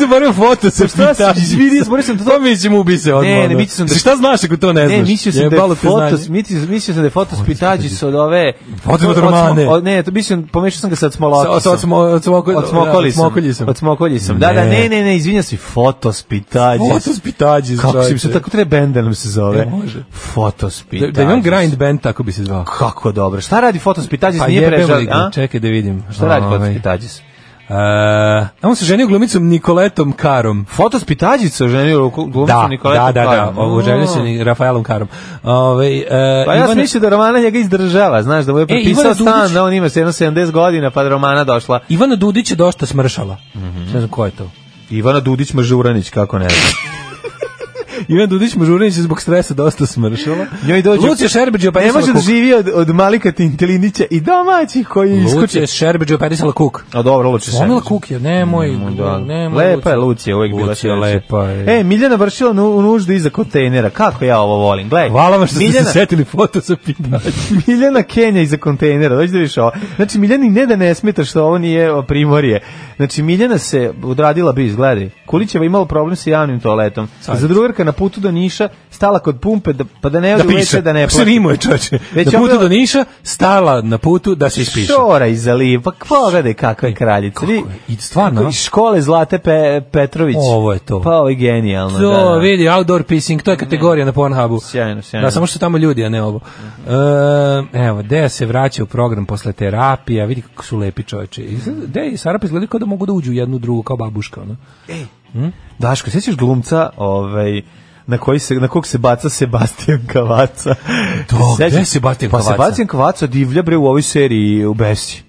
F: se borio foto sa
E: Šta si-
F: pitađisa.
E: vidi, zaboravio sam to-
F: To mi ćemo ubi se odmah.
E: Ne, ne,
F: ono.
E: mislio sam da-
F: Se Šta znaš ako to ne
E: Ne,
F: znaš?
E: mislio sam da
F: Jebalo
E: je
F: te znanje.
E: fotos, mislio, mislio sam da je fotos pitađis od ove...
F: Od Romane.
E: od- ne, to mislim, pomešao sam ga sa Smolokisom.
F: Sa- od smo- od smoko-
E: Od Smokolji
F: da, od Smokolji sam.
E: Od Smokolji sam. Da, da, ne, ne, ne, izvinjam se, fotos pitađis.
F: Fotos pitađisa.
E: Kako se
F: čoveče.
E: mislim, tako treba bend da nam se zove.
F: E, može.
E: Fotos
F: Da,
E: pitađis.
F: da imam grind band, tako bi se zvao.
E: Kako dobro. Šta radi fotos pitađis?
F: Pa
E: Nije
F: jebem
E: prežal,
F: li ga,
E: a?
F: Čekaj da vidim.
E: Šta radi fotos
F: Ovaj,
E: pitađis?
F: e, a on se ženio glumicom Nikoletom Karom.
E: Fotos pitađis se oženio glumcu
F: Da,
E: Nikoleta
F: da, da, da,
E: Karam.
F: ovo želio se ni Rafaelom Karom. Ove, e,
E: Mm. Pa ja sam
F: Ivane- E,
E: mislio da Romana njega izdržava, znaš, da mu je prepisao
F: Ivana
E: stan,
F: Dudić-
E: da on ima 70 godina, pa da Romana došla.
F: Ivana Dudić je dosta smršala.
E: Mhm.
F: Ne znam ko je to.
E: Ivana Dudić Mažuranić, kako ne znam.
F: Ivana Dudić Mažurinić je zbog stresa dosta smršala.
E: Njoj dođe...
F: Lucija Šerbeđe
E: Pa ne
F: operisala
E: može da
F: kuk.
E: živi od, od Malika Tintelinića i domaćih koji je
F: Lucija
E: iskuče.
F: Šerbeđe operisala kuk.
E: A dobro, Lucija
F: Slomila
E: Šerbeđ.
F: kuk je, nemoj,
E: Mm, Da.
F: nemoj.
E: Lepa je Lucija, uvek bila
F: Lucija
E: sreća.
F: lepa je.
E: E, Miljana vršila nu, nuždu iza kontejnera. Kako ja ovo volim, gledaj.
F: Hvala vam što ste
E: Miljana-
F: se setili foto sa pitađa.
E: Miljana Kenja iza kontejnera, dođi da vidiš ovo. Znači, Miljani ne da ne smeta što ovo nije o, primorje. Znači, Miljana se odradila bi, izgledaj. Kulićeva imala problem sa javnim toaletom. Za drugarka na putu do Niša stala kod pumpe da, pa da ne ode u WC da ne
F: Sve rimo je čoče.
E: Već je
F: na putu
E: ono-
F: do Niša, stala na putu da se ispiše.
E: Šora iza liva, pa pogledaj kakva je kraljica.
F: Kako je? I stvarno, ono?
E: Kako- iz škole Zlate Pe- Petrović.
F: Ovo je to.
E: Pa ovo je genijalno.
F: To,
E: da, da.
F: vidi, outdoor pissing, to je kategorija na Pornhubu.
E: Sjajno, sjajno. Mhm.
F: Da, samo što su tamo ljudi, a ne ovo. E, evo, Deja se vraća u program posle terapija, vidi kako su lepi čoveče. Izgleda- Deja i Sarapa izgledaju kao da mogu da uđu u jednu u drugu, kao babuška, ono.
E: Daško, sjećaš glumca, ovaj na koji se na kog se baca Sebastian Kavaca.
F: To,
E: Sjećaš?
F: gde je Sebastijan
E: pa
F: Kavaca?
E: Sebastian Kavaca divlja bre u ovoj seriji u Besi.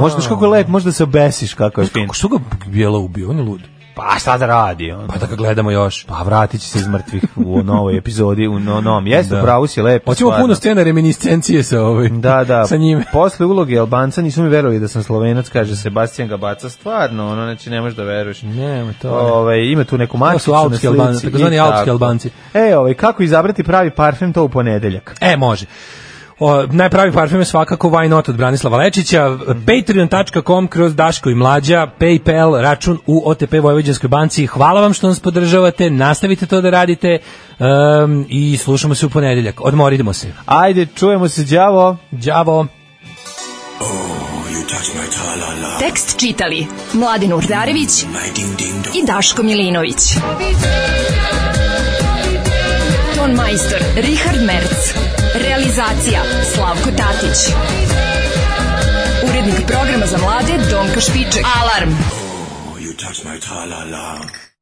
E: Možda znaš kako je lep, možda se obesiš kako je fin.
F: Kako su ga bijela ubio, on je lud.
E: Pa šta da radi on?
F: Pa da ga gledamo još.
E: Pa vratit će se iz mrtvih u novoj epizodi, u no, novom. Jeste, da. pravo si lepo.
F: Hoćemo
E: stvarno.
F: puno scena reminiscencije sa ovaj,
E: Da, da.
F: sa njime.
E: Posle uloge Albanca nisu mi verovali da sam Slovenac, kaže Sebastian Gabaca, stvarno, ono, znači ne možeš da veruješ.
F: Nema to.
E: Ovaj ima tu neku mačicu na
F: alpski
E: slici
F: Albanci, takozvani
E: i tako.
F: alpski Albanci.
E: E, ovaj kako izabrati pravi parfem to u ponedeljak.
F: E, može. O, najpravi parfum je svakako Why Not od Branislava Lečića, patreon.com kroz Daško i Mlađa, Paypal, račun u OTP Vojvođanskoj banci. Hvala vam što nas podržavate, nastavite to da radite em, i slušamo se u ponedeljak. Odmorimo se.
E: Ajde, čujemo se, đavo.
F: Đavo!
D: Tekst čitali Mladin Urdarević i Daško Milinović. Ton majstor Richard Merc. Realizacija Slavko Tatić. Urednik programa za mlade Donka Špiček. Alarm!
G: Oh, you touch my tra-la-la.